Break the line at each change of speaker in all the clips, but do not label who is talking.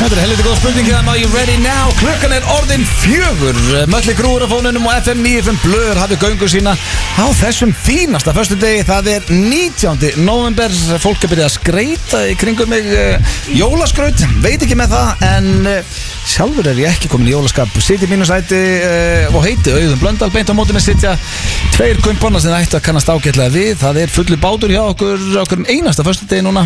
Þetta er helviti góð spurning Það má ég ready now Klukkan er orðin fjögur Mölli grúur af fónunum og FM 95 Blöður hafði göngu sína Á þessum fínasta Föstu degi það er 19. november Fólk er byrjað að skreita í kringum mig uh, Jólaskraut Veit ekki með það En uh, sjálfur er ég ekki komin í jólaskap Sitt í mínu sæti uh, og heiti Auðun Blöndal Beint á móti með sitja Tveir kumpanna sem ættu að kannast ágætlega við Það er fullu bátur hjá okkur Okkur um einasta föstu degi núna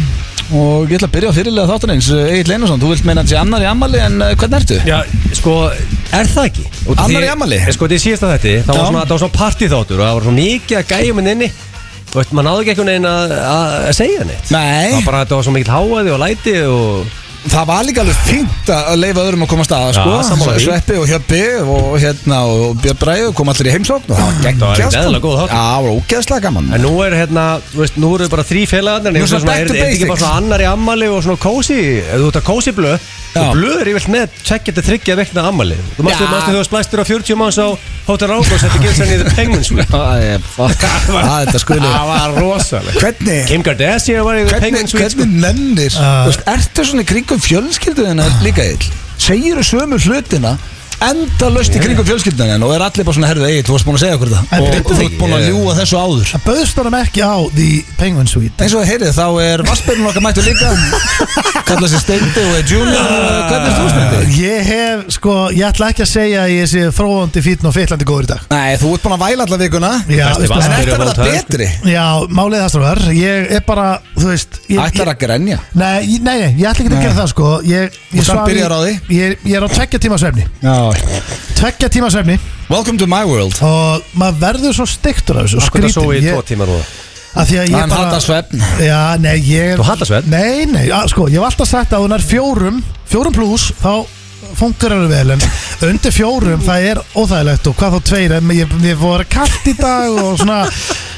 Og ég ætla að byrja á fyrirlega þáttan eins Egil Einarsson, þú vilt meina að sé annar í ammali en uh, hvernig ertu?
Já, sko, er það ekki? Út af
Annar
því-
í afmæli?
Eh, Sko, þetta er síðasta þetta Það
Já.
var svona, það var svona partyþáttur og það var svona mikið að gæja minn inni Þú veist, maður náði ekki einhvern veginn að, að að segja neitt
Nei,
Það var bara þetta var svo mikill háaði og læti og
það var líka alveg fínt að að leifa öðrum að koma að staða
Já,
sko.
sammála því.
Sveppi og Hjöppi og hérna og Björn Bræðu kom allir í heimsókn og Mm. það var
var
geggjast
eðlilega góð þáttur.
Já, það var ógeðslega gaman
En nú er hérna, þú veist, nú eru bara þrý
Nú
félagarnir
er
en ég
svona
hugsa svona,
back to
Er er þetta ekki
basics.
bara svona annar í ammali og svona kósi Ef þú ert að kósi blöð
Já.
Þú blöð er yfirlt með tvekkja til þryggja vekna ammali Þú mástu
Já.
þú að splæstir á 40 manns á Hotel Rákos Þetta gilds henni í The Penguin Suite
Það er fuck. Það er þetta skuli
var rosalega
Hvernig,
Kim Kardashian var í The Penguin
hvernig,
Suite sko.
hvernig nennir Þú veist, Ertu svona í kringum fjölskylduðina líka ill? Segir þú sömu hlutina enda löst í kringum fjölskylduðina og er allir bara svona herðu Egil, þú varst búin að segja okkur það
En
og
byrju,
þú ert búin að
ég-
ljúa þessu áður
Það bauðst honum ekki á The Penguin Suite
eins og þið heyrið þá er Vassbyrjun okkar mættu líka kallað sér Steindi og er Junior hvernig er þú Steindi?
Uh, Ég hef, sko, ég ætla ekki að segja að ég sé þróandi fítn og fyllandi góður í dag
Nei, þú ert búin að væla alla vikuna
Já,
Besti
veistu
en
vatn.
það?
ert að verða betri
Já, málið það strafar Ég er bara, þú veist ég,
ætlar að grenja
Nei, ég- nei, nei, ég ætla ekki að gera það sko Ég,
Og
ég,
samt
svaf í-
byrjar á því?
ég, ég er á tveggja tíma svefni Tveggja tíma svefni
Welcome to my world
Og maður verður svo stiktur af þessu og
Akkur það svo í
skrýtin.
tvo
Ég-
tíma núna
af því að ég
Hann
bara-
hatar svefn.
Já, nei, ég
Þú hatar svefn?
Nei, nei, að, sko, ég hef alltaf sagt að hún er fjórum Fjórum pluss, þá funkar það vel En undir fjórum, það er óþægilegt Og hvað þá tveir, en ég, ég voru kallt í dag Og svona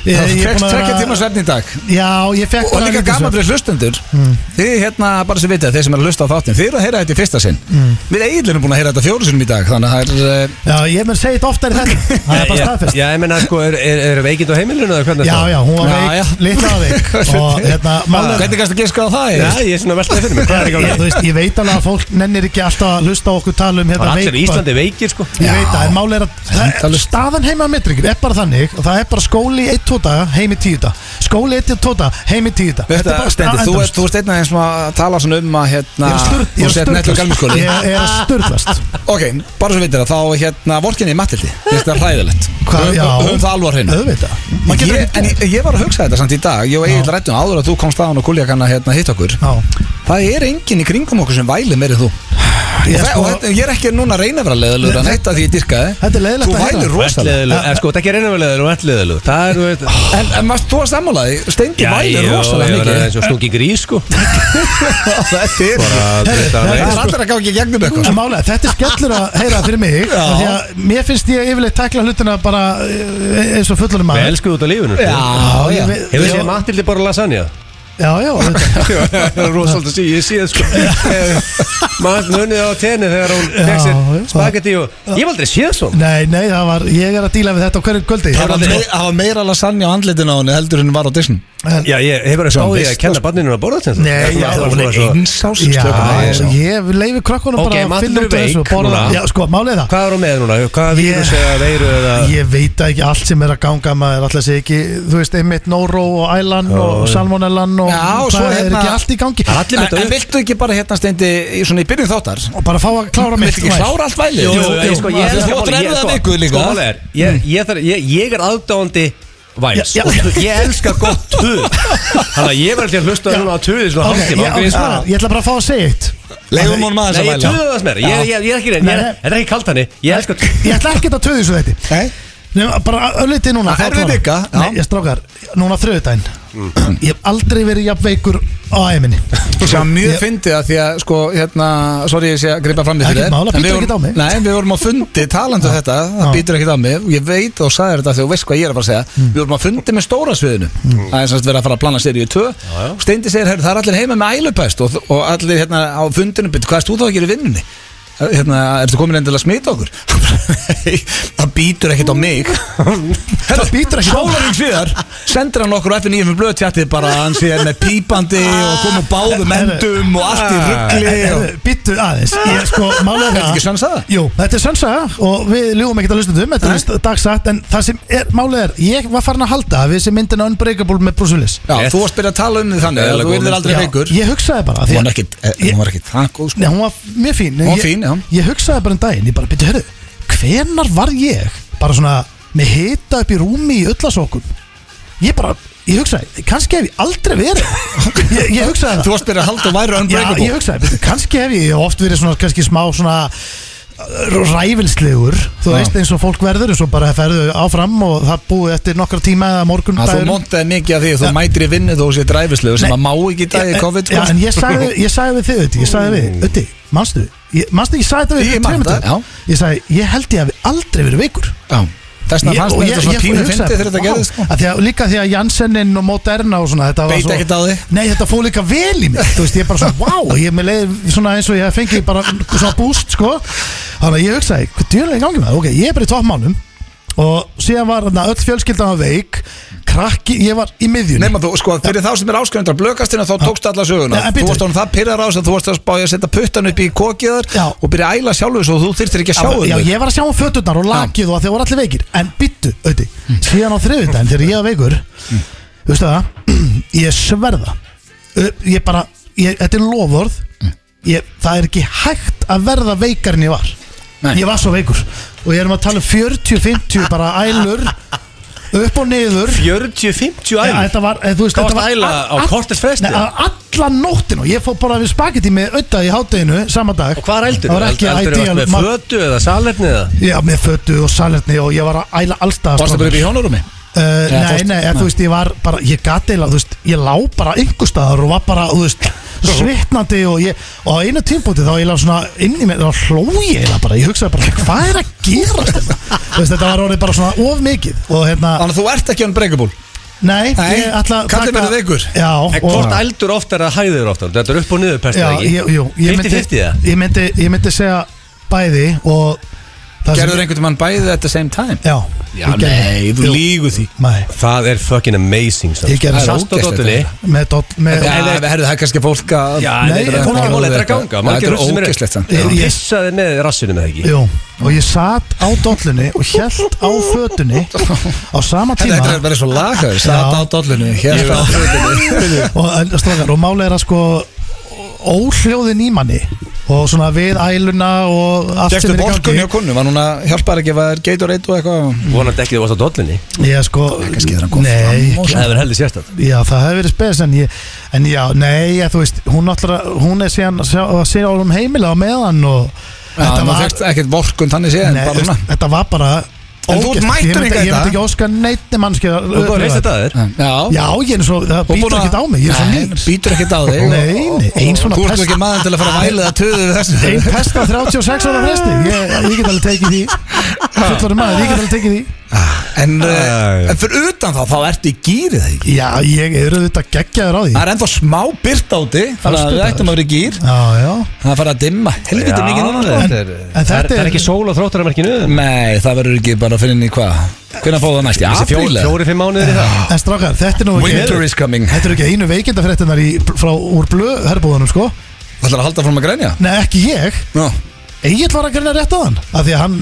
ég,
Það
ég er
fekk
búin að vera-
tvekkja tíma svefn í dag
Já, ég fekk
og líka gaman fyrir hlustendur
Mm.
þið hérna bara sem vitið þeir sem er að hlusta á þáttin þið eru að heyra þetta í fyrsta sinn
Mm.
við eiginlega erum búin að heyra þetta fjóru sinnum í dag þannig að það er eh,
Já, ég mun segja þetta oftar í þetta Það er bara staðfest
Já, ég menna, sko, er, er, er veikind á heimilinu eða hvernig
Já,
það?
já, hún var
Já, já.
veik, litla á þig Og hérna, málið
hvernig kannst að giska á það
Já,
Egill?
ég er svona veltaði fyrir mig, hvað er ekki á
Ég,
gangi?
þú veist, ég veit alveg að fólk nennir ekki alltaf að hlusta á okkur tala um
Bara
hérna
allir í
veik börn.
Íslandi veikir, sko
Ég veit það, en mál er að það,
Endalaust.
staðan heima með drikir er bara þannig og það er bara skóli í 1-2 daga, heim í 10 daga skóli í 1-2 daga, heim í 10 daga
Þetta er bara stendur, þú ert, þú ert einn aðeins sem að tala svona um að hérna
Ég
þú
er
sett netlu
styrklast
galmiskóli
Ég er að styrklast
Ok, bara svo veitir það, þá hérna vorkinni í mattildi Þetta er hræðilegt
Hvað, já
Höfum höfum Um- það alvar hreinu
Auðvitað Maður
ég,
getur
En
ekki
ég, ég var að hugsa þetta samt í dag Ég og Egil rættum áður að þú komst aðan og kuljakanna hérna hitt okkur
Já
Það er enginn í kringum okkur sem væli meir en þú
Ég
Ég,
er
og,
sko-
þetta, ég er ekki núna að reyna að vera leðalur en þetta því ég dyrkaði
Þetta er leiðilegt
Þú
að heyra.
vælir rosalega
Vettleðilug, sko, það er ekki reynaverleður og vettleðilug Það er, þú veit
En, en maður, þú var sammálaði, Steindi vælir rosalega
Það er
mikið
eins og stungi grís, sko
Þetta er
Bara, þú veist, það
Það
er
er allir að gangi gegnum eitthvað sko.
En málega, þetta er skellur að heyra fyrir mig
Já.
af Því að mér finnst ég yfirleitt tækla hlutina bara eh, eins og fullunum
Við
maður
elskuðu út á lífinu, sko
Já, já,
ég
já.
veit-
Hefur þið séð Matildi bara lasagna?
Já, já, auðvitað.
Rósald að sé, ég sé það sko Maður munið á tenni þegar hún
Já,
fekk
já.
sér spagetti og Ég hef aldrei séð svona
Nei, nei, það var, ég er að díla við þetta á hverjum kvöldi
Það var mei- það var meira lasagna á andlitin á henni heldur en var á disnum
En-
Já, ég hef bara
Svona
spáðið að
veist,
kenna banninu að borða þetta
Nei, já,
það var
hún
svona
er
svo
einsás
Já,
sko.
slökun.
ég leifi krökkunum
Ok,
bara
maður
að finna
er
út af þessu
veik
borða,
núna.
Já, sko, málið er það
Hvað er hún með núna? Hvað
Ég-
vírus eða veiru eða
Ég veit ekki allt sem er að ganga maður alltaf sé ekki, þú veist, einmitt Nóró og Ælan og Salmonellan og
Já, og svo
það er
hérna-
ekki allt í gangi
Það
En,
er allir með þetta
en viltu ekki bara hérna steindi í, svona í byrjun þáttar
og bara fá að klára mitt
Viltu ekki
væl.
klára allt væli?
Jú, jú, jú, sko, ég
Þú
elska
áttur
málið, ég-
erfiða
sko,
viku líka
sko, málið er, ég- ég þarf- Ég ég er aðdáandi væls
Mm. Já, já.
og Ég elska gott tuð Þannig að ég var alltaf að hlusta núna á tuðið svona
Ok,
hálftíma
já, ok,
ágríns.
já, Ég ætla bara að fá að segja eitt
Leifum honum aðeins
Nei,
að
ég
væla
tuðið það sem er Ég ég- ég er ekki reynd,
Nei, nei.
þetta er ekki kalt hannig Ég elska tuð
Ég ætla ekki að töðu þessu þetta
Nei,
Nefnum, bara ölliti núna
Það
þá
er við
klára.
digga, já.
Nei, ég strákar, núna þriðudaginn Ég hef aldrei verið jafn veikur á æminni
Svo mjög fyndið að því að sko hérna, sorry ég sé að gripa fram í
Ekkert mál,
En
það
við
bítur ekkert á
vorum-
mig.
Nei, við vorum á fundi talandu þetta, það
Já. Mm.
býtur ekkert á mig og Ég veit og sagði þetta þegar þú veist hvað ég er að fara að segja Við vorum á fundi með stóra sviðinu Það er semst verið að fara að plana seríu 2 Og Steindi segir, "Heyrðu, það er allir heima með ælupest og, og allir hérna á fundinu, "Bíddu, hvað erst þú þá að gera í vinnunni? Hérna, ertu komin endilega að smita okkur? það býtur ekkert á mig Það
bítur ekkert á-
Sólarinn síðar sendir hann okkur á FNF með blöðtjættið um bara að hann sé með pípandi og kom og báðum
Ah.
endum og allt í ruggli og...
Bittu aðeins Ég sko, málega
Er Ah. þetta ekki sannsaga?
Jú, þetta er sannsaga og við ljúum ekkert að lusnundum Þetta er list- dagsatt En það sem er, málega er Ég var farin að halda að við sem myndin Unbreakable með Bruce Willis
Já,
Rétt.
þú varst byrjað að tala um þið þannig að
Eðlilega
þú
góð
yrðir
mynd.
aldrei veikur
Ég hugsaði bara því
Hún
að-
var ekkert, eh,
Ég-
hún var ekkert það góð sko
Nei, hún var mjög fín en
Hún var
ég-
fín, já.
Ég hugsaði bara um daginn, ég bara byrja, hörru Hvenar var ég bara svona með hita upp í rúmi í öllasókum Ég bara, ég hugsaði kannski hef ég aldrei verið Ég, ég hugsaði það
Þú varst byrjað að halda og um væri
Já,
unbreakable
ég hugsaði, betur, kannski hef ég oft verið svona, kannski smá svona uh, ræfilslegur, þú
Já.
veist eins og fólk verður eins og bara ferðu áfram og það búið eftir nokkra tíma eða morgun
Að þú montaði mikið af því að þú mætir í vinnu þó þú sér dræfislegu sem
um Nei.
að má ekki í dag í COVID sko.
Já, en ég sagði, ég sagði við þig, Ötti, ég sagði við, Ötti, manstu, ég, manstu, ég sagði þetta við
Ég
fyrir
man
tveimur
það,
dögum. Ég sagði, ég held ég hafi aldrei verið veikur.
Þessna
Ég-
fannst
og
mér þetta
ég-
svona
ég-
pínu
ég hugsaði,
fyndið þegar þetta
vá,
gerðist sko.
að því að, Líka því að Jansenin og Moderna og svona, þetta var
Beit ekkert á þig.
Nei, þetta fóð líka vel í mig, þú veist, ég bara svona, wow, ég er með leið svona eins og ég fengi bara svona boost, sko. Þannig að ég hugsaði, hvað djúlega í gangi með það, ok, ég er bara í toppmálum og síðan var þarna öll fjölskyldan á veik, krakki, ég var í miðjunni.
Nefna þú, sko, fyrir þá sem er áskrifundar blökastinu hérna, þá tókst alla söguna
Nei, en
Þú
bíddu.
varst án það pyrrar á þess að þú varst að spája að setja puttan upp í kokiðar
Já.
og byrja að æla sjálfur svo þú þyrftir ekki að sjá um
Já,
þau.
ég var að sjá um föturnar og lakið og að þeir voru allir veikir En byttu, auði, síðan á þriðudaginn þegar ég var veikur Þú veist það, ég sverða Ö, Ég bara, ég, þetta er lofvörð ég, Það er ekki hægt að verða veikar en ég var
Nei.
Ég var svo veikur Og ég erum að tala um 40-50 bara ælur Upp og niður
40-50
Ja,
æl
Þetta var, eh, þú veist,
Hvað
þetta var
varstu að æla
all-
á
all-
kortis fresti?
Nei, á alla nóttina og ég fór bara við spagetti með auða í hátteginu sama dag
Og hvað er eldur?
Það var ekki
Eldur
ideal
með
mat-
fötu eða salerni eða?
Já, með fötu og salerni og ég var að æla allstað
Varst það bara upp í hjónarúmi?
Uh,
Eða
nei,
fórstu-
nei, en,
nei.
þú veist, ég var bara, ég gat eila, þú veist, ég lá bara einhver staðar og var bara, þú veist, svitnandi og ég, og á einu tímpúti þá ég lá svona inn í mig, þá hló ég eila bara, ég hugsaði bara, hvað er að gera þetta? þú veist, þetta var orðið bara svona of mikið og hérna,
Þannig að þú ert ekki unbreakable
nei,
Nei,
ég ætla að
kallinn
taka-
verður veikur.
Já,
En hvort eldur oft er að hæðir oft Þetta er upp og niður pestið
já,
ekki
ég, jú, ég myndi,
50-50 eða?
ég myndi, ég myndi segja bæði og það
Gerður einhvern mann bæðið at the same time?
Já,
Já,
ég gerði-
nei, þú
jú,
lígu því
Nei,
Það er fucking amazing
ég
Það er
gerði
Sast og
ógeðslegt
dottinni
þetta.
með dot,
Já,
með,
herðu, það er kannski fólk að
Já,
Nei,
þetta er
fólk
fólk
er
mál
alveg
Þetta er að
eitthvað-
ganga
Já,
Margir
þetta er
hugsa sem eru-
ógeðslegt samt.
Þú
Ég-
pissaði með rassinu með ekki
Jú, og ég satt á dollunni og held á fötunni á sama tíma
Þetta er verið svo lagaður, satt á
Já.
dollunni Hér á fötunni
og, en, strákar, og máli er að sko óhljóðin í manni og svona við æluna og allt
Gækstu
sem er í
borgunni á
gangi
kunnu, var núna hjálpar ekki að það er geitur eitt og eitthvað
Vonandi ekki þú varst á dollinni
ég sko,
kannski er hann kom
nei,
fram og
Það er heldur sérstætt
Já, það hefur verið spes en, ég, en já, nei, ég, þú veist hún, allra, hún er síðan að sjá- að segja um heimila á meðan og
Já, þú fegst ekkert vorkun þannig séð
nei,
en bara
þú
svona
veist, þetta var bara
En þú ert
ógeðslegt.
mættur
Ég myndi-
hingað í
Ég myndi
dag.
ekki óska neittni mannski að
Og hvað
upplifa
reist þetta þér?
Já,
Já, ég er svo, það
Og búin
býtur
að-
ekkert á mig, ég er svo
Nei,
nýr
Býtur ekkert á þig
Nei,
Og-
nei, ein
og-
svona
Þú ert
pest-
ekki maður til að fara að væla það töðu við þessu
Einn pesta 36 ára fresti ég, ég get alveg tekið því Fullorum maður, ég get alveg tekið því
En, eh,
Æ.
en fyrir utan þá, þá ertu í gýrið eða ekki
Já, ég er auðvitað geggjaður á því
Það er ennþá smá byrt áti Þannig að
Föstudagur.
við ættum um að vera í gýr
Já, já
Það er að fara að dimma Helviti mikið núna
en,
en
það, er,
þetta
það
er-
er ekki sól og þróttar að merkinu
Nei, það verður ekki bara að finna inn í hvað Hvernig fóðu það næst? Í apríl, eða?
Fjóri, fimm mánuðir í það
En strákar, þetta er nú
Winter
ekki
is coming
Þetta er ekki einu veikindafréttinar í, frá, úr blöð herrbúðunum, sko
Það ætlar að halda fram að grænja
Nei, ekki ég
Já,
Egil var að greina rétt á hann Af því að hann,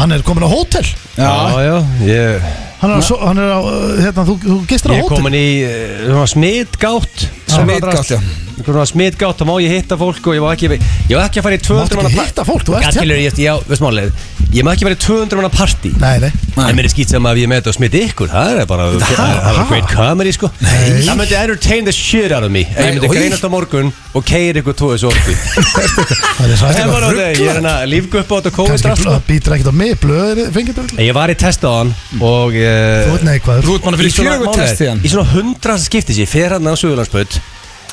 hann er komin á hótel
já.
já, ég,
Hann er, að, so- hann er á, uh, hérna, þú, þú gistir á
ég er
hótel
komin í eh, svona smitgátt
Smitgátt, já.
Svona smitgátt, þá má ég hitta fólk og ég má ekki Ég má ekki að fara í
Máttu
200
ekki
manna
hitta fólk, þú ert hérna.
Gætkilur, ég, já, veist málið Ég má ekki fara í 200 manna partí
Nei, nei
Nei.
En mér er skýt sem að ég með þetta og smiti ykkur Það er bara það er bara great comedy sko
Nei.
Það myndi entertain the shit out of me Ef
Nei,
Ég myndi
oj.
greinast á morgun og keir ykkur tóðu svo orku
Það er
Það er
sætt
bara það, ég er hérna lífgu upp á þetta COVID
Kannski
drasl
blöð- býtir ekkert á mig Blöður, fengið þú
Ég var í testa á hann og
Þú
uh,
ert neikvæður
Þú ert manna fyrir fjögur test í hann
Í svona hundra skiptis ég fer hann á Suðurlandsböld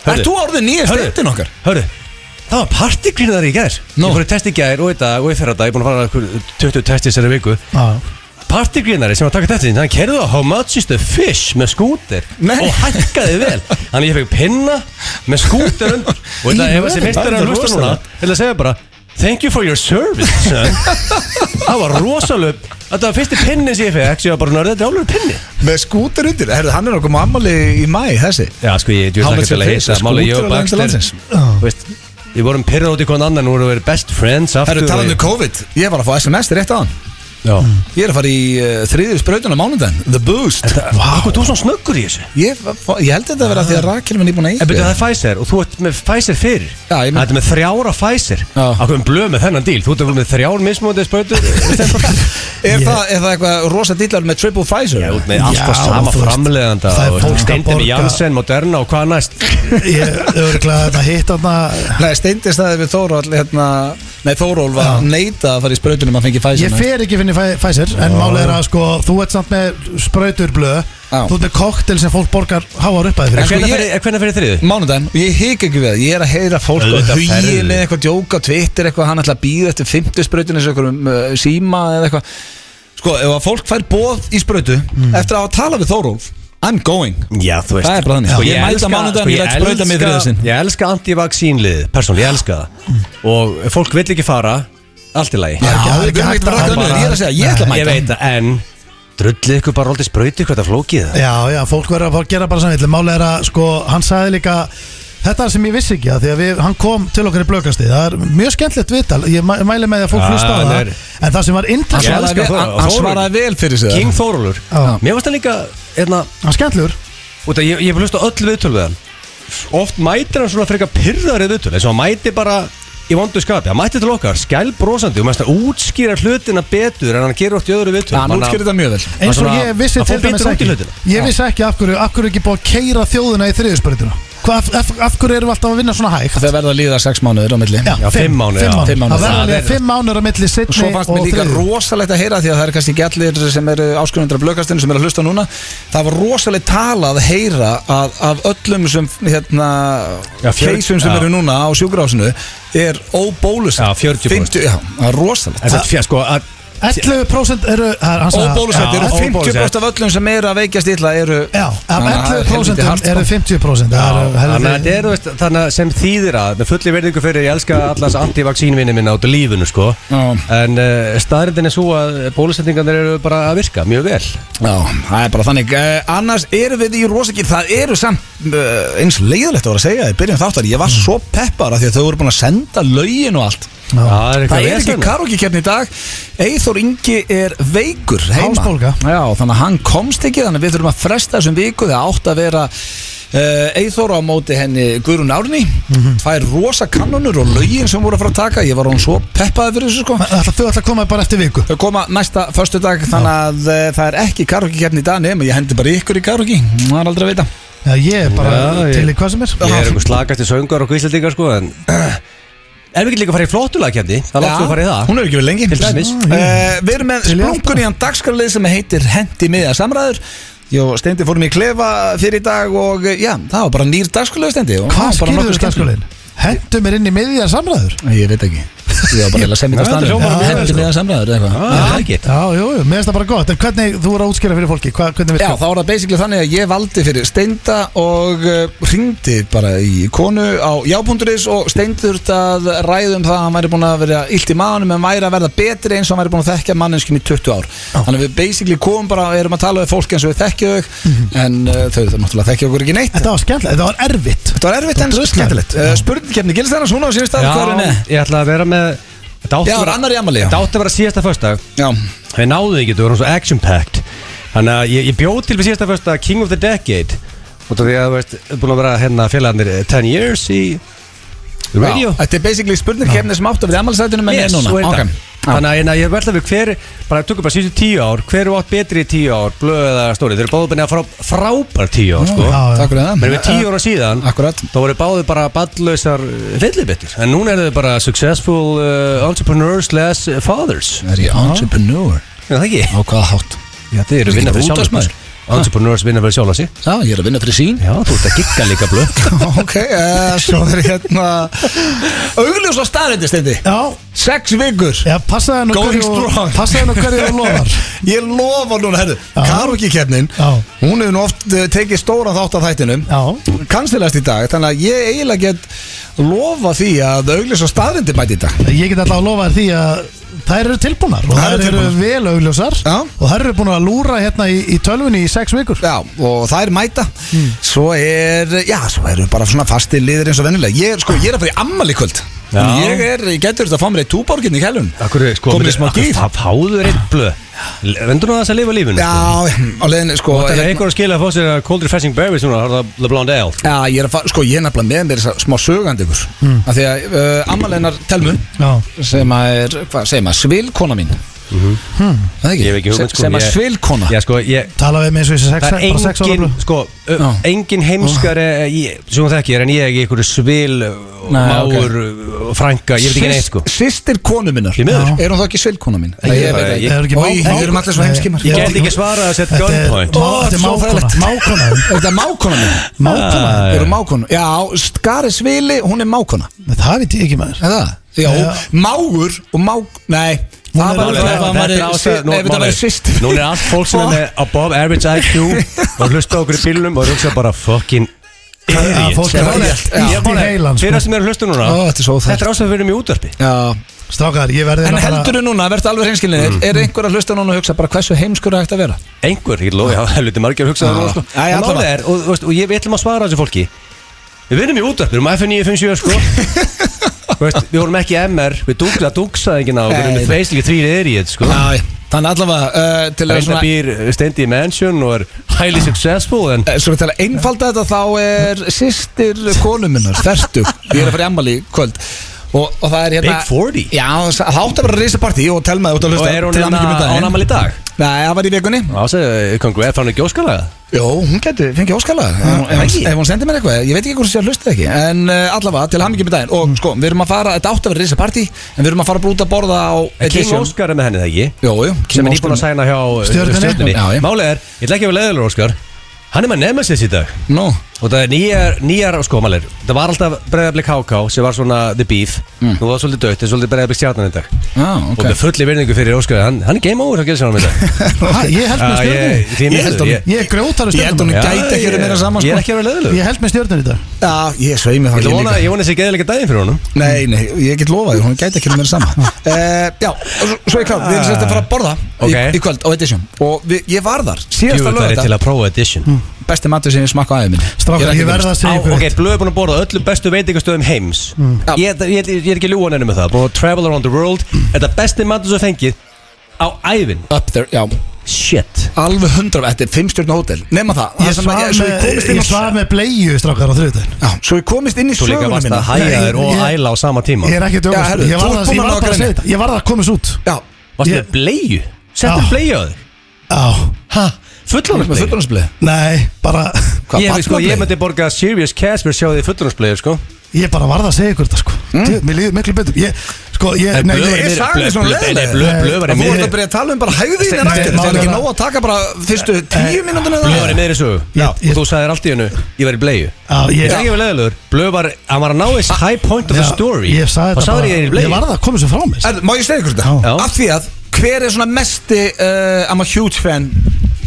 Ert þú orðið nýja stendin okkar?
Hörru, það var partigrinar í gær
Nú.
Ég fór í test í gær og í dag og í fyrra dag Ég er búin að fara einhver 20 test í þessari viku Partigrinari sem var að taka þetta inn, hann kerði á How much is the fish með skúter
Nei.
og hækkaði vel Þannig ég fekk pinna með skúter undir og
Í
þetta ef þessi mistur
vörðin,
það er
er að hlusta núna
rosalegt.
Ég ætla að segja bara Thank you for your service, son Það var rosalega Þetta var fyrsti pinni sem ég fekk Ég var bara nörðið, þetta er alveg pinni
Með skútur undir, herðu, hann er okkur með ammali í mæ, þessi
Já, sko, ég
How
djúst
much
ekki til
is
að heita
this?
Máli, ég
Skútur á
og
lengsta
Baxter
landsins.
Þú veist, Við vorum pyrrað út í hvern annan Nú vorum við best friends aftur
Herru, talað
og
um Mm.
ég-
COVID, ég var að fá SMS rétt á hann
Já
Ég er að fara í uh, þriðju sprautun á mánundaginn The Boost
Hvað, þú er svona snöggur í þessu
Ég, f- ég held þetta að vera því að Rakel minn er búin að
En betur
eitthvað
það er Pfizer og þú ert með Pfizer fyrir
Já, ég meina-
Þetta er með þrjára Pfizer
Já.
Akkur um blöð með þennan díl Þú ert að vera með þrjár mismótið spötu
Er það er það eitthvað rosa dýlar með Triple Pfizer?
Já, út með alltaf
Já,
sama
þú veist,
framleiðanda
það er
og
fólk að
Steindi með
borga.
Janssen, Moderna og hvað næst
Ég örglaði þetta hitt þarna
Nei, steindist það við Þóról hérna, Nei, Þóról var
Já.
neita að fara í sprautunum að fengi Pfizer
Ég fer ekki finni Pfizer En málið er að sko Þú ert samt með sprautur blöð
Já.
Þú ert með koktel sem fólk borgar háar
En
uppaði
sko,
fyrir
ég-
Hvernig fyrir, hvernig fyrir þriðu?
Mánudaginn, og ég hik ekki við það, ég er að heyra fólk og
Auðvitað
hugið
ferðu.
með eitthvað djóka, tvittir eitthvað, hann ætla að býða eftir fymtu sprautinu eins og einhverjum uh, síma eða eitthvað Sko, ef að fólk fær bóð í sprautu eftir að hafa talað við Þórólf I'm going
Já, þú
Það er bara þannig.
Sko,
Ég
ég
mæta
elska,
mánudaginn,
sko,
ég læt sprauta mig í þriðja sinn.
elska, ég elska anti-vaccínlið Persónulega, ég elska það Og ef fólk vill ekki fara, allt í lagi
Já, það er
ekki
ekki
hægt
hægt
að
að ræða um það,
ræða
ég er að segja, ég ætla að
Ég
mæta
veit það, en Drullið ykkur bara alltaf sprauti hvað það flókið það
Já, já, fólk verður að fá að gera bara samvill Málið er að sko Hann sagði líka Þetta er sem ég vissi ekki að því að við, hann kom til okkar í blökasti Það er mjög skemmtilegt vital, ég mæ- mæli með því að fólk
Já,
hlusta á
hann
það
er-
En það sem var
Hann
intressant,
elska
svaraði vel-
Þór-
hann- hann
Þórólf.
svaraði vel fyrir sig
King Þórólur
Já.
Mér varst það líka, einna,
hann skemmtilegur
út að ég, ég hef hlust á öll viðtöl við hann Oft mætir hann svona frekar pyrðari viðtöl eins og hann mæti bara í vondu skapi Hann mæti til okkar, skæl brosandi og mest að útskýra hlutina betur en hann gerur oft í öðru viðtöl
Já, nú
Manna-
skilur þetta mjög vel
Eins og
Svona-
ég vissi
að
til
fólk
dæmis
vitur út í
ekki
hlutina.
Ég vissi ekki af hverju, af hverju ekki búið að keira þjóðuna í þriðjusbörðina af, af, af hverju erum við alltaf að vinna svona hægt
Það verða að líða sex mánuður á milli
Já, fimm mánuði, já.
fimm
Fimm
mánuði.
mánuði.
Það verða
Það
alveg
er-
fimm mánuður á milli
Og
sittni
svo fannst mér líka
þriðju.
rosalegt að heyra því að það er kannski ekki allir sem eru áskrifundar af blökastinu sem eru að hlusta núna Það var rosalegt talað að heyra að, af öllum sem hérna
Já, fjör-
keisum sem
já.
eru núna á sjúkurásinu er óbólusett
Já, 40%.
Já, það er rosalegt
En þetta fjast sko að
11% eru það er- hann sagði-
Óbólusett
Já,
eru
óbólusett.
50% af öllum sem eru að veikjast illa eru
Já, af
Þannig að það er
11%
helviti hart,
eru
sko.
50%
Já,
Það eru
Þannig að þetta
helviti-
er, þú veist, þannig að sem þýðir að með fulli verðingu fyrir ég elska allans anti-vaccínvinni minna út í lífinu sko
Já.
en uh, staðrindin er svo að bólusetningarnir eru bara að virka mjög vel
Já, það er bara þannig uh, Annars erum við í rosakýr Það eru samt uh, eins leiðilegt að vera að segja það í Byrjum þáttar, ég var svo peppar af Því að þau voru búin að senda lögin og allt
Já.
Það er
Það
eitthvað
er ekki
vesen.
karaoke-kefni í dag Eithor Ingi er veikur heima
Hálsbólga.
Já, þannig að hann komst ekki Þannig að við þurfum að fresta þessum viku Það átt að vera uh, Eithor á móti henni Guðrún Árni Það er rosa kannunur og lögin sem voru að fara að taka Ég var hún svo peppaði fyrir þessu sko
Það ætla- Þau ætla að koma bara eftir viku
Þau koma næsta föstudag þannig að uh, það er ekki karaoke-kefni í dag nema ég hendi bara ykkur í karaoke Það er aldrei að vita
Já, Ég er
Já,
bara
ég-
til í hvað sem er
Ég er einhver slagasti söngar og kvíslendingar sko en Erum við ekki líka að fara í flottulagkjandi? Það láttu að fara í það
Hún er ekki verið lengi
Til dæmis.
uh, Við erum með
Til í
splunkunýjan dagskralið sem heitir Hendi miða samræður Jó, Steindi fórum í klefa fyrir í dag og eh, já, það var bara nýr dagskralið Steindi og það var
Hvað
bara
skilur
nokkuð
þú
skemmtilegt.
skakskólinn? Hentu mér inn í miðja samræður
Ég veit ekki Ég var bara eiginlega að semja
Nei,
þetta
þetta
stannum
hljómar mjög vel,
Hendi
sko.
miða samræður eða eitthvað
Ah.
Já, það ekki
Já, jú, jú, mér finnst það bara gott En hvernig, þú voru að útskýra fyrir fólki hvað, Hvernig
Já,
virkar
þá var það basically þannig að ég valdi fyrir Steinda og uh, ringdi bara í konu á jábúnduris og Steindur að ræðum það að hann væri búin að vera illt í maðanum en væri að verða betri eins og hann væri búin að þekkja manninskjum í 20 ár Þannig að við basically komum bara og erum að tala við fólk eins og við þekkja þau en uh, þau þau náttúrulega þekkja okkur ekki neitt
Þetta var skemmtilegt, þetta var erfitt
Þetta var erfitt en
Þú druslar.
skemmtilegt uh, Spurningkefni, gilist það svona á sínum stað? Hvað er henni?
Já, ég ætla að vera með Þetta átti
Já,
að vera-
annar í amali
þetta átti að vera síðasta föstudag
Já,
Við náðum því ekki, þú erum svo action-packed Þannig að ég, ég bjóð til við síðasta fyrsta King of the Decade Út af því að þú veist, búin að vera hérna félagarnir eh, 10 years í radio
Já, Þetta er basically spurningkefni sem áttu að vera í amalisætunum en er núna
og
Ok.
þetta
Já.
Þannig að hérna, ég verðla við hver, bara tökum bara síðustu tíu ár, hver er átt betri í tíu ár, blöð eða stóri, þeir eru báðu bennið að frá, frábær tíu ár, sko.
Já, já.
Takk fyrir
Menn
það
við tíu ára síðan,
Akkurat
þá voru báðu bara ballausar villibittur, en núna eru þau bara successful uh, entrepreneurs less fathers.
Er ég entrepreneur?
Já, það ekki?
Á hvaða hátt?
Já, þið eru
Þú
vinna
getur
fyrir sjálf
útvarpsmaður.
sig. Entrepreneurs vinna fyrir sjálf sig.
Já, ég er að vinna fyrir sín
Já, þú ert að gigga líka blöð.
Ok, uh, svo er hérna Augljós á staðrendi stendi
Já,
Sex vikur
já, passaði nú
Going strong.
hverju Passaði nú hverju þú lofar
Ég lofa núna, herru Karokikefnin
Já.
Hún hefur nú oft eh, tekið stóra þátt af þættinum
Já,
Kansilast í dag Þannig að ég eiginlega get lofa því að augljósa staðrindir mæti í dag
Ég get alltaf að lofa þér því að þær eru tilbúnar og
Þær
þær
eru
eru
tilbúnar.
vel augljósar
Já.
og þær eru búin að lúra hérna í, í tölvunni í sex vikur
Já, og það er mæta Svo er, já, svo eru bara svona fasti liðir eins og vennilega Ég er, sko, ég er að fara í ammali kvöld
Já.
Ég er, ég getur þetta að fá mér eitt túborginn í kælun
Akkur, sko,
Komið smá gýr
Það fáður eitt blöð Vendur nú að þess að lifa lífinu
Já, á leiðin, sko
Það er
hérna-
einhver að skilja að fá sér að cold refreshing berries núna, það er það blonde ale
Já, ég er að fara, sko, ég er nefnilega með mér þessa smá sögandi ykkur
Hmm.
Af því að uh, ammaliðnar telmu
Já.
Sem að er, hvað, segir maður, svilkona mín mm Það er ekki,
Mhm. Ég hef ekki hugmynd,
Se-
sko,
sem að
ég-
svilkona
Já, sko, ég,
Tala við mig eins og þessi sex,
Það er
bara sex ára
engin,
blöð.
sko, ö,
Já.
engin heimskari í- sem hún þekkir en ég í einhverju svil,
Nei,
máur, okay. frænka, ég veit ekki neitt sko
Sýstir konu minnar
Því miður.
Er hún þá ekki svilkona mín?
Ég- ég-
Ég
Það
er
eru
ekki
ekki má- má-
Við erum allir svo
Nei,
heimskimar
ég
Ég
veit
get ekki svarað að setja
Þetta er-
gunpoint
Ó, þetta er
svo
mákona,
fræðilegt.
mákona.
Er þetta mákona mín?
Ah,
Mákona?
Æ. Eru mákona? Já, Skari Svili, hún er mákona
Nei, Það veit ég ekki maður
Er það? Já,
Já.
mágur og mák... Nei Það
er-
var
Málið er-
ef það
þetta er
væri
ástæða-
sy-
nú-
nei, um ef þetta
málið
væri
er-
systir
Núna er allt fólk sem er með above average IQ og hlusta á okkur í bílunum og hugsa bara fucking
Já, fólk er
Ég-
allt
ég-
allt í sko. heilan
Fyrir það sem sko. er að hlusta núna,
sko. Ó, þetta er svo óþægt.
þetta er ástæðan fyrir mig í útvarpi
Já
Strákar, ég verði
En
hérna bara-
heldurðu núna, verður alveg reynskilinir
Mm.
Er einhver að hlusta núna og hugsa bara hversu heimskur er hægt að vera?
Einhver, ég lofi, það er lítið margir hugsaður
Já.
sko.
Já, já,
En
allavega.
málið er, og, og, og ég við ætlum að svara þessu fólki Við vinnum í útvarp, við erum F957 sko Þú veist, Við vorum ekki MR, við dugla, dugsaði ekki ná Við erum
Nei.
með basically three idiot sko
Já, þannig allavega uh, til að
Reynda
svona
býr stendi í mansion og er highly successful en
eh, Svona til að einfalda þetta þá er sýstir konu minnar, þertug Ég er að fara í ammali í kvöld Og, og það er hérna
Big 40?
Já, það átti að vera risapartí og telmaði út að
Og
hlusta
er hún
til hamingju með
hérna
daginn.
ánamal í dag?
Nei, það var í vikunni
Já, segðu, kongur, er fann ekki óskalega?
Jó, hún getur fengið óskala ef,
það
ef,
ekki?
ef hún sendir mér eitthvað, ég veit ekki hvort það sé að hlusta ekki En uh, allavega, til hamingjum í daginn
Mm.
Og sko, við erum að fara, þetta átti að vera risapartí En við erum að fara bara út að borða á
King Oscar er með henni það ekki?
Jó, jú,
sem
King
er nýbúin að
Oscar.
sæna hjá uh,
Stjörnunni.
Já, já.
Málið er, ég ætla ekki að vera leiðilegur Óskar Hann er með Nemesis í dag
Nú,
Og það er nýjar, nýjar sko malir Það var alltaf breyðarblik HK sem var svona the beef Nú var það svolítið dött en svolítið breyðarblik stjarnan í dag
já,
Og
Mm. ok
með fulli virðingu fyrir Óskar Hann, hann er game over að gera sér hann í dag
Ha, Ég held með
Já,
stjórnum
ég- því miður,
Ég held honum-
ég-
Ég er grjótar
Ég held hún
stjórnum
gæti ekki verið meira saman
Ég er
sko.
ekki að vera leiðilegur
Ég held með stjórnum í dag
Já, ég sveimi það
Ég
ekki
vona,
líka
ég vona þessi geðilega daginn fyrir honum
Nei, nei, ég get lofað því, hún gæti ekki verið meira saman uh, Já, og svo- svo ég klár, við erum sérst að fara að borða
Ok.
í, í kvöld á Edition Og við, ég var þar, síðasta Mm.
Jú, það er til
lögða
að prófa edition
Besti matur sem ég smakka aðeins minn
Strákar, ég verð að
Á,
segja ykkur
ok,
eitt.
blöð er búin að borða á öllu bestu veitingastöðum heims
Mm.
Já.
ég, ég, ég, ég er ekki ljúan ennum með það Búin að travel around the world Þetta besti matur sem þú fengið Á ævin
Up there, já
Shit
Alveg hundra, þetta er fimmstjörn hótel Nefna það, það
Ég
sem að
svaf
ég, svo ég
með-
komist inn
ég
á
svaf með bleiðu strákar á þriðdæn
Já, svo ég komist inn í
Þú líka
söguna
varst
mína
að hæja
Nei,
þér og
ég-
æla á sama tíma
Ég er ekki að
Já,
djóka
herðu,
sko. Ég
þú
var
ert
það-
búin
ég
að
var
ná
bara að
græni.
segja þetta Ég var það að komast út
Já,
Varstu
Ég-
með bleiu? Settu
Já.
bleiu á þig?
Já
Hæ?
með
Fullónusbleiu?
fullunarspleið
Nei, bara
Hvað,
Ég, sko, ég
barnableið?
myndi borga serious cash fyrir að sjá þig fullónusbleiu sko
Ég bara varð að segja ykkur þetta sko
Mm?
Djú, Mér líður miklu betur Ég, sko, ég, nei,
blöð
ég,
er
ég,
meira- sagði svona leiðilega.
Blöð var
En
í
Þú ert að
miðri
byrja að tala um bara hæðin
Nei,
aftur
málið
Það er ekki
er að-
nóg að taka bara fyrstu
Eh,
tíu mínútinu
Blöð var í miðri sögu
Ég-
Já,
ég-
Og þú sagðir allt í hennu Ég var í bleiu
Já, ég-
Ég er ekki verið leðilegur Blöð var Hann var að ná þess high point of the story
ég sagði
Og
þetta
sagðir ég er í
bara Ég
bleiu
varð að koma sér frá mér
Er, má ég segja ykkur
Já.
þetta? Af því að hver er svona mesti uh, I'm a huge fan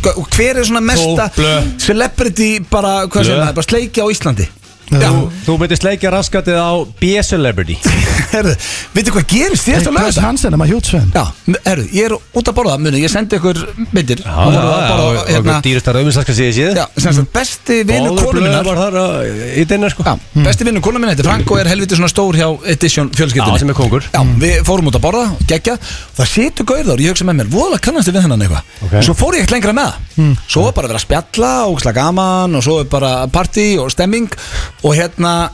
Hva- og hver er svona mesta
blö.
celebrity bara, hvað sem
Blö.
það, er, bara sleikja á Íslandi
Já.
Já,
Þú myndist leikja raskatið á B-celebrity
herðu, veitu hvað gerist þér eftir að lögða
Chris Hansen er maður hjút svein
Já, herru, ég er út að borða, muni, ég sendi ykkur myndir
Já,
Hún
já,
var að
já
borða,
Og
hérna,
og dýrasta rauðminsalka síðið síðið
já, sem sagt, besti vinur
Báður
konu
blöð
minnar
var þar að- í dinna sko
Já, besti vinnur konu minna heitir Frank og er helviti svona stór hjá Edition fjölskyldinni
Já, sem er Hmm. kóngur.
Já, við fórum út að borða, geggja Það situr gauður, ég hugsa með mér, voðalega kannast þið við hennan eitthvað
Ok. Hmm.
Svo fór ég ekkert lengra með það Svo var bara að vera að spjalla og slag gaman og svo er bara partí og stemming og hérna,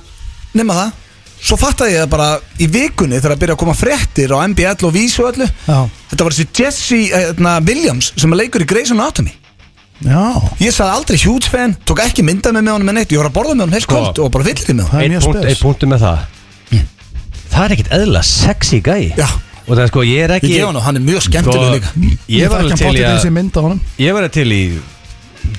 nema það Svo fattaði ég það bara í vikunni þegar að byrja að koma fréttir á MBL og Vísu og öllu
Já.
Þetta var þessi Jesse hérna, Williams sem að leikur í Grey's Anatomy
Já,
Ég sagði aldrei huge fan, tók ekki mynda með með honum en eitt Ég var að borða með honum heil
Sko.
kvöld og bara fyllir með honum
það er
Einn
mjög
punkt, ein
spes
punktu með það Það er ekkit eðla sexy gæi
Já.
Og það er sko, ég er
Ég
ekki Sko,
gef hann og hann er mjög skemmtileg líka
Ég var alveg til í
að
að
mynd á honum
Ég var alveg til í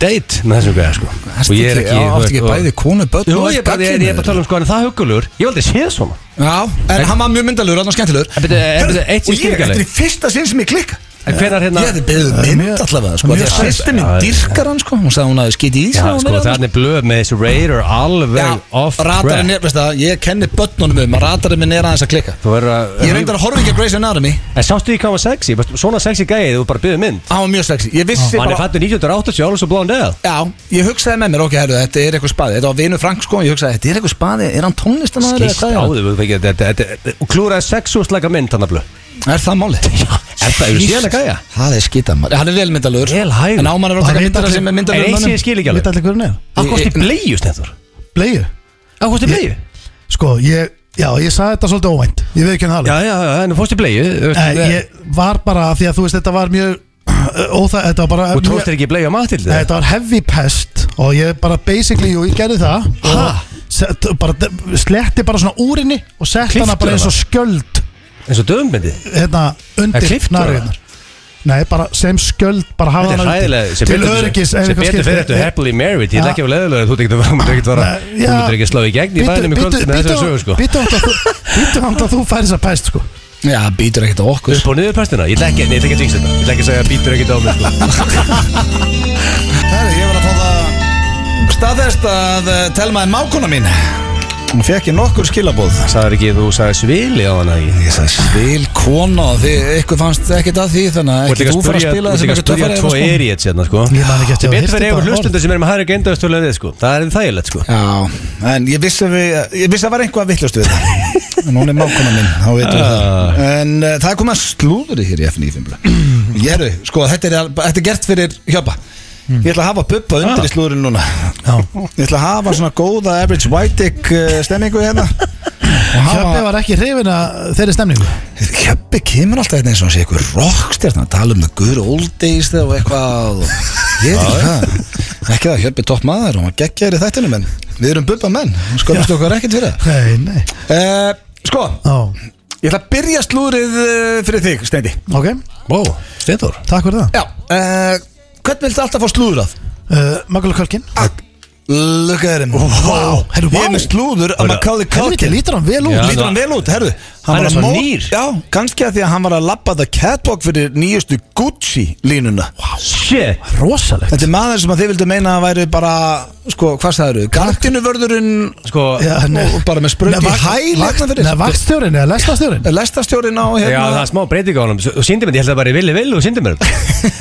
Date með þessum gæja sko
Ertu
Og ég er
ekki-
ekki
já,
þú
ertu ekki
veist,
bæði konu, börn
Jú,
og
ég er bara, ég, ég er bara að tala um sko Hann er það hugulur Ég var aldrei séð svona
Já, en hann var mjög myndalur, hann var skemmtilegur
En byrju, en byrju,
Herðu,
eitt sem
Og ég er
skilur ekki
eftir í fyrsta sinn sem ég klikka
En En hvenar hérna
Ég hefði beðið um
Það er
mynd
mjög-
allavega sko,
mjög
Því að
sætt.
sýsti minn
Já, já.
dyrkar hann sko Hún sagði hún að skiti í sig
Já,
og hún
sko,
er annars-
það er blöð með þessu Raider alveg off
radarinn er, veist það, ég kenni börnunum um að radarinn minn er aðeins að klikka
Þú verður að
Ég reyndar að horfa ekki að Grey's Anatomy
En sástu ekki hvað hann var sexy? Veist, Svona sexy gæði þú bara byggði mynd
Hann var mjög sexy, ég vissi
Hann er
bara
fættur 1980 alveg svo blóðan deð
Já, ég hugsaði með mér, ok, herru, þetta er eitthvað spaði Þetta var vinu Frank sko, ég hugsaði, þetta er eitthvað spaði Er hann tónlistamæður
Skist á þau þú fengið þetta- þetta- þetta- og Klúraði sexústleika mynd hann að blöð
Er það máli?
er það yfir síðan að gæja?
Það er skitamæður, hann er vel myndalögur
Vel hægur.
En ámann er að
Hann
taka
veit
myndar
allir-
sem er
En
myndalögur
eins ég
mönnum
skil ekki
Veit
alveg
allir hver hún er?
Hvað kosti bleiðu stendur?
Bleiðu
Hvað kosti bleiðu?
Sko, ég, já, ég sagði þetta svolítið óvænt Ég veit ekki hann alveg
Já, já, já, en þú fórst í bleiðu þú veist,
Eh, Ég var bara, því að þú veist, þetta var mjög Óþæ, þetta var bara Eh,
Þú tróðst þér ekki bleiðu á matildi?
Þetta var heavy pest og ég bara basically, jú, ég gerði það
Ha?
og set, bara, d- sletti bara svona úrinni og sett
Klipptu
hana bara eins og
hana?
skjöld
eins og döfumbindi
hérna undir
klipptu
nariðnar Nei, bara sem skjöld, bara hafa
Þetta er
hana undir.
hræðilega sem
til
betur-
öryggis ef
Sem
eitthvað
betur fyrir
skiptir.
þetta happily married Ég
Ja.
ætla ekki að vera leðilega Þú myndir ekki að vera- þú
Ah. Nei,
myndir
já.
ekki að slá í gegn í
Bíddu-
bænum í kvöld
bíddu-
með þessari
bíddu-
sögu sko
Bíddu hann að þú Bíddu hann að þú færi þessa pest sko
Já, býtur ekkert á okkur
Upp og niður pestina Ég ætla ekki nei, ég ætla ekki að jinx þetta Ég ætla ekki að segja að bítur ekkert á mig sko
Herru, ég var að fá það staðest að eh, telma en mákona mín Hún fekk ég nokkur skilabóð
Sæður ekki þú sagði svili á hana ekki
Ég sagði svil kona og þið, ykkur fannst ekkert að því þannig
Þú
að
ert
ekki
líka
þú
að
fyrir að
spyrja-
spila
þú ert
þessum
líka að
ekki
spyrja tvo
töffari
eriots hérna sko
Ég man ekki eftir
Sem
að
betur fyrir
hafa heyrt
ykkur
þetta
hlustundu sem er með hægri gendaðastölu við sko Það er þægilegt sko
Já, en ég vissi, að við, ég vissi að var einhvað vittlust við það En hún er mákona mín, þá veitum við það En uh, það er komið að slúðri hér í FNÍ Ég eru, sko, þetta er, al- þetta er gert fyrir hjöpa Ég ætla að hafa bubba undir í slúðrinu núna Ég ætla að hafa svona góða average white dick eh, stemmingu hérna Og
Hjöppi
hafa-
var ekki hrifin að þeirri stemningu
Hjöppi kemur alltaf hérna eins og hann sé eitthvað rockstjarn að tala um það good old days þegar og eitthvað og ég veit ekki hvað ekki það Hjöppi er topp maður og hann geggjar í þættinum en við erum bubba menn skoðumst okkar ekkert fyrir
Nei, nei
það uh, Sko,
Ó,
ég ætla að byrja slúrið eh, fyrir þig, Steindi
ok,
Ó, Steindur
takk fyrir það
Já, uh, hvern viltu alltaf fá slúður að?
uh, Magala Kölkin
Ah,
Look at him Wow,
Herru,
Ég er
vá.
með slúður að Macaulay
Helviti,
Culkin
lítur hann vel út
Já.
Lítur hann vel út, herðu
Hann er
var að
svo
mó-
nýr.
Já, kannski að því að hann var að labba það catwalk fyrir nýjustu Gucci línuna
Shit
Rosalegt
Þetta er maður sem að þið vildu meina að væri bara Sko, hvað sagður þau? Gardinuvörðurinn
Sko
Já, hérna- eh, nei.
og bara með sprönd
Nei,
í
vak-
hæl
vak-
hérna fyrir.
Nei, vaktstjórin eða lestastjórin
Lestastjórin á
Já, það
hérna
er smá breyting á honum Þú síndi mér, ég held að það bara villi vill og síndi mér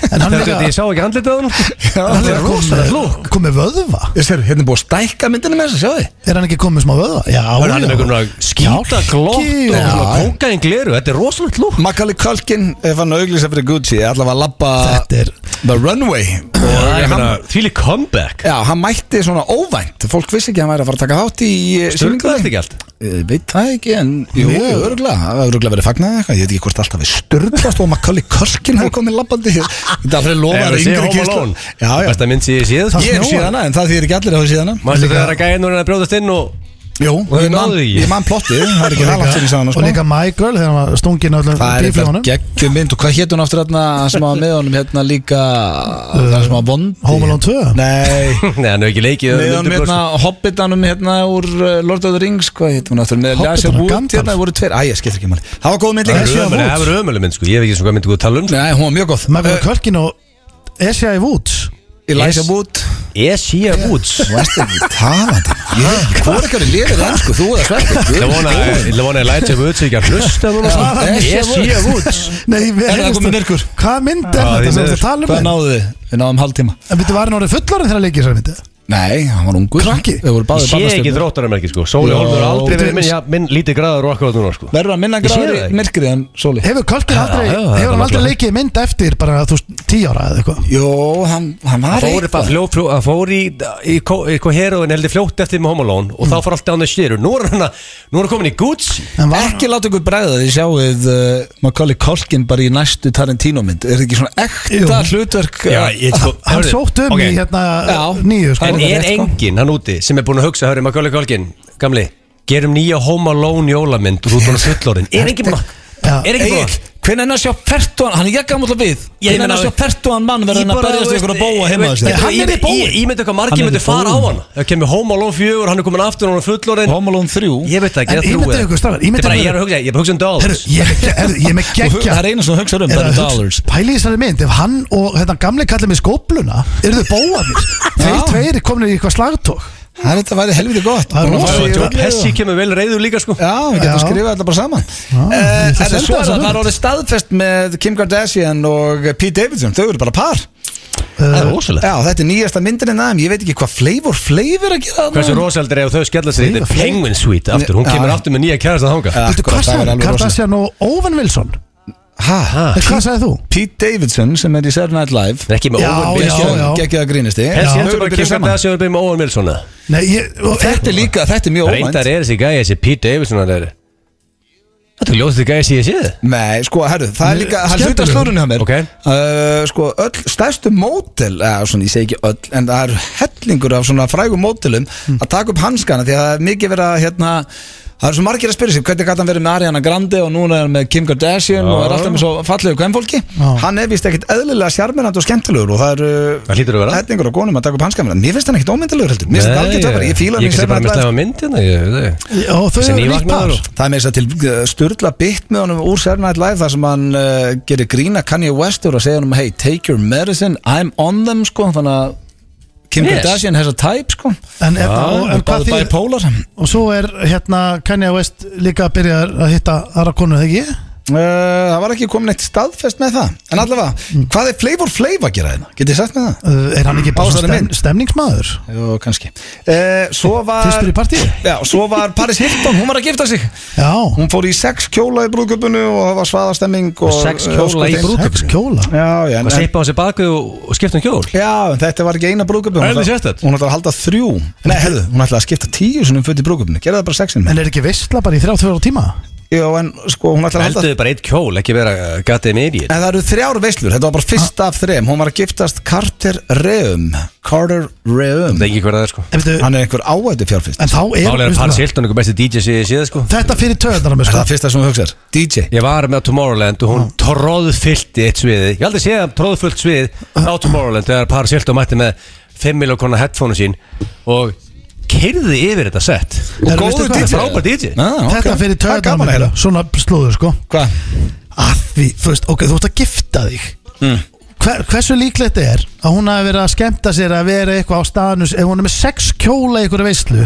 En
Þegar
hann líka-
þetta ég sá ekki andlitið á honum sko.
Já,
Hann er
það
rosalegt lúk Komið vöðva
Ég sér, hérna er búið að stækka myndinu með þess að sjá þið
Er hann ekki komið smá vöðva? Já,
Hann er með einhvern skýta glótt
Já.
og kókaðin gleru Þetta er rosalegt lúk
Macaulay Culkin, ef hann auglýsa fyrir Gucci er allavega að labba
Þetta er-
The Runway
Og ég
hann-
meina, þvíli comeback
Já, hann mætti svona óvænt Fólk vissi ekki að hann væri að fara að taka hátt í eh,
Sturglaðist
sýningunni.
ekki allt
Ég veit það ekki, en jú,
Mjög.
jú örgulega Það hefur örgulega verið fagnað eða eitthvað Ég veit ekki hvort alltaf við störðast og Macaulay Culkin hefur komið labbandi Þetta er alveg
Ef
lofað
það sé Home Alone
Já, já,
Besta mynd sem ég séð sko.
ég hef séð hana, en það þýðir ekki allir að hafa séð hana
Manstu þegar að gæðin voru að brjóðast inn og
Jú,
Og
ég
þau
man,
náðu því.
ég man plottið Það er ekki það langt sinni
Og
sagðan
líka My Girl þegar hann var stungin á öllum
sko. Það er
bífljónum
eitthvað geggjum mynd og hvað hétt hún aftur hérna sem var með honum hérna líka það sem var vondi
Uh, Home Alone 2?
Nei,
Nei, hann hefur ekki leikið um
með honum
undir brjóst.
hérna Hobbitanum hérna úr uh, Lord of the Rings hvað hétt hún aftur með Elijah
Hobbitanum,
Wood
Gandalf.
hérna það voru tveir Æ, ég skiptir ekki máli Það var góð mynd
Það
líka
er ömurleg- það er ömuleg mynd sko Ég hef ekki svona hvað myndi góð tala um sko.
Nei, hún var mjög góð Uh,
Magala Kölkin og S.I. Woods
Eh, Elijah Wood
Esja Woods
Þú varst ekki talandi Ég- Hvor ekki að liðið enn sko Þú eða
Ég
sverti
vona ég vona að Elijah Woods ekki að hlusta núna sko. Esja Woods
Nei, við
Er það komið myrkur? Ah,
Hvað mynd er
Já, því
þetta sem
miður.
þetta tala um?
Hvað náðu þið? Við náðum hálftíma
En byrju, var hann orðið fullorinn þegar leikið sér myndi?
Nei, hann var ungur
Krakki?
Við voru
Ég
báðið
sé ekki þróttaramerki sko Sóli
Já.
Holmur har aldrei verið
Þú-
minn, ja, minn lítið graður og akkurat núna sko
Verður að minna
Ég sé það
gráður
ekki.
myrkrið en sóli
Hefur Kölkin aldrei,
já, það er
hefur hann aldrei
náttúrulega.
leikið mynd eftir bara, þú veist, tí ára eða eitthvað?
Jó, hann, hann var
Það fór upp að fljó, fljó, að fór í, í, kó- í hvað heroin heldur fljótt eftir með homolón og þá
Mm.
fór alltaf hann að skeru Nú er hann að, nú er hann komin í Gucci
En var
Ekki láta ykkur bregða því sjáuð uh, Macaulay Culkin bara í næstu Tarantino mynd Er þetta ekki svona ekta
Jú.
hlutverk uh,
ég sko
Hann sótt um í hérna
Já.
nýju sko
En
það er
er
rétt, sko.
enginn hann úti sem er búin að hugsa, hörru, Macaulay Culkin, gamli Gerum nýja homolón jólamynd og þú er búin að fullorinn Er enginn búin að,
Já.
er enginn búin
Egil,
að
Hvernig er að sjá fertuan, hann er ég gammal við
Ég
Hvernig er
meina,
að sjá fertuan mann verðin að
bara,
berjast
veist,
ykkur að bóa heima á
veist,
sér?
ég-
Hann
ég-
er í bói.
ég- Ég myndi hvað
Hann
margir
er
myndi
í
fara á
bói.
hann Það kemur Home Alone 4, hann er komin aftur og hann er fullorinn
Home Alone 3
Ég veit það ekki, það
En
er þrjú
ímyndið
eða-
ykkur strafar,
Þetta er
ímyndið
bara, ég er
ykkur
að hugsa, ég er að hugsa um
Herru,
dolls
ég er með- herru, ég er með
Og hu-
geggja
Það er eina sem þú hugsaður um, það er dollars
Pæli í þessari mynd, ef hann og þetta gamli kallið með skópluna Eru þau bóðanir Þeir
Já.
tveir er komin í eitthvað slagtók
Það er þetta væri helviti gott
Það er
Búin að
rosa
fara í-
joke.
Joe Pesci kemur vel reyður líka sko
Já, við getum
Já.
skrifað þetta bara saman Eh,
ég ætla að
En
senda
svo er
þessa
það, það er
hugmynd.
orðið staðfest með Kim Kardashian og Pete Davidson Þau eru bara par
Það
Uh,
er rosalega
Já, þetta er nýjasta myndin hérna, en aðeim Ég veit ekki hvað flavor flavor að gera
Hversu rosaldur ef þau skellar sér í þetta er
Flýgur, flýgur.
Penguin Suite aftur, hún
Já.
kemur aftur með nýja kærast að þanga
Þú
Akkurat,
hvað
sko, það er
sagði
alveg
Kardashian og Owen Wilson
rosalega
Ha,
En Hvað sagði þú?
Pete Davidson sem er í Saturday Night Live
Ekki með
Já,
Owen
já.
Wilson
Gekkið að grínisti
Helsi
Þau
heldur
eru
bara
að
að
byrja
kemur
saman
það sem er með Owen Wilson eða?
Nei, ég, og,
Þetta er líka, þetta er mjög óvænt
Reyndar er þessi gæja þessi Pete Davidson hann er Þetta er ljóðið gæja sem ég séð
Nei, sko, herru, það er líka Það er hluta
Skemmtilegur.
slórunni hann mér
Ok.
uh, Sko, öll, stærstu mótel eða, svona, Ég segi ekki öll, en það er hellingur af svona frægum mótelum að taka upp hanskana, því að það er mikið verið að hérna, það er svo margir að spyrja sig hvernig gæti hann verið með Ariana Grande og núna er hann með Kim Kardashian og er alltaf með svo fallegu kvennfólki
Já.
Hann er vist ekkit eðlilega sjarmirandi og skemmtilegur og það
Það
eru
hlýtur að vera.
hellingur og konum að taka upp hanskana Mér finnst hann ekkit ómyndilegur heldur, mér finnst þetta algjörð töfari Ég fíla hann í
kannski bara
Saturday Night
mista
Live.
það mynd hérna ég veit það ekki.
og þau
Þessi
eru nýtt
nývaknaður
par
og-
Það er með þess að til uh, sturla bytt með honum úr Saturday Night Live þar sem hann uh, gerir grína Kanye West og segja honum hey, take your medicine, I'm on them sko, þannig að Kim
Yes.
Kardashian has a type sko
En, en, og, en hvað
báði
þýðir
bipolar uh,
Og svo er hérna Kanye West líka að byrja að hitta aðra konu, þegar ég?
Eh, Það var ekki komin eitt staðfest með það En allavega,
Mm.
hvað er Flavor Flav að gera hérna? Getið þið sagt með það?
Uh, er hann ekki bara
Ásvarinn
svona stem,
minn.
stemningsmaður?
Jó, kannski uh, Svo var
Fyrstur í partíi?
Já, svo var Paris Hilton, hún var að gifta sig
Já,
Hún fór í sex kjóla í brúðköpunu og það var svaðastemming og,
Sex kjóla
sko,
í
þeim-
brúðkaup?
sex kjóla
Já, já,
Og seipa á sér baku og skipta um kjól
Já, en þetta var ekki eina brúðköpun
Er
Hún
þið
ætla-
sérstætt?
Hún ætlaði að halda þrjú Nei, herðu, hún ætlaði að skipta tíu sinum föt í brúðköpunni Gerði það bara sexin
En
með
er ekki veistla bara í 30 tíma?
Já, en sko, hún ætlaði að halda
Elduðu bara eitt kjól, ekki vera uh, gatið með í
En það eru þrjár veislur, þetta var bara fyrsta af þrem Hún var að giftast Carter Reum Carter Reum
Það er ekki hverða það er sko
En, veitu,
Hann er einhver áættu fjárfyrst
en þá er,
Málega er
veistu
að Paris
það,
Hilton einhver besti DJ sem ég séð sko
þetta fyrir töðanar með
Er það
stað
fyrsta sem hún hugsar? DJ
Ég var með á Tomorrowland og hún
Ah.
tróðfyllti eitt sviði Ég aldrei séð að tróðfyllt svið á Tomorrowland þegar Paris Hilton mætti með 5 miljón konar headphone sín og keirði yfir þetta sett
Herra,
og
veistu
góður
hvað?
DJ, frábær DJ
ah,
Þetta fyrir hérna.
Það er gaman að
töðanar
heyra
með Svona slúður sko
Hvað?
að því, þú veist, ok, þú ert að gifta þig
Mm.
Hver, hversu líklegt er að hún hafi verið að skemmta sér að vera eitthvað á staðnus, ef hún er með sex kjóla í einhverju veislu,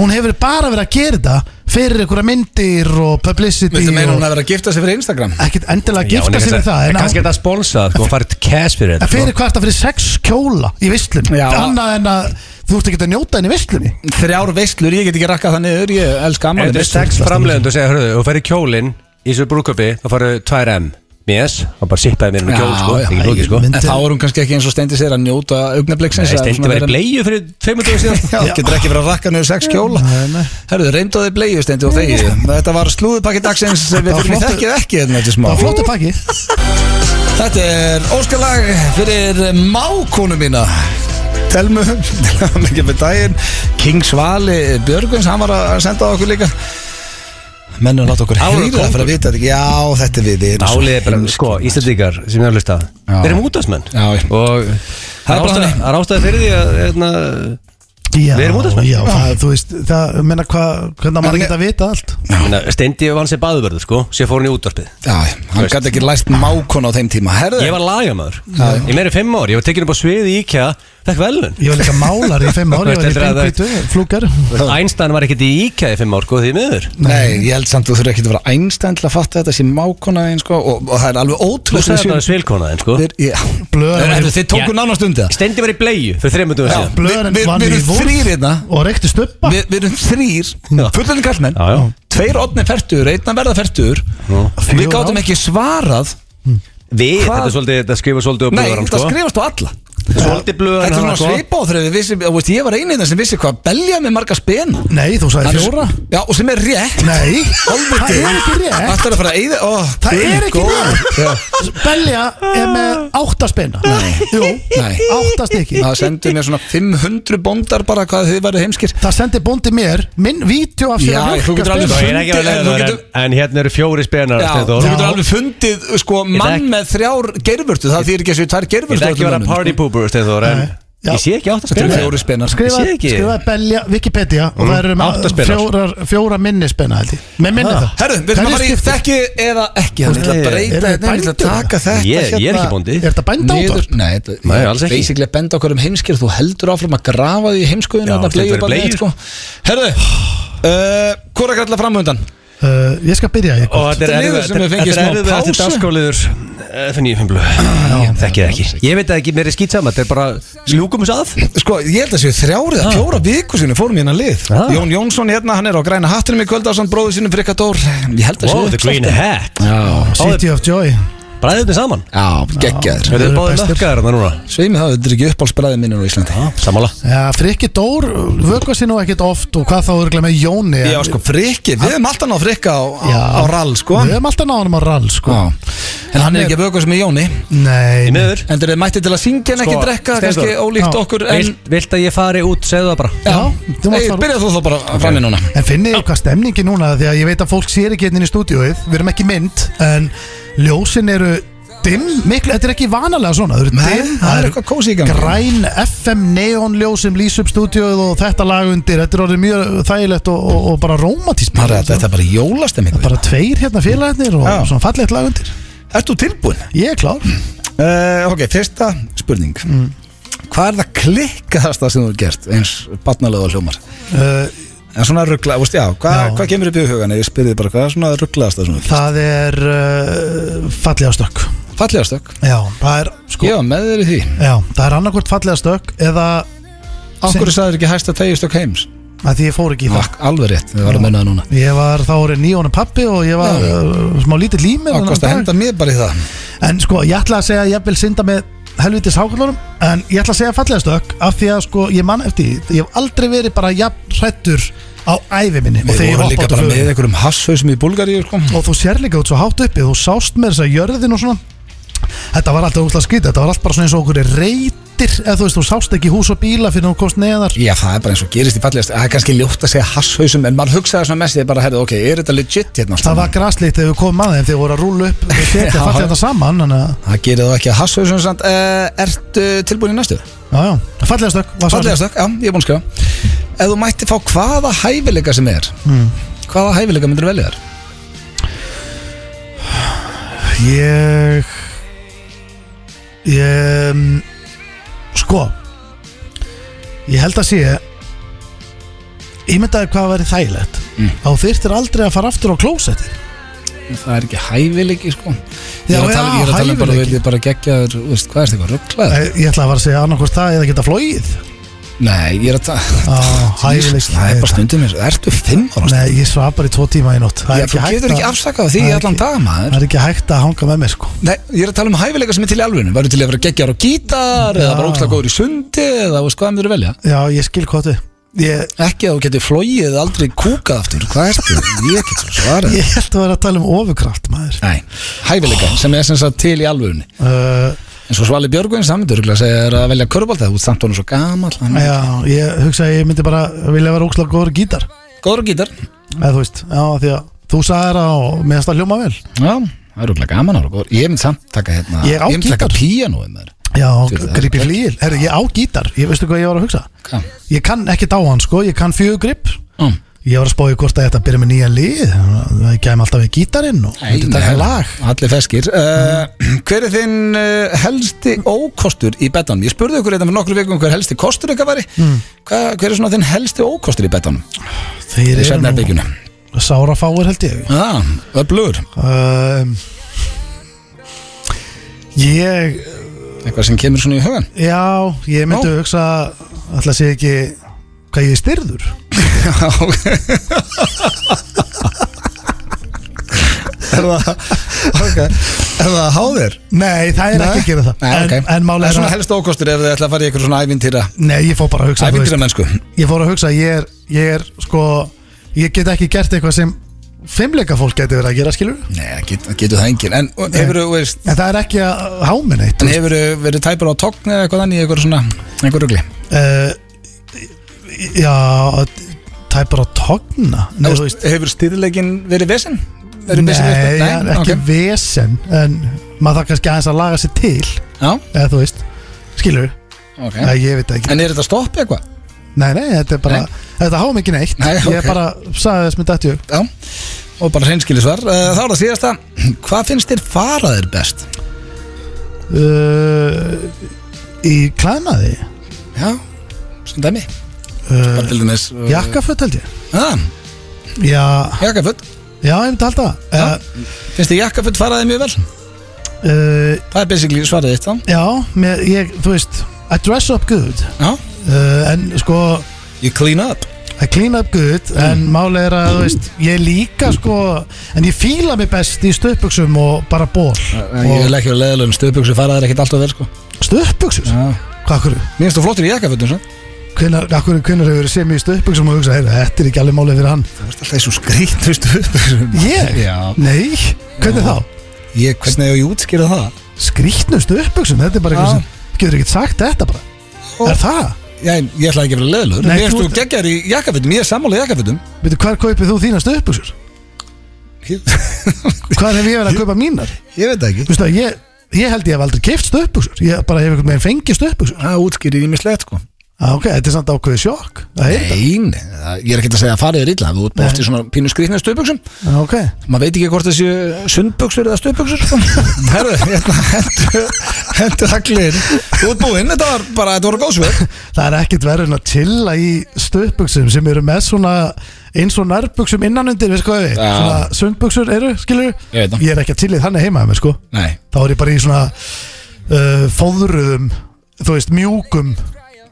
hún hefur bara verið að gera þetta fyrir einhverja myndir og publicity
Viltu meina
og
hún að vera að gifta sig fyrir Instagram?
ekkert endilega
Já,
að
en
gifta
kannski-
sér við það,
en
en,
Kannski
en,
þetta að sponsa sko, og farið cash fyrir þetta sko.
en fyrir hvað er það fyrir sex kjóla í veislunni,
Já.
annað en að þú ert ekki að njóta henni í veislunni
Þrjár veislur, ég get ekki rakkað það niður Ég elska
En
ammali
þetta er sex framlegund og segja, hörðu, þú færi kjólinn í þessu brúköpi, þá farið 2M Yes, hann bara sippaði mér um kjól, sko,
já,
ekki lókið, sko
En þá er hún kannski ekki eins og stendi sér að njóta augnabliksins
Nei, Steindi var í bleiðu fyrir tveimur dögum síðan
Já, getur ekki verið að rakka niður sex kjóla Herðu, reyndu á þið bleiðu stendi og þegið Þetta var slúðupakki dagsins sem við
var
fyrir
flottur-
þekkið ekki þetta eftir smá
það var flottu pakki
Þetta er óskalag fyrir mákonu mína Telmu, mikið með daginn King Svali Björgvins, hann var að senda á okkur líka Mennum láta okkur
Ára
heyra það
kóngur.
fyrir að vita þetta ekki Já, þetta er við, við erum svo
Álið er bara,
heimsk.
sko, Íslandíkar sem ég er að hlusta
Já.
Þeir eru mútasmenn
Já, já.
Og
er
það
bara
er
þannig.
ástæð- það er ástæði fyrir því að hérna,
já,
Við erum útvarpsmenn.
já, það, þú veist, það, menna hvað hvernig á maður ekki að vita allt
hérna, Steindi vann sér baðurverður, sko Sér fór hann í útvarpið
Já, hann gæti ekki læst mákonu á þeim tíma Herðu,
Ég var lagamæður Í meiri fimm ár, ég var tekinn upp á sviði í IKEA Fekk velun
ég var líka málar í fimm ári, ég
Þetta er að-
var í fimm flúkar
Einstein var ekkert í IKEA í fimm ár, sko, því miður
Nei, ég held samt þú þurfi ekki að vera einstæðan til að fatta þetta sem mákona einn sko og, og það er alveg
Þú
ótrúlega
sagði þetta svilkonaðin, sko
Blöð var í-
Þið tóku
Já.
nánast undir það
Steindi var í bleiðu fyrir þreimur dögum síðan
Við-
Blöðurinn
við-
vann
við
í
erum
Wolf
þrír hérna.
Og reykti stuppa
Við við erum þrýr, fullan kallmenn
Já, já.
Tveir odni fertur, einn að verða fertur og Við
Fjögur
gátum
ár.
ekki svarað
Við,
Hvað?
þetta, er svolítið, þetta skrifa svolítið á
Nei,
blöðarann
þetta
sko.
skrifast á alla
Svolítið sko. blöð
Þetta er svona svipa á þegar við vissum, þú veist, ég var einið sem vissi hvað belja með marga spen
Nei, þú sagði fjóra
Já, og sem er rétt
Nei, það er ekki rétt
Þetta er að fara að eyða ó,
Það
guð
er ekki
góður.
rétt Belja er með áttaspinna Jú,
Nei.
áttast ekki
Það sendur mér svona 500 bondar bara hvað þið væri heimskir
Það sendi bóndi mér minn vídeo af sér
Já,
að
þú getur
mjólka
alveg
Það
spenna.
Sko, er ekki að
En þú
leiða
getur-
það En hérna eru fjóri spenar
Já, þú
Steindór.
getur alveg fundið sko, mann
ekki-
með þrjár gerfurtu Það þýr ekki að séu tvær
Ég vil
gerfurtu
ekki vera party pooper Steindór, en
Nei. Já.
Ég sé ekki átt að
sko. Þetta
spila
eru fjóri spennar
Ég
skrifa,
sé ekki.
skrifa belja Wikipedia
Mhm.
og það eru
átta
með
spennar.
fjórar, fjóra minni spenna held ég með minni það
Herru, við erum að
Hverju
fara í
skipti?
þekki eða ekki Þannig að
Nei,
breyta
eru
þetta, ég ætla að
bændur?
taka þetta
Ég ég er
hérna
ekki bóndi
er þetta bænda
niður-
átvar?
Nei, þetta-
Nei,
ég-
alls ekki.
Basically að benda okkur um heimskir Þú heldur áfram að grafa því heimskuðinu hérna,
Já,
Þetta
þetta
bleiður
eru
bara neitt sko
bleiur.
Herru, uh, hvora kalla framöndan?
Uh, ég skal byrja ég
Og
gott.
þetta er
Þetta er liður
erfið
sem hefur fengið
Þetta
smá
er eh, erfið að
pásu.
þetta afskóliður Finn ég fimm blöð Þekki það ekki Ah, Ég veit það ekki, mér er skýt saman Þetta er bara Ljúkum þess að
Sko, ég held að séu þrjári eða fjóra viku sinni fórum hérna lið
Ah.
Jón Jónsson hérna, hann er á græna hattinum í kvöld á samt bróðu sínum Frikka Dór Ég held að séu
Wow, the green hat
Já,
City of Joy
Bræðið þetta saman
já geggjaður
Þetta
eru
er báðið
bestir.
lökkaðir þarna núna
Sveimi það, þetta er ekki uppálsbræði minnur á Íslandi
Samála
Já, Frikki Dór vökuð sér nú ekkit oft og hvað þá örgulega með Jóni
Já, sko, Frikki, við höfum alltaf náð Frikka á, á,
Já.
á rall, sko
við höfum alltaf náðum á rall sko
Já. En hann er ekki að bögast með Jóni
nei,
Í
nei.
miður
En þeir eru mætti til að syngja en ekki
Sko,
drekka
Steindór.
Kannski ólíkt
Já.
okkur en,
Vilt- Vilt að ég fari út, segðu það bara
Já,
þú mátt
Ey,
fara út.
byrjaðu þú þá bara fram í núna
en finnið þið hvað stemningi núna því að ég veit að fólk sér ekki hérna inn í stúdíóið við erum ekki mynd en ljósin eru dimm miklu, þetta er ekki vanalega svona þau eru dimm,
það er eitthvað kósi í gangi
græn FM neonljó sem lýs upp stúdíóið og þetta lag undir, þetta er orðið mjög þægilegt og, og, og bara rómatísm
Maður, þetta- Þetta er bara jólastemming
bara tveir hérna félagarnir og
Já.
svona fallegt lag undir
Ert þú tilbúin?
ég er klár,
Uh, ok, fyrsta spurning
Mm.
Hvað er það klikkaðasta sem þú hefur gert eins batnalega hljómar?
uh,
En svona ruggla, veist, já, hvað,
Já.
hvað kemur upp í hugan? Ég spyrði bara, hvað er svona rugglaðasta sem þú hefur?
það er uh, fallega stökk
Fallega stökk,
já, það er sko
ég var með þér í því
já, það er annarkvort fallega stökk eða
Á hverju sagður ekki hæsta tegjustökk heims?
að því ég fór ekki í það
Vakk, alveg rétt, við varum
Já.
að menna það núna
Ég var þá orðið nýjónu pappi og ég var
Já.
uh, smá lítill í mér
Það
þennan
kosti að
dag.
henda mér bara í það
En sko, ég ætla að segja að ég vil synda með helvitis hákallorum En ég ætla að segja fallega stökk Af því að sko, ég mann eftir því Ég hef aldrei verið bara jafn hrættur á ævi minni Og
Við
þegar ég
vorum
hoppa
líka
út af
bara með
flugum
einhverjum hasshausum í Búlgaríu, sko
Og þú sér líka út svo hátt uppi Þú sást með þess að jörðin og svona Þetta var alltaf úslega skrítið Þetta var allt bara svona eins og okkur reytir Eða þú veist, þú sást ekki hús og bíla fyrir þú komst neðar
Já, það er bara eins og gerist í fallegast Það er kannski ljótt að segja hasshausum En maður hugsaði svona mest, ég bara, herrðu, ok, er þetta legit hérna?
Það var graslíkt þegar við komum að þeim Þegar voru að rúla upp og setja
Já.
fallega þetta saman eh, Þannig að,
Það gerir þú ekki að hasshausum samt uh, Ertu tilbúin í næstu?
já, já, fallega stökk var svarið.
Fallega stökk, já, ég er búinn að skrifa Ef þú mætti fá hvaða hæfileika sem er Hvaða hæfileika myndir velja þér?
Ég Ég mm, Sko Ég held að sé Ég myndaði hvað væri þægilegt
Mm.
Þá þyrftir aldrei að fara aftur á klósetti
Það er ekki hæfileiki, sko Ég er
Já,
að tala,
já,
ég er að tala um bara,
hæfileiki.
við bara geggja þér þú veist, Hvað er þetta, rugglaður?
Ég, ég ætla að fara að segja annarkvort það eða geta flóið
Nei, ég er að tala
Á, hæfileik
Það er bara stundum eins og- Ertu fimm ára? sko?
Nei, ég svaf bara í tvo tíma í nótt Það
Já,
er
þú
ekki hægt
getur ekki
að-
afsakað því
það
í
er
allan
ekki-
dag,
það
maður
er ekki hægt að hanga með mér sko
Nei, ég er að tala um hæfileika sem er til í alvöru Verður til að vera geggjar á gítar Eða
Já.
bara ógslag góður í sundi Eða þú veist, hvað myndir velja?
Já, ég skil hvað þau Ég,
Ekki að þú getur flóið eða aldrei kúkað aftur Hvað ertu? Ég get svo svarað
ég held að vera að tala um ofurkraft maður
Nei, hæfileika sem er sem sagt til í alvörunni
uh,
En svo Svali Björgvins, hann myndur að segja þér að velja körbólta Þú ert samt honum svo gamal hann er
Já, ég hugsa að ég myndi bara vilja vera ókslega góður í gítar
Góður á gítar
eða þú veist, já því að þú sagði það og mér finnst það hljóma vel
Já, það er rúglega gaman ára góður Ég mynd samt taka hérna
Ég á
mynd taka
gítar.
píanóið með
já,
Þú veist,
grip í flýil, herru ég á gítar ég veistu hvað ég var að hugsa
þér
ég kann ekki dá hann sko, ég kann fjögur grip
Mm.
ég var að spáði hvort að þetta byrja með nýja lið það kæm alltaf við gítarinn og myndi taka lag
Allir feskir uh, Hver er þinn uh, helsti ókostur í betanum? Ég spurði ykkur þetta fyrir nokkru vikum hver helsti kostur ykkar væri
Hmm.
Hva, Hver er svona þinn helsti ókostur í betanum?
þeir
Í svefnherbygginu
sára fáir held ég
Já, öflugur
um, ég
Eitthvað sem kemur svona í hugan
já, ég myndi
Já.
hugsa alltaf sé ekki hvað ég er styrður
Er það- ok. Er það að há þér?
Nei, það er
Nei.
ekki að gera það
Nei,
En,
ok.
en
Það
málega
er
er
svona
að
helst ókostur ef þið ætla að fara í eitthvað svona ævintýra
Nei, ég fór bara að hugsa þú veist.
Ævintýra mennsku
Ég fór að hugsa, ég er, ég er sko Ég get ekki gert eitthvað sem Fimmleika fólk geti verið að gera, skilur
Nei, get, getur það engin En hefur þú, veist
En það er ekki að háminn eitt
En hefur þú verið tæpur á tókn eða eitthvað þannig í eitthvað svona Eitthvað rugli
uh, Já Tæpar á togna Nei, þú veist
Hefur stýrleikin verið vesinn?
Nei, ég er ekki vesen En maður þarf kannski aðeins að laga sér til
Já,
Eða þú veist, skilur
ok
Nei, ég veit það ekki
En er þetta stopp eitthvað?
Nei, nei, þetta er bara
Nei.
Þetta háum ekki neitt
Nei,
Ég
ok.
bara sagði þess með dættu
Já Og bara hreinskilisvar Eh, Þá er það síðasta Hvað finnst þér faraðir best?
uh, Í klæðnaði
Já, sem dæmi Bara
uh,
til dæmis eh,
Jakkaföt held ég
Já,
Já,
jakkaföld
já ég myndi halda
Já.
það.
Finnst þið jakkaföld faraði mjög vel?
uh, uh,
Það er basically svarið þitt þá
Já, mér, ég, þú veist I dress up good
Já
uh, En sko,
You clean up
I clean up good
Mm.
En máli er að, þú veist, ég líka sko En ég fíla mig best í stöpuksum og bara ból
Eh, Ég
Og
vil ekki vera leðilegum Stöðbuksu faraðir ekkert alltaf vel sko
stöpuksum?
Já
Hvað, akkur,
Mér finnst þú flottur í sko. jakkaföldum svo
hvenar, akkur, hvenar hefur verið sem í stöpuksum og hugsa, heyrðu, þetta er ekki alveg málið fyrir hann
Þú veist alltaf þessu skrýttu stöðbuksum
Ég?
Já
Nei, hvernig þá?
Ég, hvernig hefur ég útskýrað það?
Skrýtnustu uppbuksum, þetta er
Já.
bara
Oh.
eitthvað sem Getur ekkert sagt þetta bara
Ó.
Er það?
Já, ég, ég ætla ekki að vera leðilegur
Nei,
Mér finnst
þú-
þú geggar í jakkaföldum Ég er sammála í jakkaföldum
Veitu, hvar kaupir þú þínar stöðbuksur? Hvar hef ég verið að kaupa mínar?
Ég veit það ekki
Vistu að ég, ég held ég hef aldrei keift stöðbuksur Ég bara hef einhvern veginn fengið stöðbuksur
Það útskýrir í mig slett sko
ah, Ok, þetta er samt ákveðið sjokk Það er
Nei, nei, það- ég er ekki að segja að farið er illa Þú ert bara oft í svona pínu skrýtna stöðbuksum
þetta Ah, Ok,
Maður veit ekki hvort þessi sundbuksur eða stöðbuksur sko. Herðu, hérna hendur hendur allir Þú ert búinn, þetta var bara, þetta voru góðsvör
það er ekkert verið en að chilla í stöðbuksum sem eru með svona eins og nærbuksum innanundir, veist hvað við
Já.
Svona sundbuksur eru, skilur
Ég veit það.
Ég er ekki að chilla í þannig heima með mér, sko
Nei,
þá er ég bara í svona uh, fóðruðum þú veist, mjúkum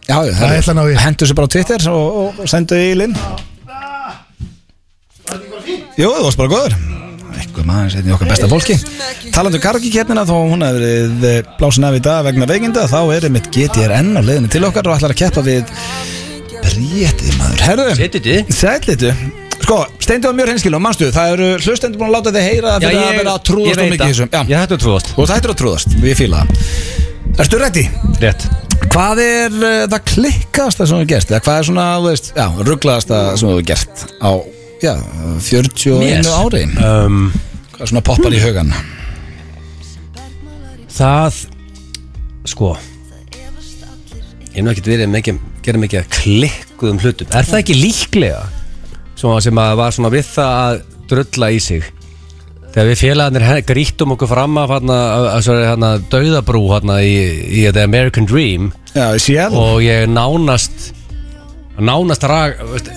já, já,
Það ætla ná í.
hendur þessu bara á Twitter og, og sendu í linn Jú, þú varst bara góður Eitthvað maður, þetta er okkar besta fólki Talandu kargikernina, þó hún hefur verið eh, blásin af í dag vegna veikinda Þá er einmitt GTRN á leiðinni til okkar og ætlar að keppa við Bréti maður, herðu
Setjið
Sætlitu Sko, steindu var mjög reynskil og mannstu Það eru hlustendur búin að láta þig heyra það
Já,
fyrir að
ég,
vera að trúðast og mikið í þessum
Ég
Já,
hættu að trúðast
og það hættir að trúðast, við fíla það Ertu ready?
Rétt
Hvað er uh, það klikkaðasta sem þú hefur gert? Eða hvað er svona, þú veist, já, rugglaðasta sem þú hefur gert á, já, 41
Mér?
ári
um,
Hvað er svona poppar í hugan?
Það Sko Ég hef nú ekkert verið mikið Gerðum mikið að klikkuðum hlutum Er það ekki líklega Svona sem að var svona við það að drulla í sig Þegar við félagarnir he- grýttum okkur fram af hana, sorry, hana, dauðabrú hana, í, í The American Dream
Já, ég sé það
og ég nánast nánast rak veist,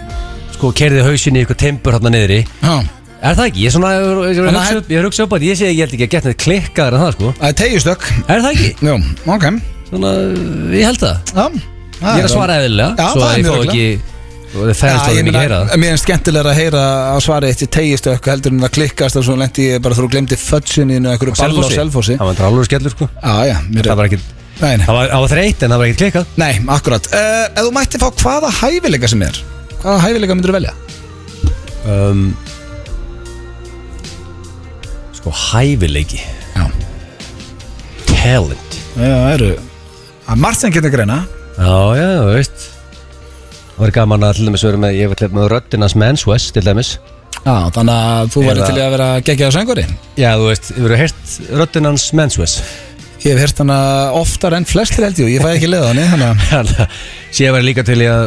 sko kerði hausin í eitthvað timbur hérna niðri
Já,
er það ekki? Ég, svona, ég, ég, ég,
Þannig
hugsa
að-
upp, ég hugsa upp að ég sé ég held ekki að geta neitt klikkaður en það sko
það er tegjustök
er það ekki?
Jú, ok
Svona, ég held það
Já, það
ég er að svara eðlilega
Já,
svo
það er
að ég
mjög
fá
regla.
ekki og það
Já,
fæðist
ég
orðið mikið heyra
meina,
það
mér er skemmtilegra að heyra að svara eitt í tegistökk heldur en að klikkast og svo lendi ég bara þú glemdi fötsuninu og einhverju balla á selfossi
það var drálur skellur sko
Já, já, mér
það var ekki
Nei, nei.
það var, það var þreytt en það var ekki klikkað
nei akkurat uh, Ef þú mætti fá hvaða hæfileika sem er hvaða hæfileika myndir þú velja?
um, sko hæfileiki
Já,
talent
það eru að margt sem getur greina
Já, já, þú veist Það var gaman að til dæmis vera með, ég var til dæmis með röddinans Men's West til dæmis
Já, þannig að þú
Eða-
væri til í að vera geggjað á söngvari
Já, þú veist, ég verið heyrt röddinans Men's West
Ég hef heyrt hana oftar en flestir held ég og ég fæ ekki leið á henni þannig að
Þannig að sé ég verið líka til í að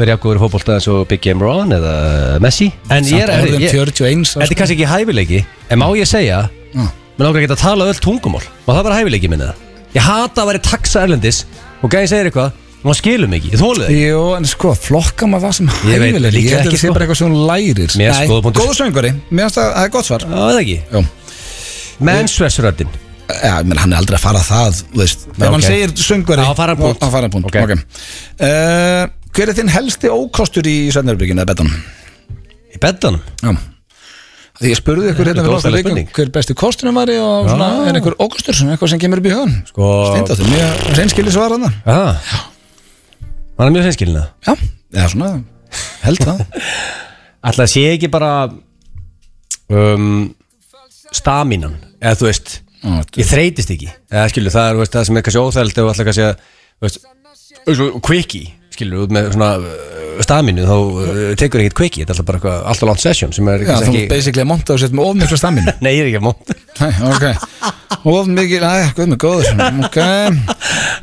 vera jafnkóður í fótbolta eins og Big Game Ron eða Messi En ég er,
Samt orðin
ég,
41
þetta er kannski ekki hæfileiki En má ég segja,
sko. Já.
mér langar að geta að tala um öll tungumál Má það bara hæfileiki minna það Ég hata að vera í taxa erlendis og gæði segir eitthvað og maður skilur mikið, ég þólið ekki
Jú, en sko, flokka maður það sem
Ég veit
hæfilega
líka
Ég held að
ekki,
það sé
sko.
bara eitthvað sem hún lærir
Mér er
Nei,
skoða punktur.
Góður söngari, mér finnst það það er gott svar
Já, eða ekki
Jú.
Men's West röddin
Já, menn hann er aldrei að fara það, þú veist Ef
ok.
hann segir söngari
Á, fara hann punkt.
Á, fara hann punkt,
Ok.
ok, Uh, Hver er þinn helsti ókostur í Sveinarbyrginu eða betan?
Í beddanum
Já Því ég spurði ykkur hérna
Þetta
við
er
lóta
óstæðileg
leikum
spurning.
hver besti kostunum var í og svona, er einhver ógustur, svona, eitthvað sem kemur upp í hugan
Sko-
Steindóttir, mjög reynskili svar hann
ah. Hann er mjög hreinskilina
Já, eða svona, held það
Ætla að sé ekki bara um, Staminan Eða þú veist
Já, þetta-
Ég þreytist ekki Eða skilur það er þú veist, það sem er kannski óþæld Ef ætla kannski að þú veist, eins og Quickie skilur út með svona uh, staminu Þá uh, tekur ekkert quickie Þetta er alltaf bara eitthvað alltaf langt session Sem er
Já, þú ert
kannski ekki
basically að monta og setja með ofmikla stamminu
Nei, ég er ekki að móta
Nei, ok Of mikil, næ, guð mig góður Ok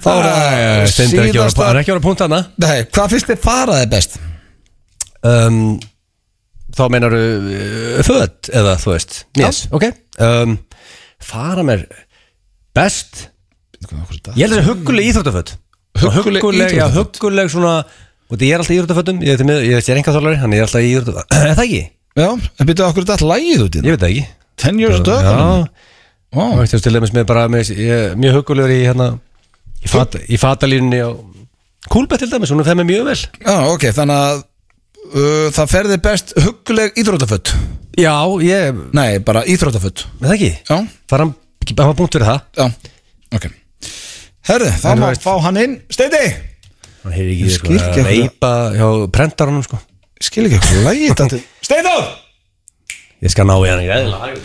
Þá er það
Stendur ekki að vera- það er ekki að vera punkt hana
Nei, hvað finnst þið faraði best?
um, Þá meinaru uh, Föt eða þú veist Yes, ok um, Fara mér best Ég held að það er hugguleg íþróttaföt
Hugguleg
Já,
íþróttaföt.
hugguleg svona Og því ég er alltaf í íþróttafötum Ég, ég, ég, ég er enga þólari, hann er alltaf í íþróttafötum Er það ekki?
Já, en byrjuðu okkur þetta lægið út í
Ég veit það ekki
það Ten years
Já,
dog Ó,
og veist, til dæmis með bara með, ég, er Mjög huggulegur í hérna Í, fat, í fatalínunni á Kúlbett til dæmis, hún er það með mjög vel
Já, ok, þannig að uh, það ferði best hugguleg íþrótaföld
Já, ég,
Nei, bara íþrótaföld
með það ekki
Já,
Var hann, hann var punkt fyrir það
já, ok Herðu, þá
En þú
má
veist-
fá hann inn Steindi
Hann hefur ekki
Ég skil ekki
sko, að
af hverju-
veipa hjá prentarunum sko
Skil ekki okkur lægið þetta Steindór!
Ég skal ná í hann ekki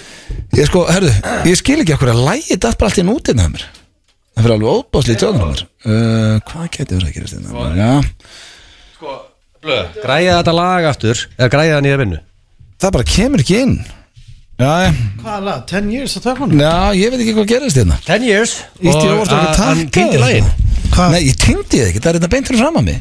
Ég sko, herðu, ég skil ekki okkur að lægi datt bara allt í nútina það mér Það fyrir alveg óbáslið tjóðan á mér uh, Hvað geti verið að gerast þetta mér? Já,
Græja þetta lag aftur Eða græja það nýja vinnu
það bara kemur ekki inn Já,
Hvað lag? 10 years að taka hann?
já, ég veit ekki hvað gerist hérna. þetta
10 years uh,
Ítti ég orðið að taka
Hann týndi lagin
Hvað?
Nei, ég týndi það ekki, það er þetta beint fyrir fram að mig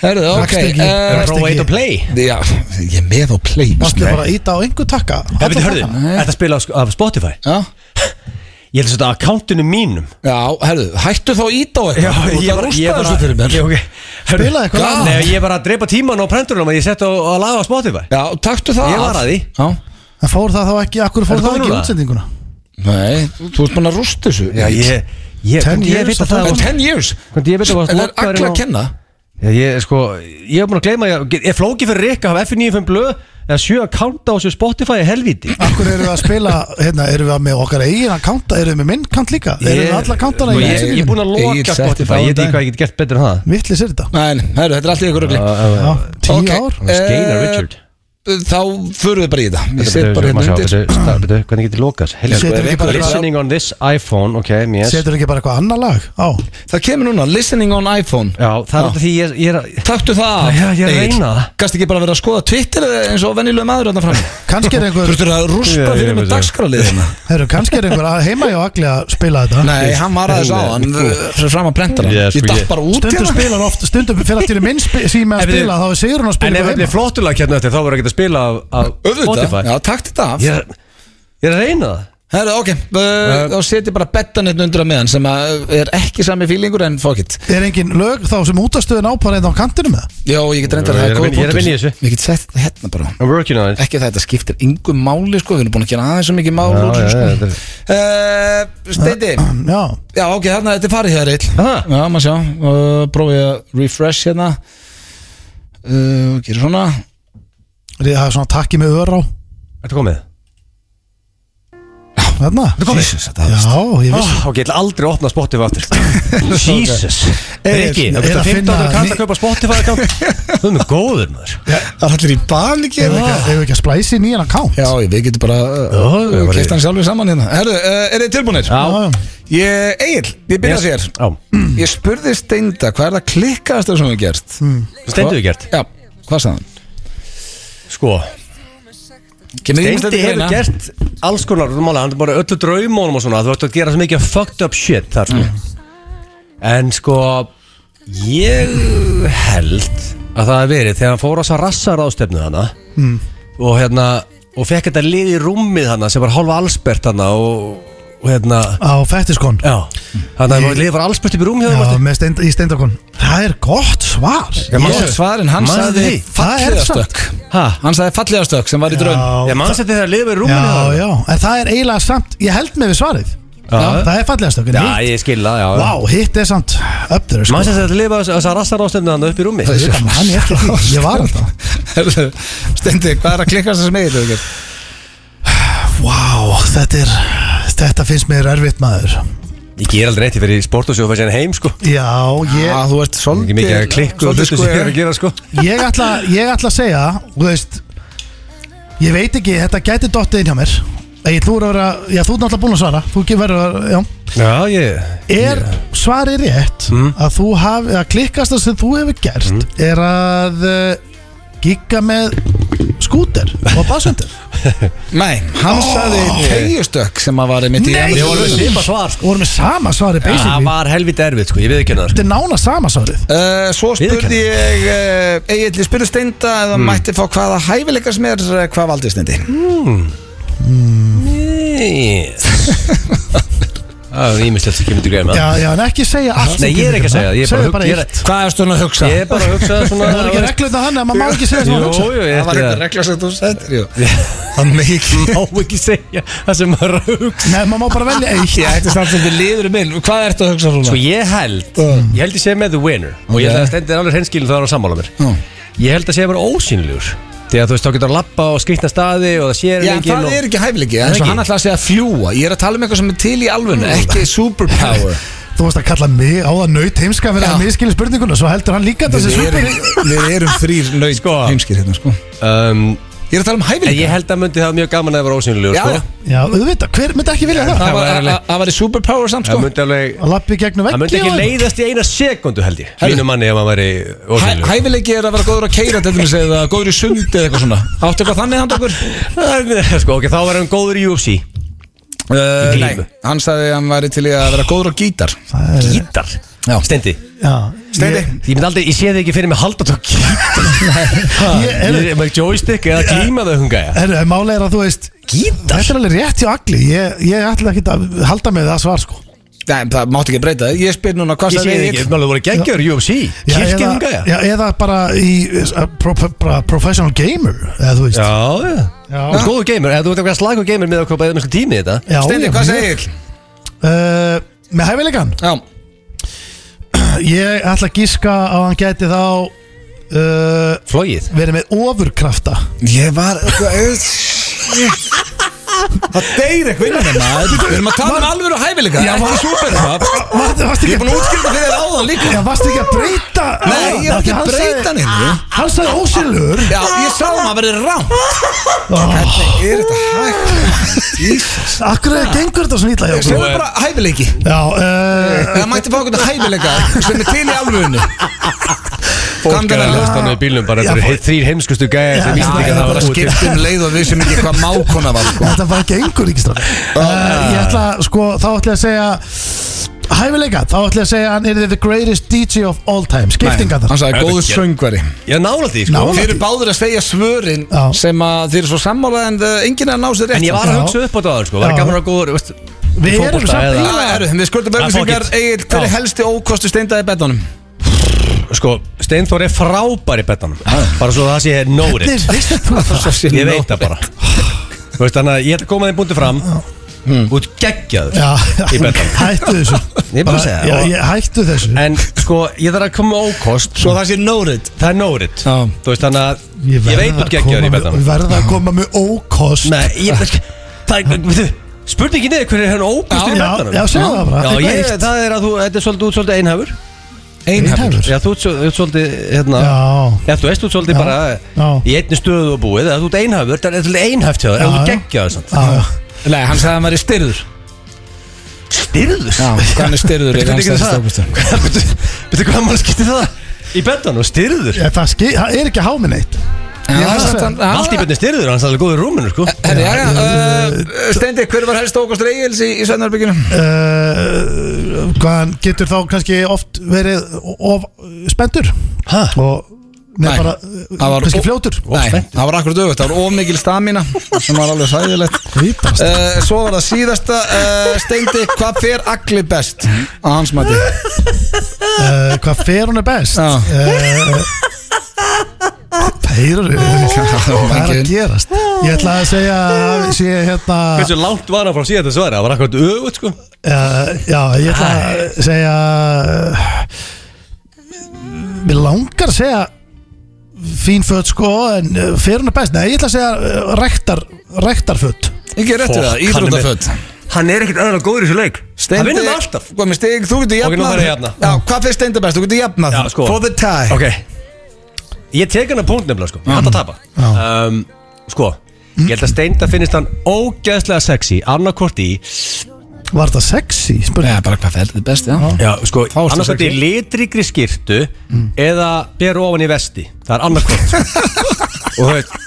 Herðu, ok
Rakstu ekki-
eh,
rakstu
Frá
ekki-
8 og play
Já, ég er með á play
Varstu
Nei.
bara að íta á einhver takka?
Það veit, hörðu,
Nei.
þetta spila af- af Spotify
Já,
Ég held að þetta akkántunum mínum
já, herðu, hættu þá ít á eitthvað Þú ert að rústa þessu fyrir mér
ég, okay. Hörðu,
Spilaðu eitthvað
já,
annað.
Nei, ég var að dreipa tíman á prenturunum að ég sett á að laga á Spotify
Já, taktu það
Ég var
af.
að því.
Já,
En fór það þá ekki, akkur
Er
fór það
það
ekki í
núna?
útsendinguna?
nei, þú þú ert búin að rústa þessu
Já, ég, ég, ég
10 years
veit
á
að það
En 10 years
Hvernig ég veit að það
En það er
var
allir að kenna
Já, ég, sko, ég hef búin að gleyma Ég, ég flóki fyrir Rikka af F95 blöð eða sjö að kánta á þessu Spotify í helvíti
Akkur eru við að spila, hérna, eru við að með okkar eigin að kanta, eru við með minn kant líka? Eru við með alla kantana
Sko,
í
Ég ég er
útsendingunum?
búin að
Egill
loka
setti það á
Spotify Ég veit
dag.
ekki hvað ég get gert betur en það Uh,
Vittlis er þetta?
Nei, herru, þetta er allt í ykkur rugli
Já, tíu
ok.
ár?
Skeinar
Eh,
Richard
Þá förum við bara í þetta Ég set
Bíddu,
bara hérna
maður sjá,
undir
bíddu, sta- bíddu, Hvernig getur lokað
Setur ekki bara-
Listening on this iPhone Ok, yes Já,
Setur ekki bara eitthvað annað lag? Á,
Það kemur núna, listening on iPhone
það er þetta því ég ég er að
Takktu það
Já, ég er að reyna það.
Gast ekki bara verið að skoða Twitter eins og venjulega maður þarna fram
kannski er einhver,
Þurftur að
Já,
rústa fyrir
ég veit
með
það. hérna?
dagskraliðina
herru, kannski er einhver að heima hjá Agli að spila þetta?
Nei, hann var aðeins á hann uh, Fyrir fram að prenta hann
Já, sko,
Ég datt
ég-
bara út
Stundum
hérna.
spilar oft, stundum fyrir allt í einu minn spi- sími
En
að
við-
spila, þá er Sigrun að
En
spila
ef
eitthvað
þetta er
heima.
flottulag hérna eftir þá verður ekki að spila af- af
Auðvitað,
Spotify
já, takk þetta af
Ég er ég er að reyna það
Herra, ok, uh, þá seti bara bettan hérna undir að meðan sem að uh, er ekki sami fílingur en fuck it
Er engin lög þá sem útastöðin ápar einn á kantinum með?
Já, ég get reyndar
Já,
það
ég er að vinna- ég er að vinna í þessu.
Ég get sett þetta hérna bara
I'm working on it
ekki að þetta skiptir yngu máli sko, við erum búin að gera aðeins svo mikið mál
Já,
úr þessu,
já, já,
sko. uh, Steindi
Já,
Já, ok, þarna þetta er farið hér eill
Aha.
Já, maður sjá, uh, prófið að refresh hérna uh, Gerir svona
það er svona takki með ör á
Þetta komið
Þarna
Jesus, þetta hafðist
Já,
Ó,
ég vissi
Ah, Ok, ég ætla aldrei að opna Spotify aftur Jesus Riki, það
er
kostar 15
að finna-
kall að kaupa Spotify account Þú erum góður maður
Það er allir í bani ekki
Ef við ekki- ef við ekki að splæsi nýjan account
Ah. Já, við getum bara
Já,
uh,
já,
Keitt hann sjálfur saman hérna Herðu, uh, er þið tilbúinir?
Já,
Ég, Egil, ég byrja yes. sér
Já,
Ég spurði Steinda, hvað er það klikkaðast sem við gert? Mm.
stendur við gert
Já, hvað sagði hann?
Sko,
Kemur ýmislegt
Deindi
til
hefur
greina?
hérna.
gert alls konar mála, hann er bara öllu draumónum og svona þú ert að gera svo mikið fucked up shit þar sko.
Mm.
en sko ég held að það hef verið þegar hann fór á þess að rassa ráðstefnu hana
Mm.
og hérna og fekk þetta lið í rúmið hana sem var hálfa allsbert hana og, og hérna
á fættiskon
já, þannig að lið var allsbert upp í rúmið hjá
Já,
þeim
með steind, í steindakon Það er gott svar
Já,
Ég
manstu-
er svarinn, hann
manstu
sagði
því?
Það er
fallegastök
Ha?
Hann sagði fallegastök sem var í draun
Já,
ég mann seti þegar lið var í rúmið
já, já, en það er eiginlega samt Ég held með við svarið
Já.
Það er fallegast okkur
já, ég skilða, já, já.
Vá, hitt er samt up there sko.
mann seti þegar lið var á þess að rassa ráðstefnu hana upp í rúmið
Hann er eftir því, ég var þetta
Stendi, hvað er að klikka sem Egil hefur gert?
Vá, þetta er Þetta finnst mér erfitt maður
Ég ger aldrei eitt, ég fyrir í sport og sjófa sérna heim sko
Já,
Já,
ég,
Ah, þú ert
Ekki
svolítið
mikið að klikku
svolítið
og hlutu sem ég er
square.
að gera sko
ég, ætla, ég ætla að segja og Þú veist Ég veit ekki, þetta gæti dottið inn hjá mér Ég, þú, er að vera, já, þú er náttúrulega búin að svara Þú ekki verður að, já
Já, ég
Er svarið rétt að þú hafi, að klikkast það sem þú hefur gert er að uh, gigga með skúter og basendur
Nei, hann sagði tegjustökk sem að var einmitt í
Nei!
annars-
Ég var með
Sýpa svar sko
og vorum með sama svarið
Það
basically
var helviti erfið sko, ég veið ekki hennar
þetta er nána sama svarið
Uh, svo spurði
Viðurkenna.
ég uh, Egilli spurði steinda eða mætti fá hvaða hæfileika sem er eh, hvað valdi steindi
Það er ímislegt sem kemur til greina
já, já, en ekki segja allt
Nei,
sem
ég er ekki að
kemur
segja,
hérna.
ég er
segðu
bara
bara
að
eitt
Hvað er stund að hugsa?
Ég er bara að hugsa svona
það er ekki reglurna hann að maður má ekki segja sem maður
Jú,
hugsa
jú, ég
Það var eitthvað
ætla
regla sem þú sættir jú. Það mikið
Má ekki segja það sem maður er að hugsa
nei, maður má bara velja eitt
Ég ætti samt sem þið liður minn Hvað ertu að hugsa
Sko
svona?
ég held, ég held ég segja með the winner Og
Ok.
ég held að stendir alveg hreinskilin það er að sammála mér
Já.
Ég held að segja bara ósynljúr Því að þú veist, þá getur að lappa og skrýtna staði Og það sér
Já, en
enginn
það
og-
er ekki hæfileiki En
Það er
svo
ekki.
hann ætlaði að segja fljúa Ég er að tala um eitthvað sem er til í alvönu Ekki superpower
þú varst að kalla mig á það naut heimska fyrir
Já.
að miskili spurninguna svo heldur hann líka þessi
Við
svipur
erum, við erum þrýr nöyt
Sko.
heimskir hérna sko
um,
Ég er að tala um
En
hæfileika
ég held að myndi það mjög gaman að vera ósynljúr
Já,
sko.
já.
já, auðvitað, hver myndi ekki vilja það
Það
Það
var-
var
að-
alveg-
að- það var í superpower samt sko
Það myndi alveg
að lappi gegnum
Það myndi
veggi
ekki
og-
leiðast í eina sekundu held ég
Herðu.
Mínu manni ef hann væri
Hæ-
ósynljúr
Hæfileiki er að vera góður að keira Þetta er að góður í sundi eða eitthvað svona Áttu eitthvað þannig handa okkur?
Sko, ok, þá verður hann góður í UFC
Uh,
Í
nei,
glímu.
hann sagði að hann væri til í að vera góður á gítar
Það er-
Gítar
Já.
Stendi
Já,
Steindi.
ég-
Ég myndi aldrei, ég sé þig ekki fyrir mig halda tók
Ég- heyrðu.
Ég er með joystick eða klíma þau hunga ég
Herru, en máli er að þú veist
Gítar
Þetta er alveg rétt hjá allir Ég, ég ætla ekki að halda með það svar sko
Nei, það mátti ekki breyta það Ég spyr núna hvað
Ég sé
sagði
þig
Egill?
ekki, þú voru geggjör UFC
Já,
Kirkja
eða-
hunga ég
Já, eða bara í uh, pro, pro, pro, professional gamer Eða þú veist
Já, já
Já.
Þú ert góður gamer, eða þú ert eitthvað slagur gamer með okkur bæðið með sko tími í þetta
Já,
Steindi,
já,
hvað
mjög.
segir Egil?
Uh, Með hæfilegan
Já,
Ég ætla að gíska á hann gæti þá uh,
Flóið
Verið með ofurkrafta
ég var Það deyr eitthvað innan þeim maður Við erum að tala um alvöru hæfileika Já, það er súper
Varst- Varstu
Ég er
ekki að
búin að útskilta fyrir þér áðan líka
Já, varstu ekki að breyta
Nei, ég er
Af því
ekki að
hann
breyta
sagði-
neinu
Hann sagði ósynlur
Já, ég sá að maður verið rám Hvernig er þetta hægt? Jesus.
Akkur er gengur þetta svona ítla hjá
Segðu
okkur?
bara hæfileiki
Já, uh,
Það mætti fá okkur hæfileika sem er til í alvöru
Fólk er að
Gamla-
lasta hann í bílum bara
Já,
Þetta
fólk-
eru þrýr heimskustu gæðir
Já,
sem
já,
íslendingar
já,
hafa
bara
verið að skipta
skiptum leið og við sem ekki hvað mákona var sko.
Þetta var ekki engur ekki strafn Ég ætla, sko, þá ætla ég að segja Hæfileika, þá ætla ég að segja að Hann er the greatest DJ of all time Skiptinga
Hann
þar
sagði góðu
Þetta er-
söngveri
Já, nála því sko
Nálægt
Þeir eru báður að segja svörin
Já.
sem að þeir eru svo sammála en uh, enginn er að ná sér rétt
En ég var
Já.
að hugsa upp á það sko, var
Já.
gaman að góður veist,
Við
í
erum
fótbolta
samt
eða-
Já, herru, Við skuldum auðvisingar
fuck it.
Egil, hver er
Já.
helsti ókosti steindaði betanum?
Sko, Steinþór er frábær í betanum Bara svo það sé
Hvernig
nórit
vissir þú það?
Ég veit það bara Þú veist, þannig að ég ætla að koma þeim búndi fram Hmm. Út geggjaður
Já,
Í betanum.
hættu þessu
Ég er bara að segja það.
Já, ég hættu þessu
En sko, ég þarf að koma með ókost
Svo það sé nórið
Það er nórit
Já.
Þú veist, þannig að ég,
verð
veit
að
út geggjaður í
koma með-
betanum
Verð að koma með ókost
Nei, ég Það er, veitu Spurningin er hvernig er hann ókost í
Já,
betanum
já, segðu það bara,
Já,
eitthvað
ég,
eitt.
það er að þú, þetta er svolítið, þú ert svolítið einhæfur
Einhæfur
Einhæfur
Já, þú ert svo- þú ert svolítið, hérna
Já,
Já, þú veist, þú ert svolítið
Já.
bara
Já.
í einni stöðu og búið eða þú ert einhæfur, það er svolítið einhæft hjá þér eða
Já,
þú
já.
geggja þess
já, já.
Nei, hann sagði að maður er styrður
Styrður?
Já, hann er styrður
Betur ekki það Betur hvað maður skipti það í betanum, styrður
Ég, Það ski- það er ekki að há minn eitt Ég var að segja.
Allt í betni styrður, hann er alveg góður í rúminu sko
Herri, já, já, uh, Steindi, hver var helsti ókostur Egils í, í Sveinarbygginu?
Uh, hvað hann getur þá kannski oft verið of spendur
Hæ?
og nei,
Nei,
bara,
það var-
uh, kannski fljótur
Nei, það var akkur dögut, það var ómikil stamina sem var alveg sæðilegt
Vítast.
uh, Svo var það síðasta uh, Steindi, hvað fer allir best á hans mati?
uh, hvað fer hún er best
Já.
uh, peirur hvað er að gerast ég ætla að segja að sé hérna
Hversu langt var hann frá síðan þessu svara? Það var akkurat ögut sko
uh, já, ég ætla að segja uh, mér langar að segja eh, fín fött sko en uh, fer hún er best nei, ég ætla að segja uh, rektar rektarfött
Ég ger rétt við
Fokk,
það,
hann er með-
íþrótaföld
Hann er ekkert aðalega góður í þessu leik Hann vinnur það alltaf
Hvað með stig, þú getur
Ok, nú
jafnað
fer ég jafna.
Já, hvað fyrir steindi best, þú getur jafnað
Já, sko.
For the tie
Ok Ég tek hann að punkt nefnilega sko Ég hætti að tapa um, Sko Ég held að Steinda finnist hann ógeðslega sexy Annarkort í
Var það sexy? Spurning
Já, bara hvað fyrir þetta best, já
Já, sko
ertu
Annarkort í
sexy.
litrikri skirtu Eða ber ofan í vesti Það er sko. annarkort Og þú veist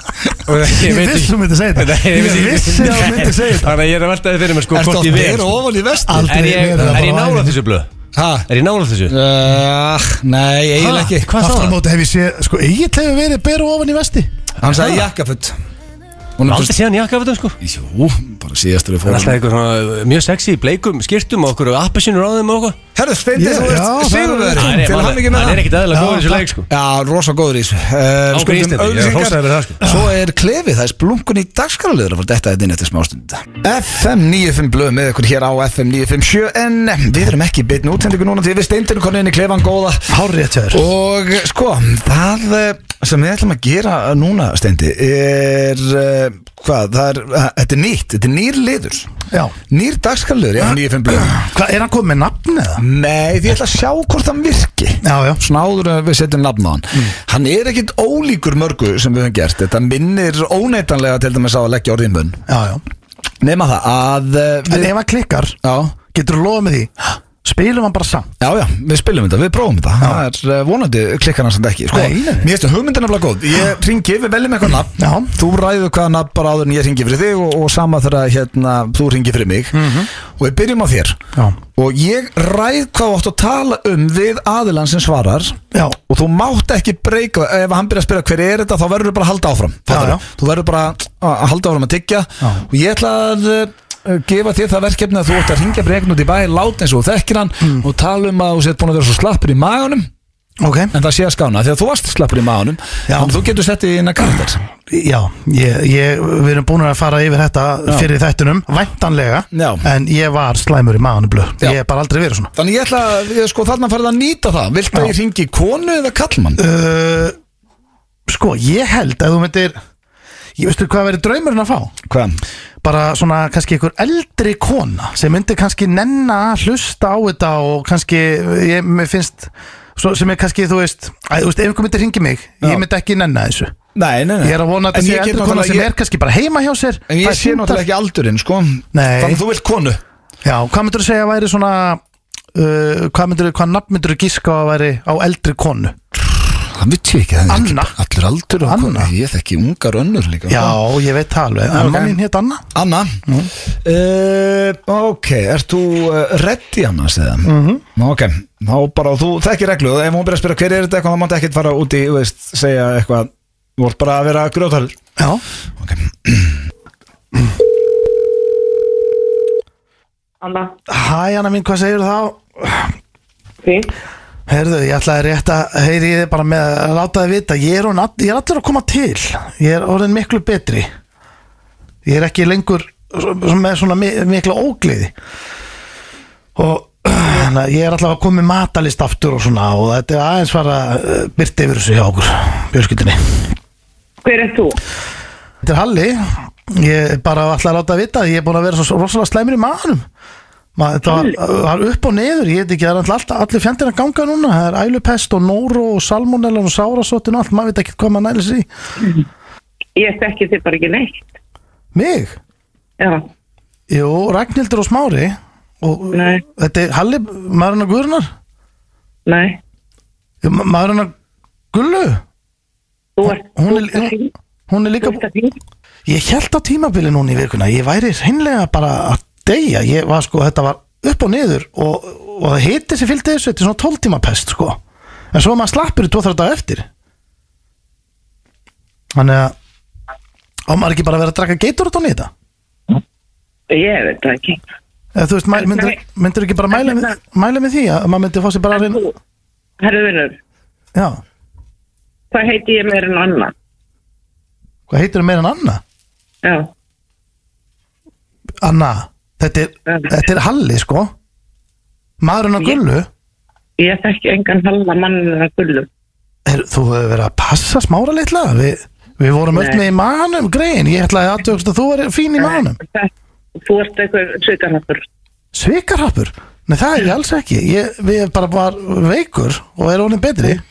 og
Ég
veit
vissi
ekki-
þú myndi segja þetta.
Nei, ég vissi-
Ég vissi að þú myndi segja þetta.
Þannig að ég er að velta þið fyrir mér sko
Ertu
Hvort
að
ég
bera
verð
ofan í vesti?
Aldrei
Er ég,
verið
er
það bara
ég
á
nála
ævinni.
þessu blöð?
Ha?
Er ég nála þessu?
Uh, nei, eiginlega ekki
Ha, Aftur á móti hef ég séð Sko, Egil hefur verið beru ofan í vesti
Hann sagði jakkafutt Hún
Aldrei séð hann jakka af þetta sko
Jú, bara síðastur við
Það er alltaf
fórum
eitthvað svona mjög sexy í bleikum skirtum og okkur appasínur á þeim og okkur
Herðu, Steindi,
Ég-
þú
já, það
veist
er-
Sigurverðin Til hann ekki með
Hann er
það
ekkert aðeins
Já,
góður í þessu
takk.
leik sko
Já, rosa góður í þessu uh,
Ákveð
skuldum
Íslendingi, ég
auglýsingar.
hrósaði fyrir það, sko.
Svo er klefið, það er splunkun í dagskaraliður að fara detta þetta inn eftir smástund FM 95 blöð með ykkur hér á FM 957 En eh, við erum ekki bitn útsendingu núna Því við steindir konið inn í klefan góða
Hárið að tjöður
Og eh, sko, það eh, sem við ætlum að gera núna, Steindi Er, eh, hvað, það er, eh, þetta er nýtt, þetta er nýr liður
Já
Nýr dagskaraliður, já, 95 blöð
Hvað, er hann komið með nafn eða?
Nei, því ég ætla að sjá hvort hann virki
Já, já
svona áður að við setjum nafn á hann
Mm.
hann er ekkit ólíkur mörgu sem við höfum gert þetta minnir óneitanlega til dæmis á að leggja orðin mun
Já, já
nema það að eh,
En
við,
ef hann klikkar
já,
Getur þú lofa með því Spilum hann bara samt
já, já, við spilum þetta, við prófum þetta það er eh, vonandi klikkar hann samt ekki sko,
Nei, nei.
mér finnst hugmyndin nefnilega góð ég ringi, við veljum eitthvað nafn
Já.
þú ræður hvaða nafn bara áður en ég ringi fyrir þig og, og sama þegar hérna, þú ringi fyrir mig
Mhm.
og við byrjum á þér
Já
og ég ræð hvað þú átt að tala um við aðilann sem svarar
Já
og þú mátt ekki breyka ef hann byrja að spyrja hver er þetta þá verður þú bara að halda áfram
Já, já.
Fattarðu? þú verður bara að halda áfram að tyggja
Já.
og ég ætla að uh, gefa þér það verkefni að þú ætti að ringja breykn út í bæ láta eins og þú þekkir hann og tala um að þú sétt búin að vera svo slappur í maganum
Ok
en það sé að skána því að þú varst slappur í maganum
Já.
þannig að þú getur sett í eina karakter
Já ég, ég, Við erum búin að fara yfir þetta Fyrir þættunum Væntanlega
Já.
En ég var slæmur í maðanum blöð
Já.
Ég hef bara aldrei verið svona
þannig ég ætla að, ég, sko þarna farið að nýta það vilt að
Já.
ég ringi konu eða kallmann
uh, Sko, ég held að þú myndir Ég veistu hvað verið draumurinn að fá
hvað?
bara svona kannski einhver eldri kona sem myndi kannski nenna að hlusta á þetta og kannski ég mér finnst svo, sem er kannski þú veist, að, þú veist ef einhver myndi ringi mig
Já.
ég myndi ekki nenna þessu
Nei, nei, nei.
ég er að vona
En
að þetta sé
ég get
eldri kona
náttúrulega-
sem
ég-
er kannski bara heima hjá sér
En ég sé náttúrulega ekki aldurinn, sko
Nei.
Þannig að þú vilt konu
já, hvað myndur þú segja að væri svona uh, hvað myndur hvað nafn myndur þú giska á að væri á eldri konu
Það veit ég ekki, það er
Anna.
ekki allur aldur og
Anna.
konu. Ég þekki ungar önnur líka
já, ég veit það alveg,
Já, ok.
en okay. mín hétt Anna
Anna uh, Ok, ert þú uh, reddi Anna, segða mm -hmm. Ok, þá bara, þú þekkir reglu Ef hún byrja að spyrja hver er þetta eitthvað Það mátti ekkert fara út í, þú veist, segja eitthvað Þú vart bara að vera grjótal
já,
Ok,
Anna,
hæ Anna mín, hvað segir þá
því?
Herðu, ég ætlaði rétt að heyri ég þig bara með að láta þið vita ég er, orðinn all, ég er allir að koma til ég er orðin miklu betri ég er ekki lengur svo- með svona mi- mikla ógleði og hana, ég er allavega að koma með matalist aftur og svona og þetta er aðeins fara uh, byrti yfir þessu hjá okkur björskildinni
Hver er þú?
Þetta er Halli ég er bara ætlaði að láta þið vita að ég er búin að vera svo rosalega slæmur í maðanum Ma, þetta var, var upp og niður, ég veit ekki, það er alltaf allir fjandir að ganga núna, það er ælupest og nóró og salmonella og sárasóttin og allt, maður veit ekki hvað maður nælis í.
Ég þekki þið bara ekki neitt.
Mig?
Já,
Jú, Ragnhildur og Smári og
Nei.
þetta er Halli, maður hennar Guðrunar,
nei.
Jú, ma- maður hennar Gullu,
Þú ert...
hún er,
þú ert að
hún,
hring-
hún er
Þú
líka,
ert að hring-
ég held á tímabili núna í vikuna, ég væri hreinlega bara að deyja, ég var sko, þetta var upp og niður og, og það hiti sem fylgdi þessu, þetta er svona 12 tíma pest sko, en svo er maður slappur í 2-3 daga eftir. Þannig að á maður ekki bara að vera að draka geitur út á nýta
Ég veit það ekki.
eða þú veist, mæ-
En
myndir,
nei.
myndir ekki bara mæla,
En
með-
hérna-
mæla með því að maður myndir fá sér bara að
En
reyna
þú, herru vinnur,
já,
hvað heiti ég meir en Anna?
hvað heitir það meira en Anna?
Já,
Anna, þetta er,
Já.
þetta er Halli sko maðurinn á
Ég-
gullu
ég þekki engan halda mann en að gullu.
er, þú hefur verið að passa smára litla við, Við vorum öll
Nei.
með í manum, grein Ég ætlaði aðtökst að þú er fín í manum
Það- Þú ert eitthvað svikarhafur
Svikarhappur? Nei, það er ég alls ekki ég, Við erum bara var veikur og er honum betri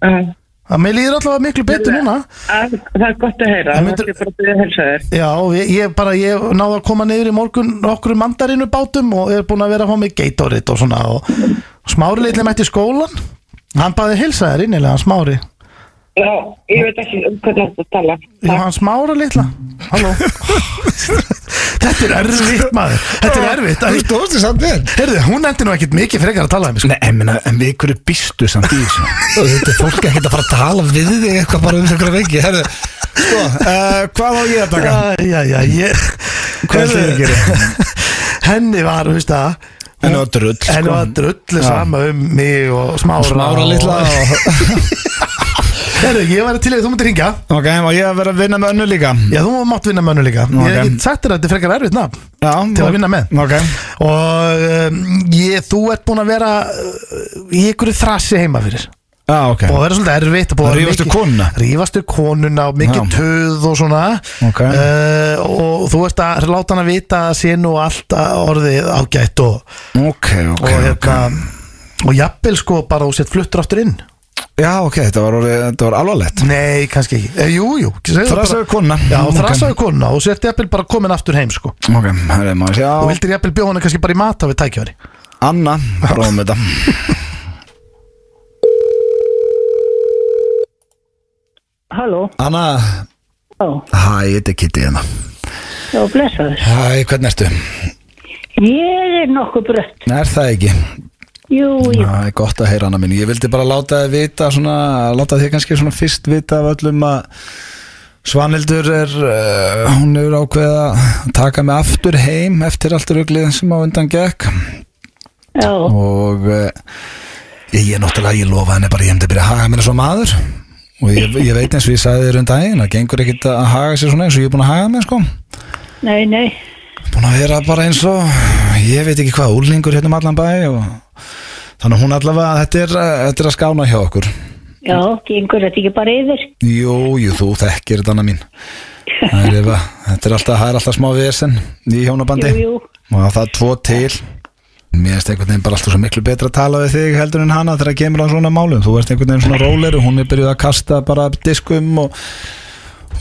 að Mér líður allavega miklu betur núna
Ah, Það er gott að heyra
En
Það
myndir-
er bara að byrja að helsa þér
Já, ég, ég bara, ég náði að koma niður í morgun okkur mandarinu bátum og er búin að vera að fá mig geitorit og svona og smári litli mætti í skólan hann baði hilsa þér innilega, hann smári Já,
Já, ég veit ekki um hvernig þetta tala Takk.
hann smára litla Halló Þetta er erfitt maður, þetta er erfitt
Það er
Æ,
stóðst í samt þér
Heyrðu, hún endi nú ekkit mikið frekar að tala um mig, sko.
Nei, en, minna, en við hverju býstu samt í þessu Og Þetta er fólk ekkert að fara að tala við þig eitthvað bara um einhverja veiki Herðu, sko, uh, hvað á ég að taka?
Já, já, já, ég
Hvað ætlið þið að gera?
Henni var, þú veist það
Henni var drull, sko.
Henni var drull
Já.
sama um mig og smára
Smára litla og...
Heyrðu, ég var til í að þú mútti ringja
Ok, má ég að vera að vinna með önnu líka
Já, þú mátt vinna með önnu líka
Nú,
Ég
ok.
hef ekki sagt þér að þetta er frekar erfitt nafn
Já,
Til að vinna með.
Ok,
Og um, ég, þú ert búin að vera uh, í ykkur þrassi heima fyrir
já, ok
Búin að vera svolítið erfitt og búið að vera
Rífast við
mikið-
konuna?
Rífast við konuna og mikið
Já.
töð og svona
Ok.
uh, Og þú ert að láta hann að vita að sé nú allt að orðið ágætt og,
Ok, ok,
og,
ok
hérna, og jafnvel sko bara þú sett fluttur aftur inn
Já, ok, þetta var, orðið- þetta var alvarlegt
Nei, kannski ekki eh, Jú, jú segðu bara-
Þrasaðu kona
Já,
Ok.
þrasaðu konuna og sett jafnvel bara komin aftur heim sko
Ok, herri, má ég sjá
Og vildir jafnvel bjóða hann kannski bara í mata við tækjafæri
Anna, prófum þetta
Halló,
Anna,
já,
hæ, þetta er Kitty hérna
já, blessaður.
Hæ, hvernig ertu?
Ég er nokkuð brött.
Er það ekki?
Jú, jú,
Það er gott að heyra hana mín Ég vildi bara láta þið vita svona, láta þið kannski svona fyrst vita af öllum að Svanhildur er uh, hún er ákveða að taka mig aftur heim eftir allt rugglið sem á undan gekk
já,
og uh, ég er náttúrulega, ég lofa henni bara ég hefndi að byrja að haga mér svo maður og ég, ég veit eins og ég sagði þér um daginn að gengur ekkit að haga sér svona eins og ég er búin að haga mér sko
nei, nei,
búin að vera bara eins og ég veit ekki hvað úlningur hérna um allan bæ og þannig að hún allavega þetta er, uh, þetta er að skána hjá okkur
já, gengur þetta ekki bara yfir?
jú, jú, þú þekkir þetta annar mín það er, efa, þetta er alltaf, það er alltaf smá vesen í hjónabandi
Jú, jú,
og það er tvo til mér finnst einhvern veginn bara alltaf svo miklu betra að tala við þig heldur en hana þegar kemur á svona málum þú ert einhvern veginn svona róler og hún er byrjuð að kasta bara diskum og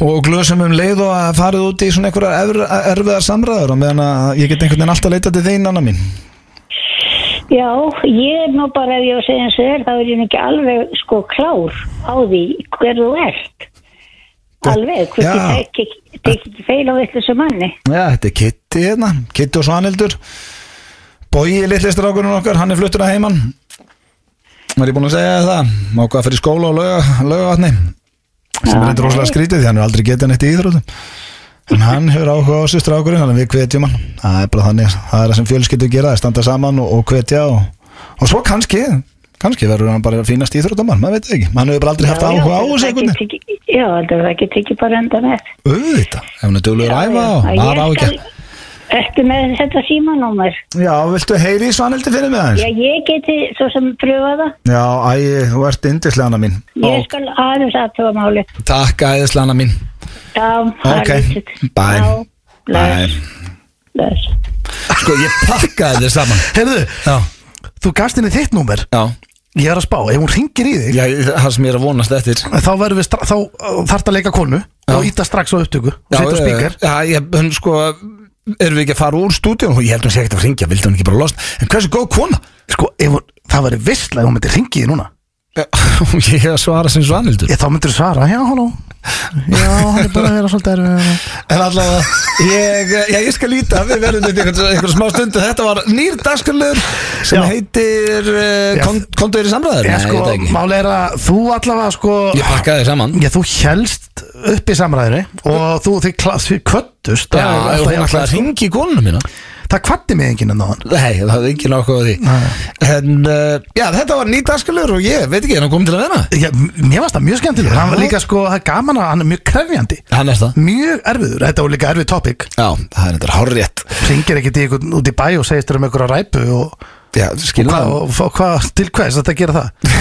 og glösum um leið og að farið út í svona einhverja erf- erfiðar samræður og meðan að ég get einhvern veginn alltaf leitað til þín annar mín
já, ég er nú bara, ef ég á að segja eins og er, þá er ég nú ekki alveg sko klár á því hver þú ert. Alveg, hvort
Já.
ég tek ekki- tek ekki feil á eitthvað sem manni.
Já, þetta er Kitty hérna, Kitty og Svanhildur Bói, litlistrákurinn okkar, hann er fluttur að heiman Var ég búinn að segja þér það Máka fyrir skóla og lauga, laugavatni sem er eitthvað rosalega skrítið því hann er aldrei getið neitt í íþrótum en hann hefur áhuga á sér strákurinn þannig að við hvetjum hann það er bara þannig, það er það sem fjölskyldur gera það er standa saman og, og hvetja og, og svo kannski, kannski verður hann bara fínast íþrótumann, maður veit það ekki hann hefur bara aldrei haft
Já, já,
áhuga á þessu
þetta er
einhvern
ekki tekið- Já, þetta er ekki tekið bara enda með.
veginn auðvitað, ef hann er duglegur að æfa og
Já, já,
maður á
ég
ekki
skal- Ertu með þetta símanúmer?
Já, viltu heyri í Svanhildi fyrir mig aðeins?
Já, ég geti svo sem pröfað það.
Já, æ, þú ert indislega hana mín
Ég skal aðeins aðtöfa máli.
Takk æðislega hana mín
Já,
Ok, bye.
Já, bless, bless.
Sko, ég pakkaði þér saman
Heyrðu,
Já,
þú gafst henni þitt númer
já,
Ég er að spá, ef hún ringir í þig
já það sem ég er að vonast eftir
Þá, verðum við stra- þá þarf að leika konu og íta strax á upptöku og
Já,
setja á
eh,
spíkar
Já, ég, hún sko, erum við ekki að fara úr stúdíun Ég held hún sé ekkert að ringja, vildi hún ekki bara losna En hversu góð kona?
Sko, ef hún, það væri vissla ef hún myndi ringi í þig núna
Já, Ég hef að svara sem Svanhildur
Ég þá myndir þú svara, já, halló Já, hann er bara að vera svolítið erfið
En allavega, ég, já, ég skal líta Við verðum þetta einhvern einhver smá stundu Þetta var nýr dagskurlur sem
Já.
heitir
Já.
uh, Kondur í samræður
Já,
Nei,
sko,
þetta ekki.
mál er að þú allavega sko
Ég pakkaði þér saman
Já, þú helst upp í samræðinu og þú, þið, kla- þið kvöttust
Já, ef hún ætlaði
sko.
að ringi í konuna mína
Það kvatti mig enginn en náðan
Nei, það hafði ekki nákvæða því En, uh, já, þetta var nýt dagskalur og ég veit ekki hann kom til að vera
Já, mér varst það mjög skemmtileg Hann var líka sko, það er gaman að hann er mjög krefjandi
Hann er það
Mjög erfiður, þetta var líka erfið topic
Já, það er þetta hárrétt
Ringir ekkert í ykkur út í bæ og segist þér um ykkur að ræpu og
Já, skilna
Hvað, og, og, hvað, til hvers þetta gera það?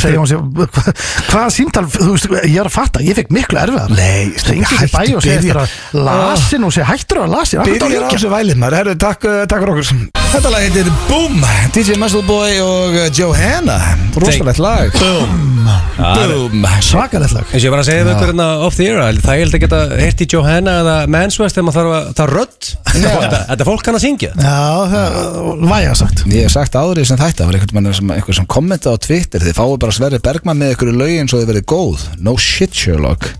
Segja hún sér, hvað, hvað símtal, þú veist, ég er að fatta, ég fekk miklu erfiðar
Nei,
Stengi til bæ og segja eftir að lasin og segja hættur Ah. að lasin Akkur
Byrjar á þessu vælið maður, herru, takk, uh, takk fyrir okkur Þetta lag heitir Boom, DJ Muscle Boy og uh, Johanna Rosalegt lag Boom, Boom
Svakalegt lag
eins og ég var að segja við ykkur hérna off the air að það er held ekki að hérti Johanna eða Manswest þegar maður þarf að það er rödd þetta þetta fólk kann að syngja
Já, það væja sagt
Ég hef sagt áður í sem þetta var einhvern mann sem, einhver sem kommenta á Twitter Þið fáið bara Sverri Bergman með ykkur í lögin svo þið verið góð No shit Sherlock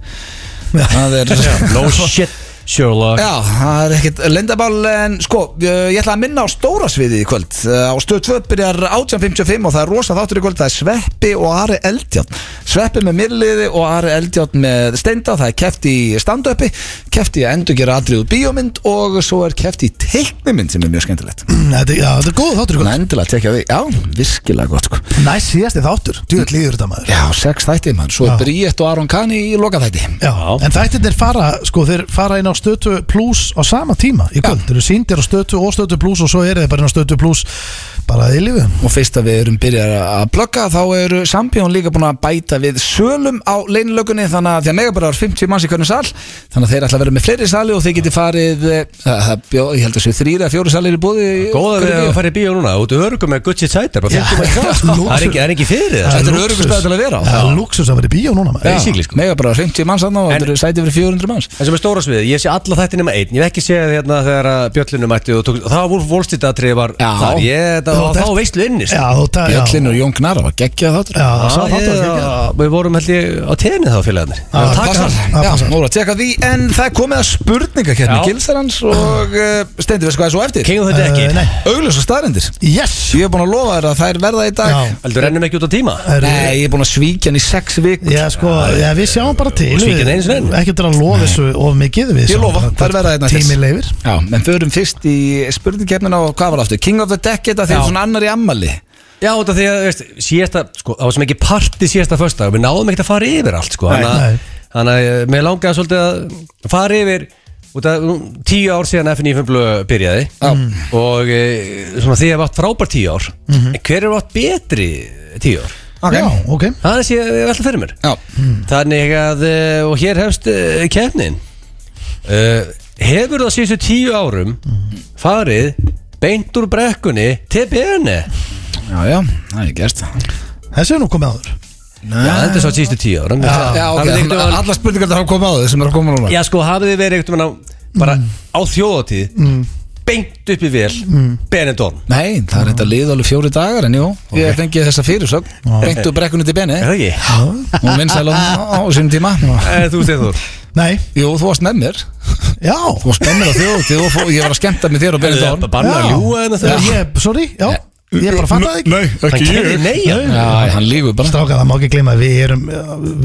Það er
no shit Sherlock
Já, það er ekkert lindabál en sko, eh, ég ætla að minna á stóra sviði í kvöld Eh, á stöð 2 byrjar 18.55 og það er rosa þáttur í kvöld, það er Sveppi og Ari Eldjátt Sveppi með Mirliði og Ari Eldjátt með Steindá, það er keft í standöppi keft í að endurgera atriðu bíómynd og svo er keft í teiknumynd sem er mjög skemmtilegt
Mm, Þetta já, þetta er góð þáttur sko.
Þannig að endilega tekja því, já, virkilega gott sko.
Næst síðasti þáttur, djúið líður þetta maður
Já, sex þætti mann, svo er
Já.
Bríett og Aron Kani í lokaþætti
Já, en þættirnir fara, sko, þeir fara inn á stötu pluss á sama tíma í kvöld, þeir eru sýndir á stötu og stötu pluss og svo eru þeir bara inn á stötu pluss bara að ylífu
Og fyrst að við erum byrjar að plugga þá eru Sambjón líka búin að bæta við sölum á leinlökunni þannig að því að mega bara er 50 manns í hvernig sal þannig að þeir ætla að vera með fleiri sali og þeir geti farið eh, það- það bjó, ég held að séu þrýra, fjóri salir í búði
Góða við að fara í bíó núna, út örgum með Gucci Cider bara 50 manns í sal. Það er ekki- það er ekki fyrir það
Þetta er öruggur stað til að vera á.
Það er lúksus að vera í bíó núna maður
basically, sko.
mega bara 50 manns þannig og
En-
þetta eru sæti fyrir 400 manns
En sem er stóra sviðið, ég sé alla þetta nema einn Ég hef ekki séð hérna þegar að Bjöllinu mætti og tók, Það var Wolfstýttatrið var
Já.
þar Ég, það var
Já,
þá sko. veistlu innist
Já, þú það, já
Bjöllin og Jón Gnar var geggjað þáttur
Já,
Já,
sá þáttur
ég-
var geggjað.
Við vorum held ég á tenni þá félagarnir
Já,
Taka
passar.
það.
það
Já,
passar.
nú er að teka því en það er komið að spurninga hérna
Já.
Gilsarans og uh, Steindi, veist hvað er svo eftir?
Kengum þetta
Eh,
ekki
Nei,
Augljós og staðrendir
yes
Ég er búin að lofa þér að þær verða í dag
Já,
Heldur rennum ekki út á tíma
er,
Nei, ég er búin að svíkja hann í sex vikur
Já, sko, já, við sjáum bara til
Og svíkja það einu sinni enn.
Ekki til að lofa þessu of mikið við
Ég
sjáum
lofa,
bara
það er verið að hérna til.
Tími leifir
Já, en förum fyrst í spurningkeppnina og hvað var aftur? King of the Deck þetta þegar
Já.
svona annar í ammali
Já, þetta því að veist, síðasta, sko, það var sem ekki parti síðasta föstudag Við náðum ekkert að fara yfir allt sko,
Nei,
Þannig að-
nei.
þannig að eh, mér langaði svolítið að fara yfir Út að nú, tíu ár síðan FNF byrjaði Og e, svona því að vatn frábær tíu ár En hver er vatn betri tíu ár?
Ok.
Já, ok
Það er síðan ég velta fyrir mér
Já,
Þannig að, eh, og hér hefst eh, keppnin uh, Hefur það síðustu tíu árum farið beint úr brekkunni til E? BN
já, já, það er gert
Þessi er nú komið áður
Já, þetta er svo síðustu tíu árum
Já, ok,
Hafið þið einhvern
þannig að
tímann-
allar spurningar það hafa komið á þau sem eru að koma núna
Já, sko, hafið þið verið eitthvað á, bara á þjóðatíð
Mm.
beint upp í vel Benidorm
Nei, það er þetta lið alveg fjóri dagar en jú, ég fengi þessa fyrirsögn Beint úr brekkunni til Beni
Er það ekki?
og vinsæl á, á sínum tíma
Eh, Þú veist Þór
Nei,
Jú, þú varst með mér
já
Þú varst með mér á þjóðutíð og fó- ég var að skemmta með þér og Beni Dórn
Banna að hérna
Já.
ljúa en
Já,
það
Ég, sorry, já Ég bara fatta það ekki
Hann kemur nei hérna.
Já, hann lígur bara
Stráka, það má ekki gleyma að við erum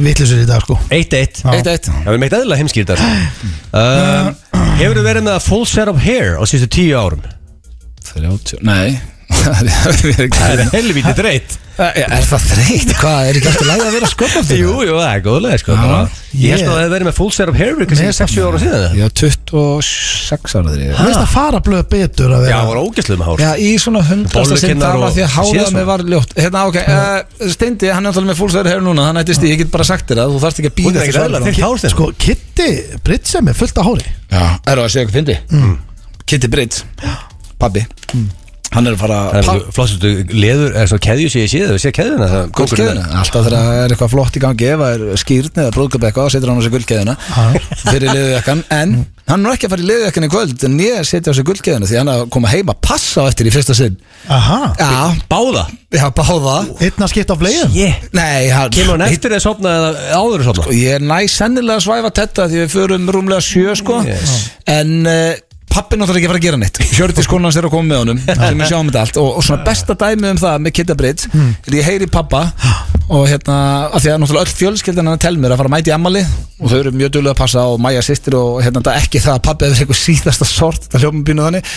vittlisur í dag, sko
1-1
Já.
Það
Eitt, eitt
er meitt eðla heimskýrt þar um, Hefur þið verið með að full set of hair á síðustu tíu árum?
30 Nei, það er ekki
Það er helvítið dreitt
Er það þreytt? Hvað, er ekki alltaf læg að vera skotnandi?
Jú, jú, það er góðlega sko
Já.
bara. Ég held
Ég-
að það hefði verið með full set of hair Kanski
Nei,
60 ára síðan
Ég var 26 ára þegar ég
Það veist að fara blöð betur að
Já,
vera
það var ógæsluð með hár
Já, í svona hundrasta sinn
Bollukinnar
það var því að
og-
háða
Séð
mig
svona.
var ljótt Hérna, ok, uh, Steindi, hann er alltaf með fólksæður hér núna Hann ættist í, ég get bara sagt þér að þú þarft ekki að
Hún
býða
er ekkert eðla þykkt hár sko.
Sko, Kitty Britsem er fullt af hóri
Já, er það að segja eitthvað fyndi Mm. Kitty Britt, pabbi Hann er að fara að pa-
Flottustu leður, eða svona keðju sé ég séð Við séð keðjuna það kóngurinn
gullkeðjuna. Alltaf þegar það er eitthvað flott í gangi ef það er skýrn eða brúðköp eitthvað þá setur hann á sig gullkeðuna fyrir liðujakkan en hann er ekki að fara í liðujakkan í kvöld en ég setja á sig gullkeðuna því hann er að koma heima passa á eftir í fyrsta sinn
Aha,
Já,
Báða
já, báða
einn að skipta á bleiðum
yeah.
Nei, hann
Kemur hann eftir eða sopna eða áður en sopna
Og ég er næ sennilega að svæfa þetta því við förum rúmlega sjö sko
Yes.
en uh, pappi náttúrulega ekki að fara að gera neitt Hjördis konan hans er að koma með honum sem við sjáum þetta allt og, og svona besta dæmi um það með Kitta Britt er ég heyri pappa og hérna af því að náttúrulega öll fjölskyldan hann telmur að fara að mæta í ammali og þau eru mjög duðlega að passa og Maja sýstir og hérna þetta er ekki það að pappi hefur eitthvað síðasta sort þetta hljóma bínu þannig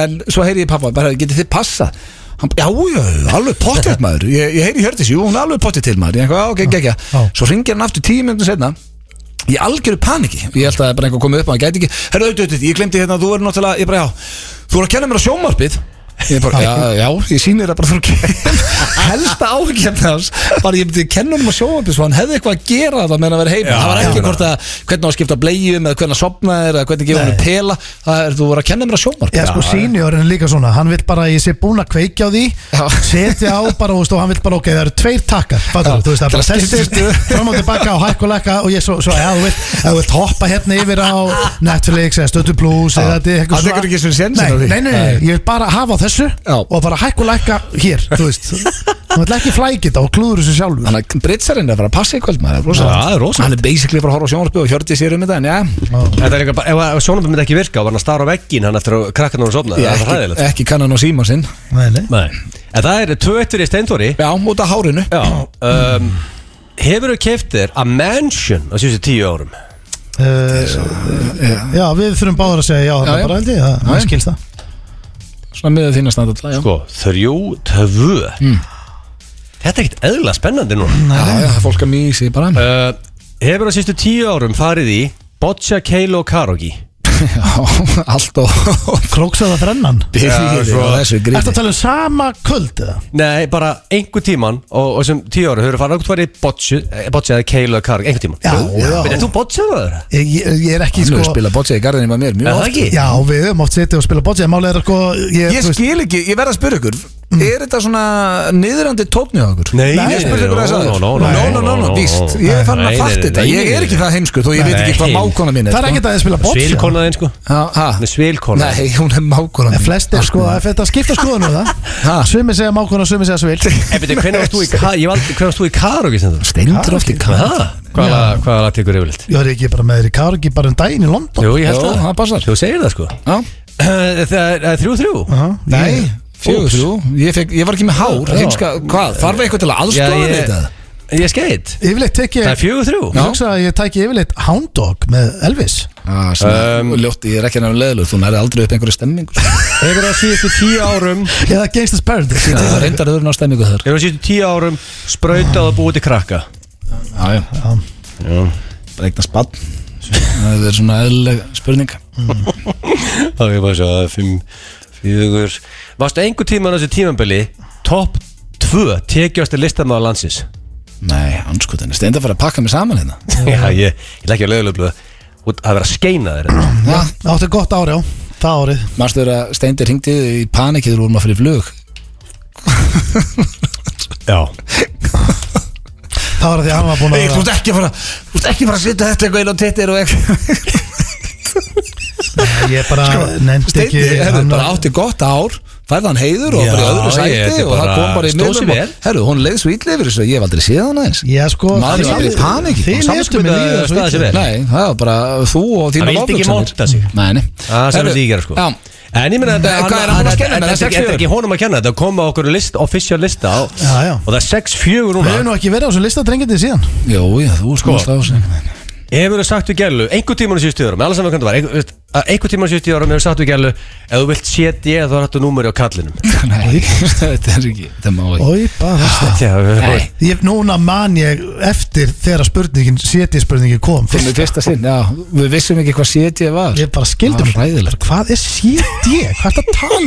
en svo heyri ég pappa bara getið þið passa Hann, já, já, alveg pottið maður Ég, ég heyri Hjördís, jú, hún er alveg pottið til maður Ég eitthvað, "Já, ok, gekkja
Já.
Svo ringir hann aftur tíu minnum setna Ég algjöru paniki Ég held að það er bara einhver komið upp og hann gæti ekki Herra, auðvitað, auðvitað, ég glemdi hérna, þú verður náttúrulega Ég bara, já, þú verður að kenna mér á sjómarpið Ég bara, já, já, ég sýnir það bara þú ekki Helsta áhyggjum þess Bara ég myndi kenna honum að sjóa upp Svo hann hefði eitthvað að gera þetta meðan að vera heima
Já,
Það var
ég
ekki
meina.
hvort að hvernig á að skipta bleiðum Eða hvernig að sopna þér Eða hvernig að gefa
Nei.
honum pela Það er þú voru að kenna mér að sjóa
Já, sko, seniorinn er líka svona, hann vil bara að ég sé búinn að kveikja á því
Já.
setja á bara, þú veist, og hann vil bara, ok, það eru tveir takkar fattur,
Já.
þú veist, það
Til
er bara
að skipta
sestir fram og tilbaka og hækk og lækka og ég svo, svo já, þú vilt, ef þú vilt hoppa hérna yfir á Netflix eða Stötu Plus eða þetta er eitthvað
Hann tekur ekki einu sinni sénsinn á því.
Nei, nei, nei, nei,
Nei.
ég vil bara hafa á þessu
Já.
og bara hækk og lækka hér, þú veist hann vil ekki flækita og klúður þessu sjálfur
Þannig að Britsarinn er að fara að passa í kvöld maður,
Já, það er rosalegt.
Hann er basically bara að horfa á sjónvarpið og hjördi sér um þetta En já,
Þetta er eitthvað, bara- ef, ef sjónabæð myndi ekki virka og var hann að stara á veggin hann eftir að krakkarnar voru sofnað,
ég
það er
ekki,
hræðilegt
ekki kannan á síma sinn
Nei, nei.
Nei. En það er 21 í steintóri
Já, út af hárinu
Já um, Hefur þú keift þér a mansion á síðustu tíu árum?
Uh, Eh, Já, við þurfum báður að segja já,
Já,
það
já.
bara held ég, það-
Já, já.
það skilst það
Svona miðað þína standart já. Hmm.
Sko, þrjú, tvö Þetta er ekkert eðla spennandi núna
Já, já, fólk að mísi bara
uh, Hefur á síðustu tíu árum farið í Boccia, Keilo og Karogi
Já, allt og
Króksaða þrennan
Byrjið
svo-
á þessu
Ertu
gríni
að tala um sama kvöld eða?
Nei, bara einhver tíman og, og sem tíu árum hefur farið okkur farið í Boccia, eh, Boccia eða Keilo og Karogi Einhver tíman
Já, já.
En þú Boccia það?
Ég, ég, ég er ekki
Hann
sko
hefur spilað boccia í garðinni með mér
Er
mjög
það
oft
ekki?
Já, við höfum oft setið og spilað boccia Málið er sko ég,
Ég
þú
skil ekki, ég verð að spyrja ykkur Er þetta svona niðurandi tókn hjá okkur?
Nei,
ég spurði ykkur þess aður
no, no, no,
no, no, no, no, víst Ég er farin
Nei,
að
nei,
fatta
nei,
þetta,
nei,
ég
nei,
er ekki
nei.
það heimskuð og ég veit ekki hvað
Nei.
mákona mín er
Það er
sko.
ekkert að þið spila boccia
Svilkonaðin sko
Já, ha?
Hún er svilkona
Nei, hún er mákona
En
mín Ah,
flestir sko, ef þetta skipta skoðan við
Ha?
það Sumi segja mákona, sumi segja svil
En betur, hvernig Eh, varst þú í, ka ég valdi, hvernig varst þú í Karogi sem þú?
Steindur oft í
Ha?
kann
Hvaða lag- hvaða lag tekur yfirleitt?
Ég var ekki bara með þér í Kargi bara um daginn í London
Jú, ég held
Jó,
það
það passar.
Þú segir það sko Eh,
Já,
Það er þrjú-þrjú
Já,
nei,
ég-
fjögur þrjú ég, fekk, ég var ekki með hár,
Já.
heimska, hvað, þarf eitthvað til að aðstofa
ég,
þetta?
ég skeit
Yfirleitt tek
Það er
ég Ég
fjögur-þrjú
hugsa að ég tæki yfirleitt Hound Dog með Elvis
Ah, um, ljótt, ég er ekki nefnum leðilug, þú næri aldrei upp einhverju stemmingu sko.
Hefur það síðustu tíu árum
Eða Gangsta's Paradise
Það er reyndar öðrun á stemmingu þar
Hefur það síðustu tíu árum Sprautað og búið til krakka
Já, já, bara eignast bann Það er svona eðlileg spurning
Það er bara svo að fimm Fjögur Varstu einhver tíman á þessu tímanbili Topp tvö Tekjast er listamaður landsins
Nei, anskutin, það er enda að fara að pakka mig saman hérna
Já, ég Ég leggja lögulegblöð Það er verið að skeina þér hérna.
Já, áttu gott ári á Það árið
Manstu þegar að Steindir hringdi í paniki þegar við vorum að fyrir flug
Já
Það var að því að hann var búin að vera-
ekki að fara, þú ert ekki að fara að setja þetta eitthvað inn á tittir og eitthvað
Ég bara nefndi ekki
Steindir, hefur
hann-
Sko, bara átti gott ár færði hann heiður og
Já,
bara í öðru
ég- þetta
sæti
er
og það
bara-
kom bara í
stóð sig
miðlum
vel.
og herru, hún leið svo ítli yfir þessu, ég hef aldrei séð hann aðeins
Já, sko
Maður var bara í paniki.
Þið lestu mig
Samskipið
líða svo
staðið sig
illa.
vel.
Nei, það var bara þú og þína
Hann vildi ekki monta sig.
Nei, nei
Það sem
Herru,
við því gera sko
Já,
En ég meina
Nei, hvað er hann búinn að skenna með? Það er
Þetta þetta-
6-4.
þetta er ekki honum að kenna Þetta kom á okkur list, official lista á,
Já, já.
Og það er 6-4
Við hefum
núna
nú ekki verið á þessu listadrengjandi síðan
jú, já, þú sko
Hefur þú sagt við gælu Einhver tíman í 70 árum Alla saman hvernig það var einhver- veist, að Einhver tíman í 70 árum Hefur sagt við gælu Ef þú vilt set ég Þá hættu númeri á kallinum
Nei, þetta er ekki Þetta má ekki
Oi, bara veist það.
Já,
Nei.
Ég, núna man ég eftir þegar spurningin, setið spurningin kom
Fyrir mig fyrsta sinn, já Við vissum ekki hvað setið var
Ég bara skildum
Það var hræðilegt.
Hvað er setið? Hvað er þetta tal?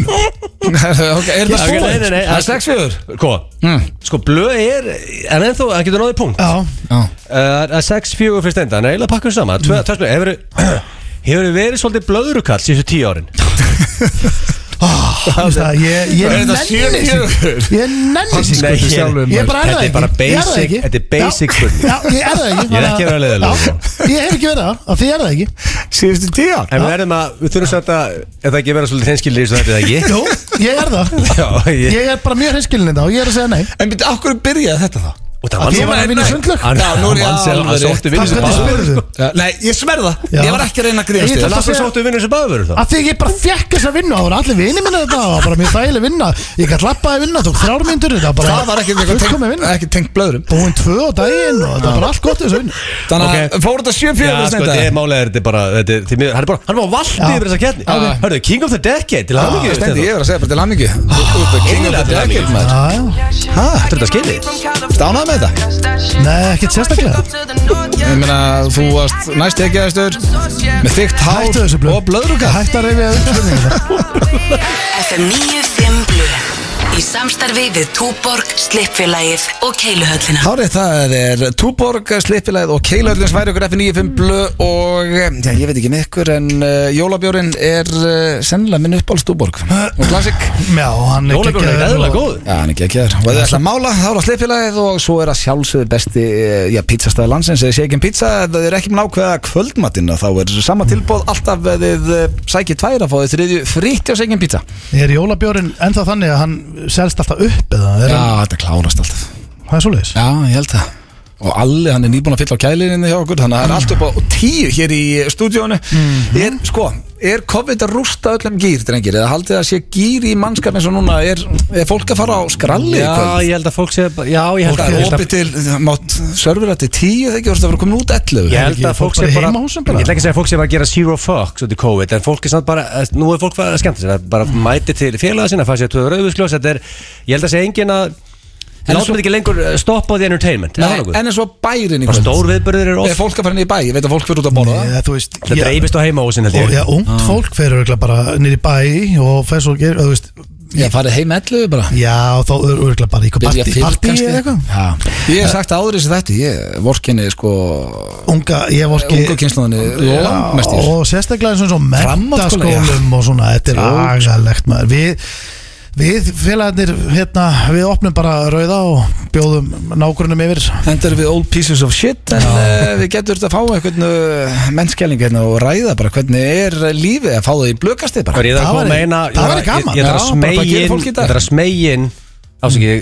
Ok, Er Hm, það
Ok,
svo?
nei, nei, nei,
Það er sex fjögur
Hvað? Sko blöð er En ennþá Það getur náðið punkt
Já,
Já
Það er 6-4 fyrst enda En eiginlega pakkum við saman Tvö- tvær spurningar. Hefurðu- Hefurðu verið svolítið blöðrukall síðustu tíu árin?
þú veist það Ég, ég
Er þetta
nenni
sjö fjögur?
þessi Ég nenni þessi
Nei, ég-
Ég bara er það
Þetta
ekki
er bara
Ég er það
basic
ekki.
Þetta er basic
Já,
spurning
Já, ég er það ekki
Ég er ekki að vera sko. leiðilegur.
Já, Ég hef ekki verið það af Því ég er það ekki
Síðustu tíu
En við verðum að, við þurfum samt að, ef það ekki vera svolítið hreinskildir í þessu þetta eða ekki?
Jú, ég er það
Já, ég,
Ég er bara mjög hinskilin þetta og ég er að segja nei
En býtti, okkur byrjaði þetta þá?
og það
Að
vann
því ég var að vinna
Nei,
sundlaug?
hann-
Já, nú er ég
hann
alveg
vann sér- Hann
rétt.
sóttu
Hvað
vinnu sem
hvernig
bara
spyrir þú?
Já, Nei, ég sverða
Já.
Ég var ekki að reyna að
Ég
gríðast
ætla
þér.
að
Hvað sóttu vinnu sem bara verður þá?
Af því ég bara fekk þessa vinnu Það voru allir vinið minna þetta Það var bara mjög þægileg vinna Ég gætt lappaði vinna Tók þrjár myndur Þetta var bara
Það var ekkert eitthvað
fullkomin
tengt-
vinna
ekki tengt blöðrum
Búin tvö á daginn Og þetta var bara allt gott í þessu vinnu
Þannig
Ok.
að fór þetta sjö
Já,
fjögur
sko, þetta er málega, þetta er bara, þetta er, því miður, hann er bara, hann er bara valdið
Já.
yfir þessa keppni.
Já.
Hörðu, King of the Decade, til hann ekki,
Stendi, ég
þetta
var að segja bara til hamingju Þú ert að king of the
Innilega til
decade
hamingju.
maður
Já, já.
Hæ,
er þetta skilið?
stánað með þetta?
Nei, ekkert sérstaklega.
Ég meina, þú varst næst ekki aðeins Með þygt hár
Hættu þessu blöð.
og blöðruka
Hættu að reyfja upp spurningar
FM 957 Í samstarfi við Túborg, Slippfélagið og Keiluhöllina
Hárið það er Túborg, Slippilæð og Keilöldin sværi okkur F95 blö og já, ég veit ekki með ykkur en uh, jólabjórin er uh, sennilega minn uppáls Túborg og klassik
Já, hann er
Jólabjörn er
geggjaður
eðlilega
og-
góð
Já, hann er ekki ekki þér og ef þið ætla að mála þá er það Slippilæð og svo er það sjálfsögðu besti eh, já, pizzastæði landsins eða sé ekki um pizza það er ekki með nákvæða kvöldmatina þá er sama tilbóð alltaf ef þið eh, sækið tvær að fá þið þriðju fritt og sækið pizza
Er jólabjórin ennþá þannig að hann selst alltaf upp eða er hann,
þetta klárast alltaf
það er svoleiðis
Já, ég held það Og Alli, hann er nýbúin að fylla á kælinni hjá okkur Þannig að það er allt upp á tíu hér í stúdíónu er, Sko, er COVID að rústa öllum gýr, drengir? Eða haldið að sé gýr í mannskap eins og núna Er, er fólk að fara á skralli? í
Já,
kvöld?
ég held að fólk sé bara- Já, ég
Fólk
held að
er
ég held
opið
að-
til, mátt servera til tíu þegar þú ert að vera komin út 11
Ég held að fólk sé
bara í
bara
heimahúsum bara?
Ég ætla ekki að segja að fólk sé bara að gera zero fucks út í COVID En fólk er samt bara eh, Nú er fólk bara að skemmta sér Það bara mæti til félaga sinna Fæði sér tvöður auðvusgljós Þetta er Ég held að segja engin að
En
Látum
svo-
þetta ekki lengur eh, stoppa á því entertainment
Nei, En eins og bærin í
Bara
kvöld
stór viðbörður er
Er
oft
fólk að fara inn í bæ? Ég veit að fólk fyrir út að borða
Ég, þú veist,
Það dreifist á heimahúsin held
og, já,
ég
ungt fólk fer örgulega bara nýri bæ og fer svo, ger- þú veist
Ég farið heim 11 bara
Já, þá er örgulega bara í eitthvað
Byrja
partí,
fyrr
partí
kannski.
eða eitthvað
Já. Ég hef sagt áður þessi þetta Ég vorkinni sko
Unga, ég var ekki
Ungu kynnslóðinni langmestir.
Og sérstaklega eins og svo
Framhaldsskóla, já.
mentaskólum og svona, þetta er agalegt maður Við, við félagarnir, hérna, við opnum bara rauða og bjóðum nágrunum yfir
Endar við old pieces of shit En uh, við getur þetta að fá einhvern mennskelling hérna og ræða bara hvernig er lífið að fá það í blökastið bara
Það
Það
var
væri-
meina
það væri
Ég
gaman.
Já, bara hvað gerir
þarf
fólk í dag?
að smegin Ásaki,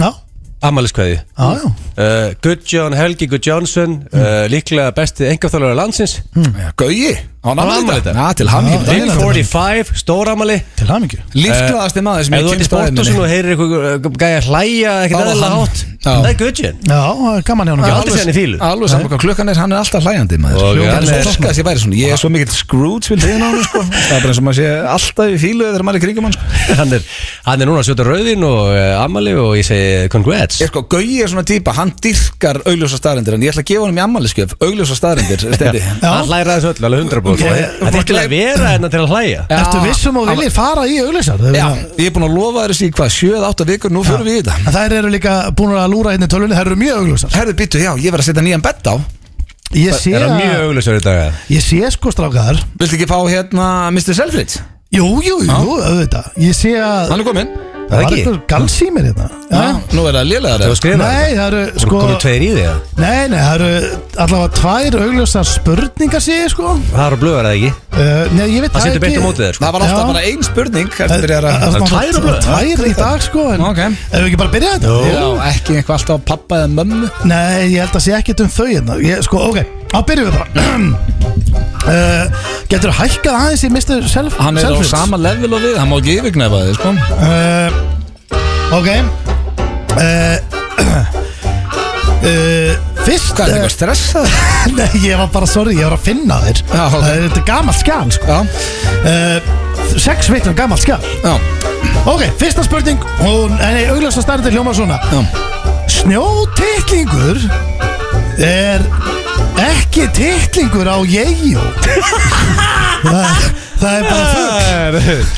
Já,
amaliskveði
já, já
Uh, Gudjón Helgi Gudjónsson uh, líklega besti engaþálar landsins
Já, Mm, Gaui, á
afmæli í
náttúrulega
dag.
þetta Til hann
Já,
Big 45, stóramali
Til hamingju
Lífglaðasti maður sem
Eh, Ef
ég
þú ert í
kynst á
sportusinu og heyrir eitthvað gæja hlæja
Þá
ekkert
var
eðla
hann.
hátt
Já.
það er Gudjón
Já, það er gaman hjá
Ég
hann
aldrei séð hann í fílu
Alveg saman hvað klukkan er, hann er alltaf hlæjandi maður
Og
Hljókar
hann
er
er-
svo skast ég væri svona Ég er svo mikill Scrooge vil hliðin á hann sko Það er bara eins og maður sé alltaf í fílu þegar maður er í kringum hann sko
hann er, hann er núna að sjóta rauðin og uh, amali og ég segi congrats
Ég sko, Gaui er svona típa, hann dyrkar augljósa staðrendir En ég ætla að gefa honum í ammaliskef, augljósa staðrendir Stendi
hann hlæra þessu öll alveg 100 búið
Ég-
það er til að vera hérna til að hlæja
Já.
Ertu um vissum og viljið fara í auglýsar?
Já, ég er búin að lofa þér þessi í hvað, 7-8 vikur, nú fyrir við í þetta
En þær eru líka búin að lúra hérna í tölvunni, þær eru mjög augljósar
Herðu býttu, já, ég verð að setja nýjan bett á
Ég sé,
er hann mjög
að-
auglösur í dag eh.
ég sé sko strákaðar
Viltu ekki fá hérna Mr. Selfridge?
Jú, jú, jú, auðvitað Ég sé að
Hann er kominn
það var
ekki?
eitthvað gals í mér hérna Já.
Nú er það lélega
það
það
var skrifað
Nei, það eru
sko
sko
komið tveir í þig eða?
Nei, nei, það eru allavega tvær augljósar spurningar sé ég sko
það er að blöða það ekki
uh, Nei, ég veit
það setur beint á mótið þér sko.
Það var alltaf
Já.
bara ein spurning
Það
Eftir
það
er að
er
tvær
tvær,
á blöð.
tvær í dag sko en,
Ok.
Ef við ekki bara byrja þetta
Já, ekki eitthvað alltaf á pappa eða mömmu
Nei, ég held að sé ekkert um þau hérna ég, Sko, ok, þá byrjum við bara uh, Getur þú hækkað aðeins í Mr. Self
Hann er á
Selfridge?
sama level og við, hann má ekki yfirgnefa þið, sko
Uh, ok uh, uh, Fyrst
Hvað er eitthvað stressað?
Nei, ég var bara, sorry, ég var að finna þér
Já, ok.
Það er þetta er gamalt skjál, sko
Já,
uh, Sex vitnar gamalt skjál
já,
Ok, fyrsta spurning Hún, eh, nei, augljósa starrið hljóma svona
já
Snjótittlingur er ekki tittlingur á jeigjó það, það er bara fugg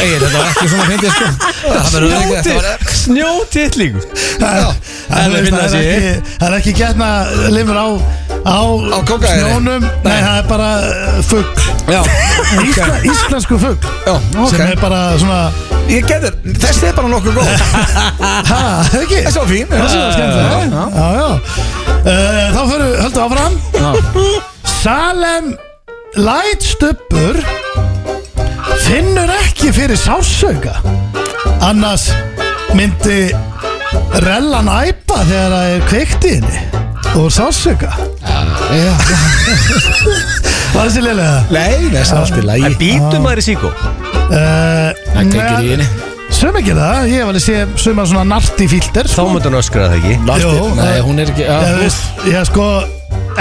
Ei, þetta var ekki svona fyndið, sko Það verður ekki þetta var ekki-
Snjótittling
Það
Já,
er-
en
það er
við finna
það er
þessi.
ekki Það er ekki gætna limur á Á,
Á kókaíni.
snjónum Nei,
Nei.
það er bara uh, fugg
Já,
Ísla, Íslensku fugg
já,
Sem er
ok
bara svona
Ég getur, þessi er bara nokkuð góð
Ha, ekki?
Þessi var fín
Þessi var skemmtileg.
Já, já.
Já, já Uh, Þá fyrir, höldum áfram Salem Lætstubbur Finnur ekki fyrir sársauka Annars myndi Rellan æpa þegar það er kveikti henni Og sársauka
Já.
Var þessi liðlega?
Nei, þessi er allt í lagi
en býtum maður í síkó
Uh,
Það kveikir í henni.
Sum ekki það, ég hef alveg sé suma svona sko. narti fílter
þá
Sko-
myndur hann öskra það ekki
Nartir,
Jó,
nei,
það-
hún er
Ah,
ekki
Ég
að,
veist, ég sko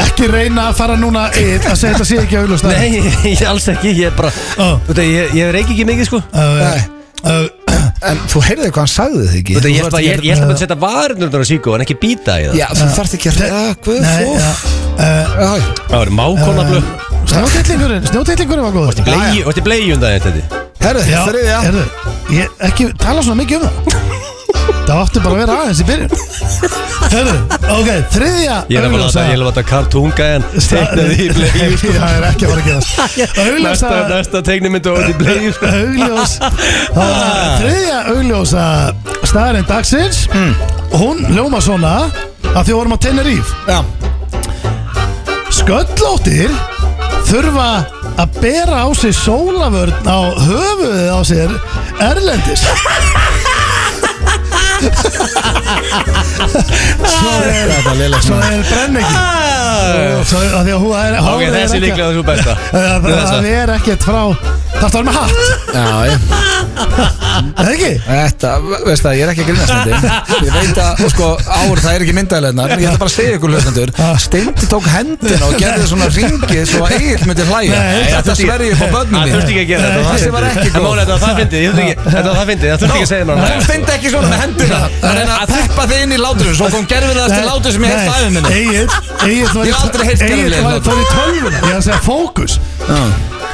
ekki reyna að fara núna inn að segja þetta sé ekki auglust
Nei, ég, alls ekki, ég er bara
Ó.
Þú veit að ég, ég reik ekki mikið sko Þú
uh,
Nei.
uh,
En þú heyrðið hvað hann sagði þig
veit að
ekki
ég ætla bara- ég- ég ætla bara að setja varirnar á síkó en ekki býta í það
Já, þú þarft ekki að reyða Guð,
Nei,
þú
ja, uh,
Já,
Það var mákona blöð
Snjótillingurinn, snjótillingurinn var góður
um Þú veist í bleigjum það þetta
Herðu,
Já,
þriðja
heyrðu, ég, Ekki tala svona mikið um það Það átti bara að vera aðeins í byrjun Hörru, ok, þriðja
Ég er að láta, ég er að láta kartunga en tekna því í bleiðu sko.
Það er ekki að fara að gerast
Næsta,
Augljósa
næsta tekni myndi ofið í bleiðu sko.
augljós Það var þriðja augljósa staðarinn dagsins
Hmm.
hún ljóma svona að því vorum á Teneríf
Já,
sköllóttir þurfa að bera á sig sólavörn á höfuðið á sér erlendis svo er
þetta er sko. liðlega
svo er brenn ekki svo er að því að hún er
Ah. Ok,
hárið
þessi
ekki-
líklega þessu besta
það, það,
Þessa.
er ekkert frá þarf það að vera með hatt
Já, ég,
eða ekki
þetta, veist það, ég er ekki að grínast þetta Ég veit að, sko, ár það er ekki myndaðilegnar Ég ætla bara að segja ykkur hlustendur Steindi tók hendina og gerði svona ringið Svo að Egil myndi hlæja
Nei,
Þetta sverja upp á
Það
börnum
þurfti ekki að gera þetta
Þessi var ekki
En
góð
Máli, þetta var það fyndið, ég þurfti ekki Þetta var það fyndið, það þurfti ekki að segja mér
Hún steindi ekki svona með hendina Það er að peppa þig inn í látur Svo kom gerfilegast til látur sem ég hefði aðeins minni
Egil, Egil
Ég hef aldrei heyrt
Egil
gerfilegan
var
hlátur.
fór í tölvuna Ég er að segja fókus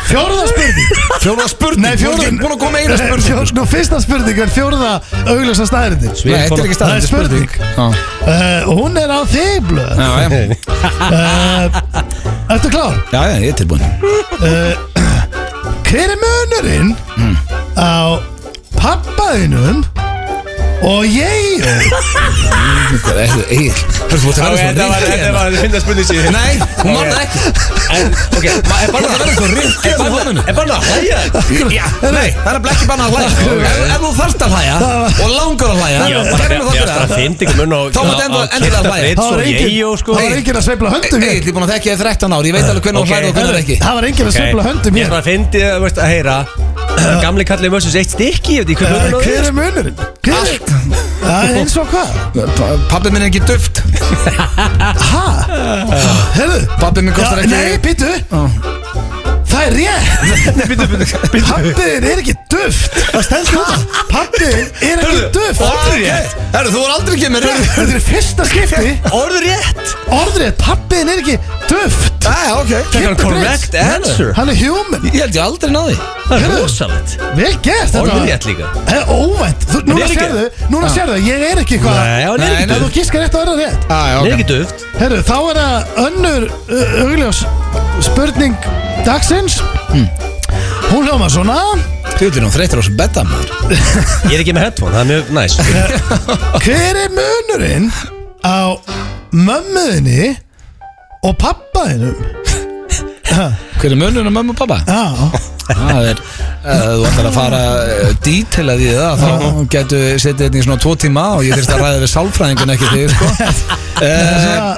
Fjórða spurning
Fjóða spurning,
Nei,
Þú ert
fjórða
ekki búin að koma með eina spurning
Nú, fyrsta spurning er fjórða augljósa staðrindin
Nei, þetta er ekki
Það
staðan,
er spurning
Já,
uh, Hún er á þiblu
já, já,
uh, Ertu klár?
já, já, ég er tilbúin
Hver er munurinn
Hmm.
á pappaðinum og ég
Þetta er ekki Egil Hörðu, þú ert að
Ok,
verða svona ringið
þetta var, þetta var, þetta finnst að spurning síðan
Nei, hún man það ekki
En, ok, ma- er bara
Það verður svo ringt í honum
Er bara að hlæja
Já, nei, það er bara ekki bannað að hlæja Ef- Ef þú þarft að hlæja og langar að hlæja
Já,
þá kemur það
já,
fyrir
það
það.
finnst ekki mun á
Þá mátti enda- endilega hlæja.
Það var engin,
sko
það var engin að sveifla höndum
Egil,
hér
ég er búin að þekka ég í 13 ár Ég veit alveg hvernig hún
Ok.
hlæði og hvernig ekki
Það var engin að sveifla höndum
Ég
hér
bara fyndi að, veist, að heyra Gamli kallið versus eitt stykki Ég veit ekki
Eh,
hvað
Hver er munurinn? Hver er- Það er eins og hvað?
Pappi minn er ekki duft
Hæ? Herðu?
Pabbi minn kostar
Já,
ekki-
Nei, býtu Það er rétt Pappiðin er ekki duft Það stendur það Pappiðin er ekki duft
rétt
Herru, þú voru aldrei ekki með rétt
Þetta er fyrsta skipti
Orður rétt
Orðrétt, pappiðin er ekki duft
Æ, ok
Þetta er
Kiddi
correct
Prince.
answer
Hann er human
Ég held ég aldrei náði
Það er
Heyrðu.
rosalegt
Vel gert þetta var-
Orðrétt líka.
Það er óvænt Þú- Núna
er ekki- Ah.
sérðu Núna sérðu Ég er ekki eitthvað
Nei, hann er
Nei,
ekki
nei,
Ef þú
duft
gískar rétt að vera rétt
Æ,
Hann er
ok
ekki duft
Herru, þá er það önnur uh, augljós spurning dagsins
Hmm.
Hún hljóma svona
Þú ert nú þreytur á þessu betta maður
Ég er ekki með headphone, það er mjög næs
Hver er munurinn á mömmuðinni og pappaðinum?
Hver er munurinn á mömmu og pappa?
Já,
Það er, ef þú ætlar að fara dítilað í það þá getur við setið þetta í svona tvo tíma og ég þyrst að ræða við sálfræðingun ekki þig sko. Eh,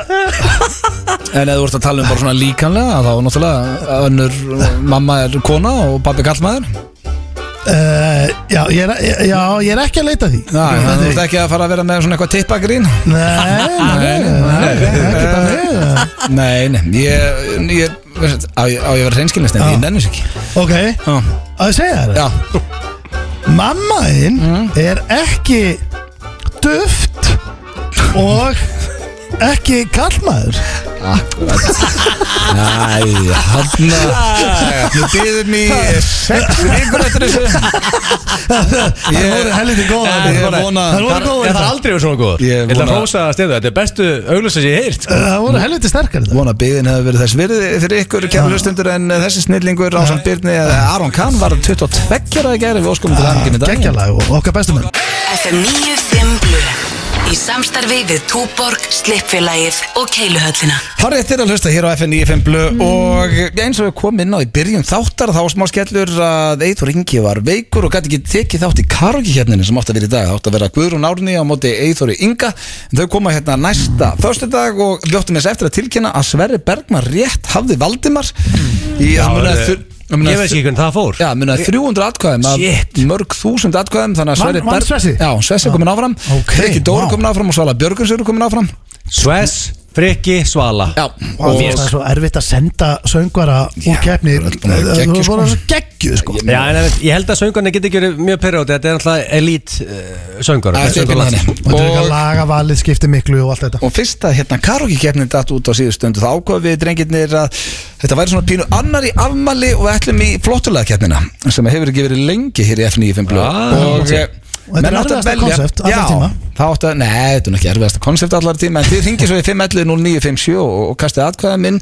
en ef þú ert að tala um bara svona líkanlega þá er náttúrulega eh, önnur mamma er kona og pabbi kallmaður
uh, já, ég er, já, ég er ekki að leita því
Já, en Eh, þú ert ekki að fara að vera með svona eitthvað tippagrín
Nei, nei, nei, ekki þannig
Nei, nei, ég, ég veist, á, ég- á ég að vera hreinskilnist en ég nennis ekki
Ok,
Já,
að ég segja þér
já,
Mammaðin er ekki duft og ekki kallmaður
Æ, hann Ég byðið mér sex vikur eftir þessu
Það voru helviti góða
Ég
þarna.
vona-
Það voru
Ég
góða
þarf
þetta
aldrei að vera svona góður
Ég
Ég ætla að
vona-
hrósa að stefðu Þetta er bestu auglösa sem ég hef heyrt sko.
Eh, Það voru helviti sterkar þetta
Vona að byðin hefur verið þess virði fyrir ykkur kæra hlustundur en eh, þessi snillingur á samt Byrni eða Aron Kahn var 22 ára í gæri við óskumum til hann í dag
Gekkjalag og okkar bestu menn
FM 95 Blu Í samstarfi við Túborg, Slippfélagið og Keiluhöllina
Hárið eftir að hlusta hér á FN 95 Blu og eins og við komum inn á í byrjun þáttar þá var smá skellur að Eithor Ingi var veikur og gæti ekki tekið þátt í karokki hérninu sem átti að vera í dag átti að vera Guðrún Árni á móti Eithori Inga en þau koma hérna næsta föstudag og ljóttum þess eftir að tilkynna að Sverri Bergman rétt hafði Valdimar í
Já,
að muna
þetta-
þur- að muna
eh, Ég veist ekki hvernig það fór
Já, muna 300 atkvæðum af
Shit.
mörg þúsund atkvæðum þannig að
Vann-
Sverri
vann Svessi?
Já, Svessi er komin áfram
Ok,
Rikki Dóri
vá.
komin áfram og Svala Björguns eru komin áfram
Sves Freki Svala
Já,
Og það er
og
svo erfitt að senda söngvara úr
Já,
keppni
bara alltaf með geggju,
Þú
sko.
voru geggjuð sko
Já, en ég held að söngarnir geti ekki verið mjög perjóti Þetta er alltaf elít uh, söngar
Það er
Söngur
stefinn
landsins.
þannig.
Og þetta er eitthvað
Og-
lagavalið skipti miklu og allt þetta
og fyrsta hérna karaoke-keppnin datt út á síðustundu þá ákvað við drengirnir að þetta væri svona pínu annar í afmali og við ætlum í flottulega-keppnina sem hefur ekki verið lengi hér í F95 blöð
Ah,
og,
ok.
eh,
Og þetta er
menn áttu að
erfiðasta
velja-
konsept allra
Já,
tíma.
það átti að, nei, þetta er nú ekki erfiðasta konsept allar tíma en þið ringið svo í 511-0957 og, og kastið atkvæða minn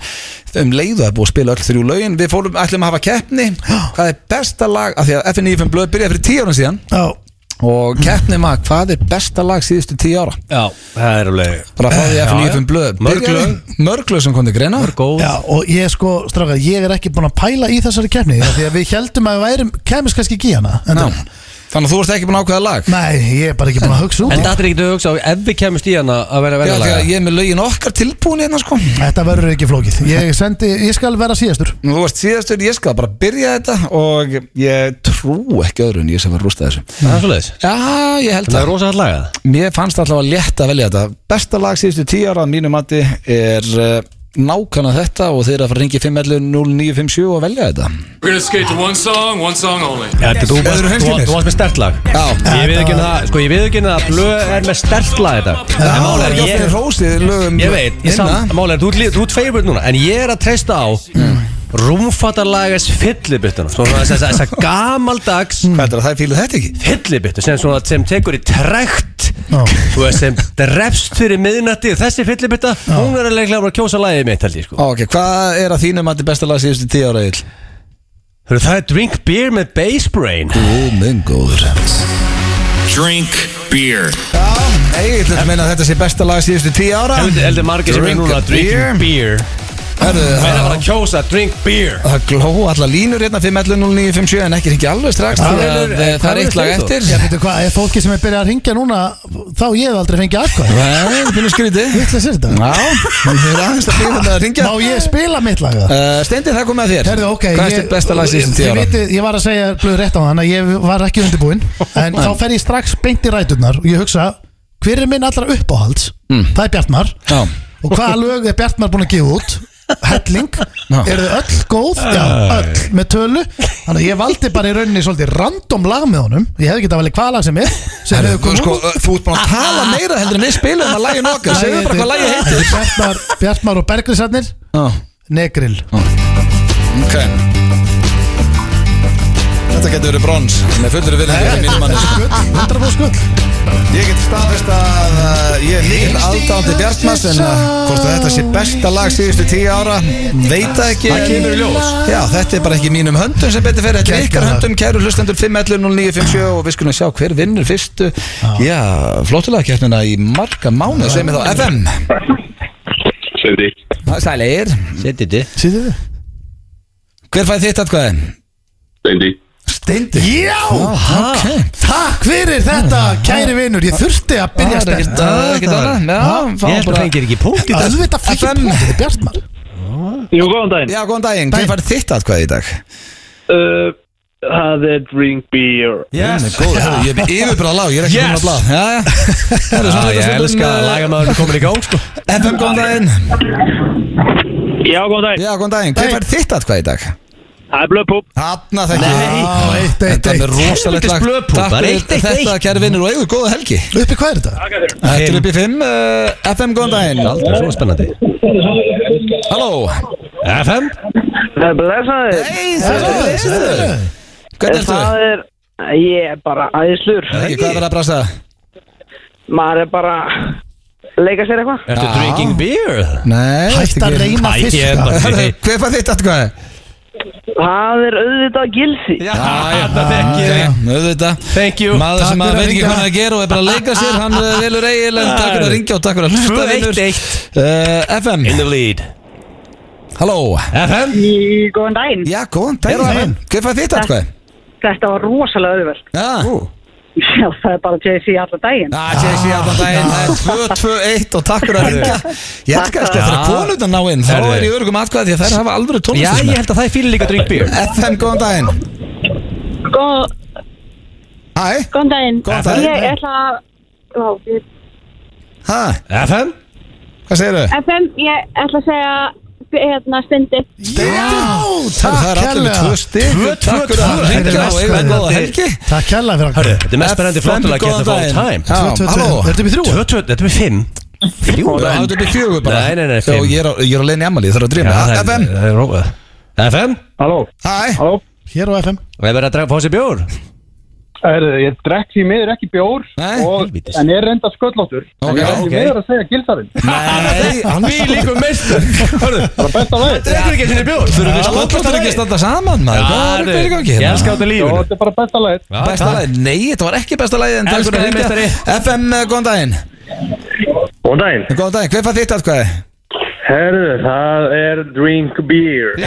um leiðu að búið að spila öll þrjú lögin við fórum, ætlum að hafa keppni hvað er besta lag, af því að F95 blöð byrjaði fyrir 10 ára síðan
Já,
og keppni maður, hvað er besta lag síðustu 10 ára
Já, það er alveg
bara að fá því
Já,
að
já.
fyrir nýjum blöð
Mörg
Byrjaði-
lög.
mörg lög sem kom til greina
Mörg góð
já, og ég sko, strákar, ég er ekki búin að pæla í þessari keppni af Því að við heldum að við værum, kemist kannski ekki í hana en-
Já. þannig að þú ert ekki búin að ákveða lag
Nei, ég er bara ekki búin að hugsa um út
En
í.
þetta er ekki að hugsa á ef við kemumst í hana að vera
Já,
verið
því
laga
að ég er með lögin okkar tilbúin hérna sko
Þetta verður ekki flókið Ég, sendi, ég skal vera síðastur
Nú, Þú veist síðastur, ég skal bara byrja þetta og ég trú ekki öðru en ég sem var rústa þessu
Það er svoleiðis
Já, ég held
Það er
það
rosa hægt lagað
Mér fannst alltaf að létt að velja þetta Besta lag síðustu tíu ára að mínu mati er uh, nákvæmlega þetta og þeir eru að fara að ringi 511 0957 og velja þetta
We're gonna skate to one song, one song only.
Þetta þú
Eru
varst-
hreinskilnir?
þú- þú varst með stert lag
Já
Ég við ekki að, sko ég við ekki að Blöð er með stert lag þetta En
Það
málið
er
er
ekki
ég
alltaf hrósið lögum
Ég veit, ég
hinna.
samt, málega, þú ert lí- þú ert favorite núna En ég er að treysta á Rúmfattalagas fyllibituna Svona þess að þess að gamaldags
Hvað er það, það fíluð þetta ekki?
fyllibittu sem, svona, sem tekur í trekt
Já.
þú veist sem drefst fyrir miðnætti þessi fyllibitta, hún er að leiklega bara að kjósa lagið mitt held ég sko
Ok, hvað er að þínum að þetta besta lag síðustu tíu ára eil?
Hörru, það er Drink Beer með Bass Brain
Ó, minn góður
Drink beer.
Já, Egil, þetta meina að þetta sé besta lag síðustu tíu ára
heldur heldur margir sem er
Drink
núna
a
að Drink Beer
Herðu,
það er að fara
það
að kjósa Drink Beer
Það gló allar línur hérna 5.11.09.57 en ekki ringi alveg strax
Hvað
því að
velur-
eh, það
hvað
er eitt
velur
lag
þú?
eftir
Ég veitu hvað, ef fólki sem er byrjað að ringja núna Þá ég hef aldrei fengið aðkvæð
Nei, það finnur skrítið
Vittlega sér þetta
Já, það er aðeins að byrja þetta að ringja
Má ég spila mitt lag það?
Uh, Steindi, það kom með þér
Herðu, ok
Hvað er
ég-
þetta besta lag síðustu tíu
Þið
ára?
vitið, Ég var að segja blöð rétt á hann að Ég var ekki undirbúinn En þá fer ég strax beint í ræturnar Og ég hugsa, hver er minn allra uppáhalds? Það er Bjartmar
Mm. Já,
Og hvaða lög er Bjartmar búin að gefa út? Helling,
Já.
eru þau öll góð? Já, öll, með tölu Þannig að ég valdi bara í rauninni svolítið random lag með honum Ég hefði getað valið hvaða lag sem er sem hefur
Herðu,
komið
sko,
út.
þú ert búin að tala meira heldur en við spilum að lagin okkar Segðu bara hvað lagið heitir
Bjartmar, Bjartmar og Bergrisarnir
Já,
Negril
Ok Þetta getur verið brons með fullur vilja fyrir mínum manni
100% skull
Ég get staðfest að uh, ég er líkil aðdándi Bjartmars en uh, hvort að þetta sé besta lag síðustu tíu ára veit það ekki Það kemur í ljós Já, þetta er bara ekki í mínum höndum sem betur fyrir Þetta er ykkar
Geggjað.
höndum, kæru hlustendur 5.11.09.57 og við skulum sjá hver vinnur fyrstu Já, flottulega kjærnina í marga mánuð sem er þá FM
Sveiti,
Sælir
setið þið
Sýðu þið?
Hver fæði þitt atkvæði?
Steindi
Steindi
Já,
Ok
takk fyrir þetta kæri vinur Ég þurfti að byrja
Það er ekkert-
stert
það er ekkert annað. Já, fá
ég Ah, held að
bara-
fengir ekki punkt í dag
Öðvita fækir
FM.
punktið, Bjartmar
Jú, góðan daginn.
Já, góðan daginn, hver fær þitt atkvæði í dag?
Uh, það er drink beer.
yes
Góð, ja. ég er með yfirbráð lág, ég er ekki
Yes.
yes. búin að blá Já, já,
Já, ég elska að lagamæðurinn er komin í gang sko
FM, góðan daginn
Já, góðan daginn.
Já, góðan daginn, hver fær þitt atkvæði í dag?
Það er blöðpúp.
Hanna, þekki
Já, eitt, eitt,
Þetta er
eitt
rosalegt lag
Helvítis blöðpúð,
Takk
bara
fyrir
eitt, eitt,
þetta, kæri vinnur og eigðu, góða helgi
Uppi hvað er þetta?
Þetta er upp í 5, FM, góðan daginn
Aldrei svona spennandi
Halló
FM
Það er blessaður.
Hey, það
Það er
er
þetta.
Hvernig ertu?
Það er, ég er bara aðeinslur.
Ekki, Hvað er það að brasa?
Maður er bara að leika sér eitthvað.
Ertu drinking beer?
Nei,
Hætt að reyna
Æ, ég er
fiska
bara-
Hörðu, Hver fær þitt atkvæði?
Það er auðvitað gilsi.
Já, þetta þekki
Já,
ég
auðvitað
Thank you.
Maður
Takk
sem
fyrir
að
að
veit ekki
hringja.
hvað hann er að gera og er bara að leika sér Hann eh, velur eigil en takk fyrir að ringja og takk fyrir að hlusta
2-1-1
vinur uh, FM,
In the lead
halló
FM
Góðan daginn.
Já, góðan daginn
Góðan daginn.
Hvað fær þitt atkvæði?
Þetta var rosalega auðvöld.
Já,
Já, það er bara JC allan daginn.
að Jesse allan daginn Það er 2-2-1 og takk fyrir að ringja Ég held kannski að sko, þegar
Já.
konurna ná inn þá
Herðu.
er ég örgum atkvæði því að þær hafa alvöru
Já, ég
tónlistismenn
held að það er fyrir líka drink beer
FM, góðan daginn
Góð,
Hæ,
góðan daginn.
Góðan daginn.
Ég ætla að... Já, ég-
hæ
FM
Hvað segirðu?
FM, ég ætla að segja hérna stundi
Takk Það er allir með tvö stig
Tvö, tvö,
Takk fyrir
tvö.
að
Þetta er
hringja
mest
og eiga
spennandi.
góða helgi
Takk kærlega fyrir að
Hörru, þetta er mest spennandi flottulega að geta all time
Já, halló
Þetta er við þrjú
Tvö, tvö, Þetta er við fimm Fjú,
Það er þetta í fjögur bara
Nei, nei, nei,
Já,
fimm
Ég er á- ég er á leiðin í Amalí, þarf að
Já,
drýma
það er-
FM
það er róað. FM
Halló
Hæ
Halló
Hér á FM
Og ég verði að draga fá sér bjór
Herðu, ég drekk því miður ekki bjór
Nei,
og,
helvítis.
En er reynda sköllóttur En ég er því
ok.
miður að segja gildarinn
Nei,
Við líkum meistur Hörru,
Það er besta leið
drekkur ekki sinni bjór
Þurfum við skottlastar ekki að standa saman maður? Hvað er þetta hérna? ekki að
Ég
gera?
elska þetta
Jó,
lífinu
þetta er bara besta leið
Já,
Besta
takk.
lagið? Nei, þetta var ekki besta lagið en takk
Elska
fyrir að
þig,
hringja. FM, eh, góðan daginn
Góðan daginn
Góðan daginn, hver fann þitt atkvæði?
Herðu, það er drink beer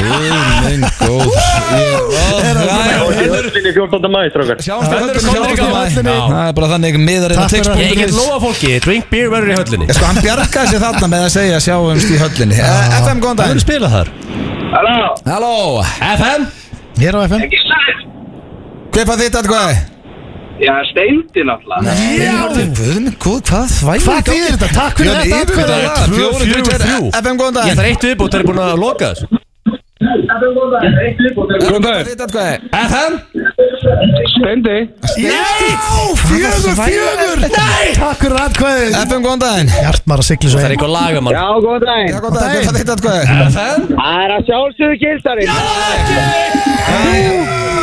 Minn góð
Og ég er öllinni 14. mæ, strókar
Sjáumst á
Þetta
höllinni,
eru
sjáumst á
komnir í
höllinni
gang.
Það er bara þannig miðarinn
Takk
að
fyrir að-
Ég get
tix.is
lofa fólki, drink beer verður í höllinni
Ég Sko, hann bjargaði sér þarna með að segja sjáumst í höllinni Eh, FM, góðan
Það eru
daginn
spila þar
Halló
Halló,
FM
Hér á FM
hver fann þitt atkvæði?
Já, steindi náttúrulega
Guð minn góð, hvað þvæg
Hvað þýðir þetta? Takk fyrir þetta atkvæði.
Fjóru, fjóru, fjóru FM, góðan
Ég
daginn
þarf eitt viðbútt, það er búin að loka þessu
Góðan daginn Þitt atkvæði
FM
Steindi
Nei, fjögur, fjögur
Nei Takk fyrir atkvæði
FM, góðan daginn
Hjartmar að siglu svo
Það er
einn
eitthvað lagamann
Já, góðan daginn
Já, góðan daginn, hver fann þitt atkvæði?
FM
Það er að sjálfsögðu gildarinn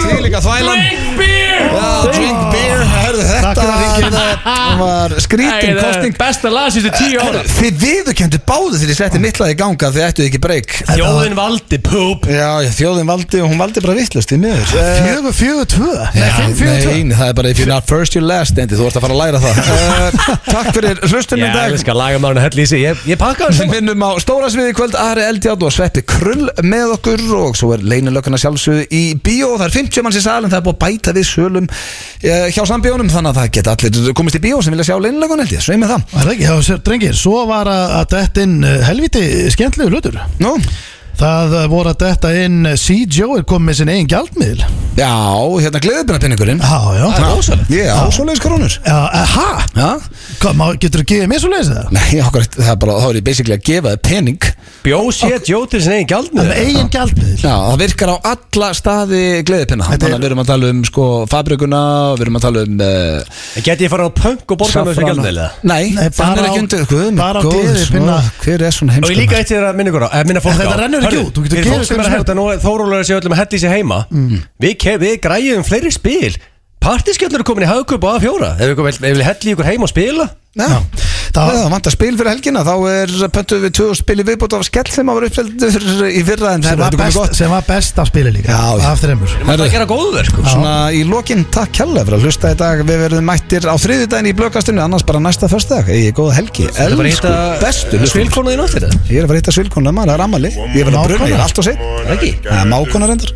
Því líka þvælan Drink beer Já, drink beer Hörðu
Takk
þetta
fyrir að hringja.
var- var skrítin kostning
Besta lag síðustu tíu ára
Þið viðurkendu báðu þegar ég setti mitt lag í ganga Þið ættu ekki breyk
Þjóðin valdi, poop
Já, já, þjóðin valdi og hún valdi bara vittlust í miður
Fjögur, fjögur, tvö Nei,
Já,
fimm, fjögur, tvö
Nei, það er bara if you're not first you're last Endi, þú ert að fara að læra það uh, Takk fyrir hlustunum í
Já,
dag
ég skal laga maður að hella í sig Ég, ég pakka
Við
þessu
minnum á stóra sviði í kvöld Ari Eldjátt og Sveppi Krull með okkur og svo er leinilökkuna sjálfsögðu í bíó það er 50 manns í salin, það er búið að bæta við sölum eh, hjá sambíónum þannig að það geta allir komist í bíó sem vilja sjá leinilökkun held ég, sveið með það
Það er ekki, já, sér, drengir, svo var að, að detta inn eh, helviti skemmtlegu hlutur.
Nú,
Það eh, voru að detta inn eh, C. Joe er komið með sinn eigin gjaldmiðl.
já, hérna gleðibina pinningurinn
Já, já.
Það er ósælega Ég er ásólegis krónur
Já, eh, ha?
Já,
Hvað, má, getur þú gefið mér svo leiðis það?
nei, okkur, það er bara, þá er ég basically að gefa þið penning
Bjó sé Jótir sinni eigin gjaldmið
Það er eigin gjaldmiðl.
Já, það virkar á alla staði gleðipinna
Þetta er-
Þannig að við erum að tala um sko fabrikuna og við erum að tala um uh,
Geti ég fara á punk og borga með þessu
Saffran-
gjaldmið
Nei,
Nei,
hann
bara
er
á-
ekki undir Guð minn
bara á
góður,
gleðipinna.
svona, Hver er svona
Og ég
heimskur
líka eitt þér að minna ykkur á eh, minna fólk
sko-
á
En þetta rennur ekki
Hörðu,
út, þú getur
fyrir
gefið
fólk sem
hverjum
er
sem Mm.
að hérna Nú er Þórólur að sé öllum að hella í sig heima Við, ke- við græjum fleiri spil Partiskjöldnur er komin í hagkup á að fjóra Ef við komum- ef við hella í ykkur heima og spila
Já,
Já.
það
Það-
það vantar spil fyrir helgina Þá er pöntu við tvö spili viðbútt af skell sem að voru uppseldur í fyrra en það
Sem var
er
best,
gott
sem var best af spili líka.
Já, já.
Af þreymur.
Það er að gera sko. góðverk
Svona í lokin, takk kjalla fyrir að hlusta í dag Við verðum mættir á þriðjudaginn í blökastunni annars bara næsta föstudag, eigi góða helgi
Þetta var
Elsku, bestu
hitta
hlustendur.
spilkona í nóttir eða?
Ég er að fara að hitta svilkona, maður, það er ammali Ég er að brunna, ég er allt og seinn Það er mákona reyndar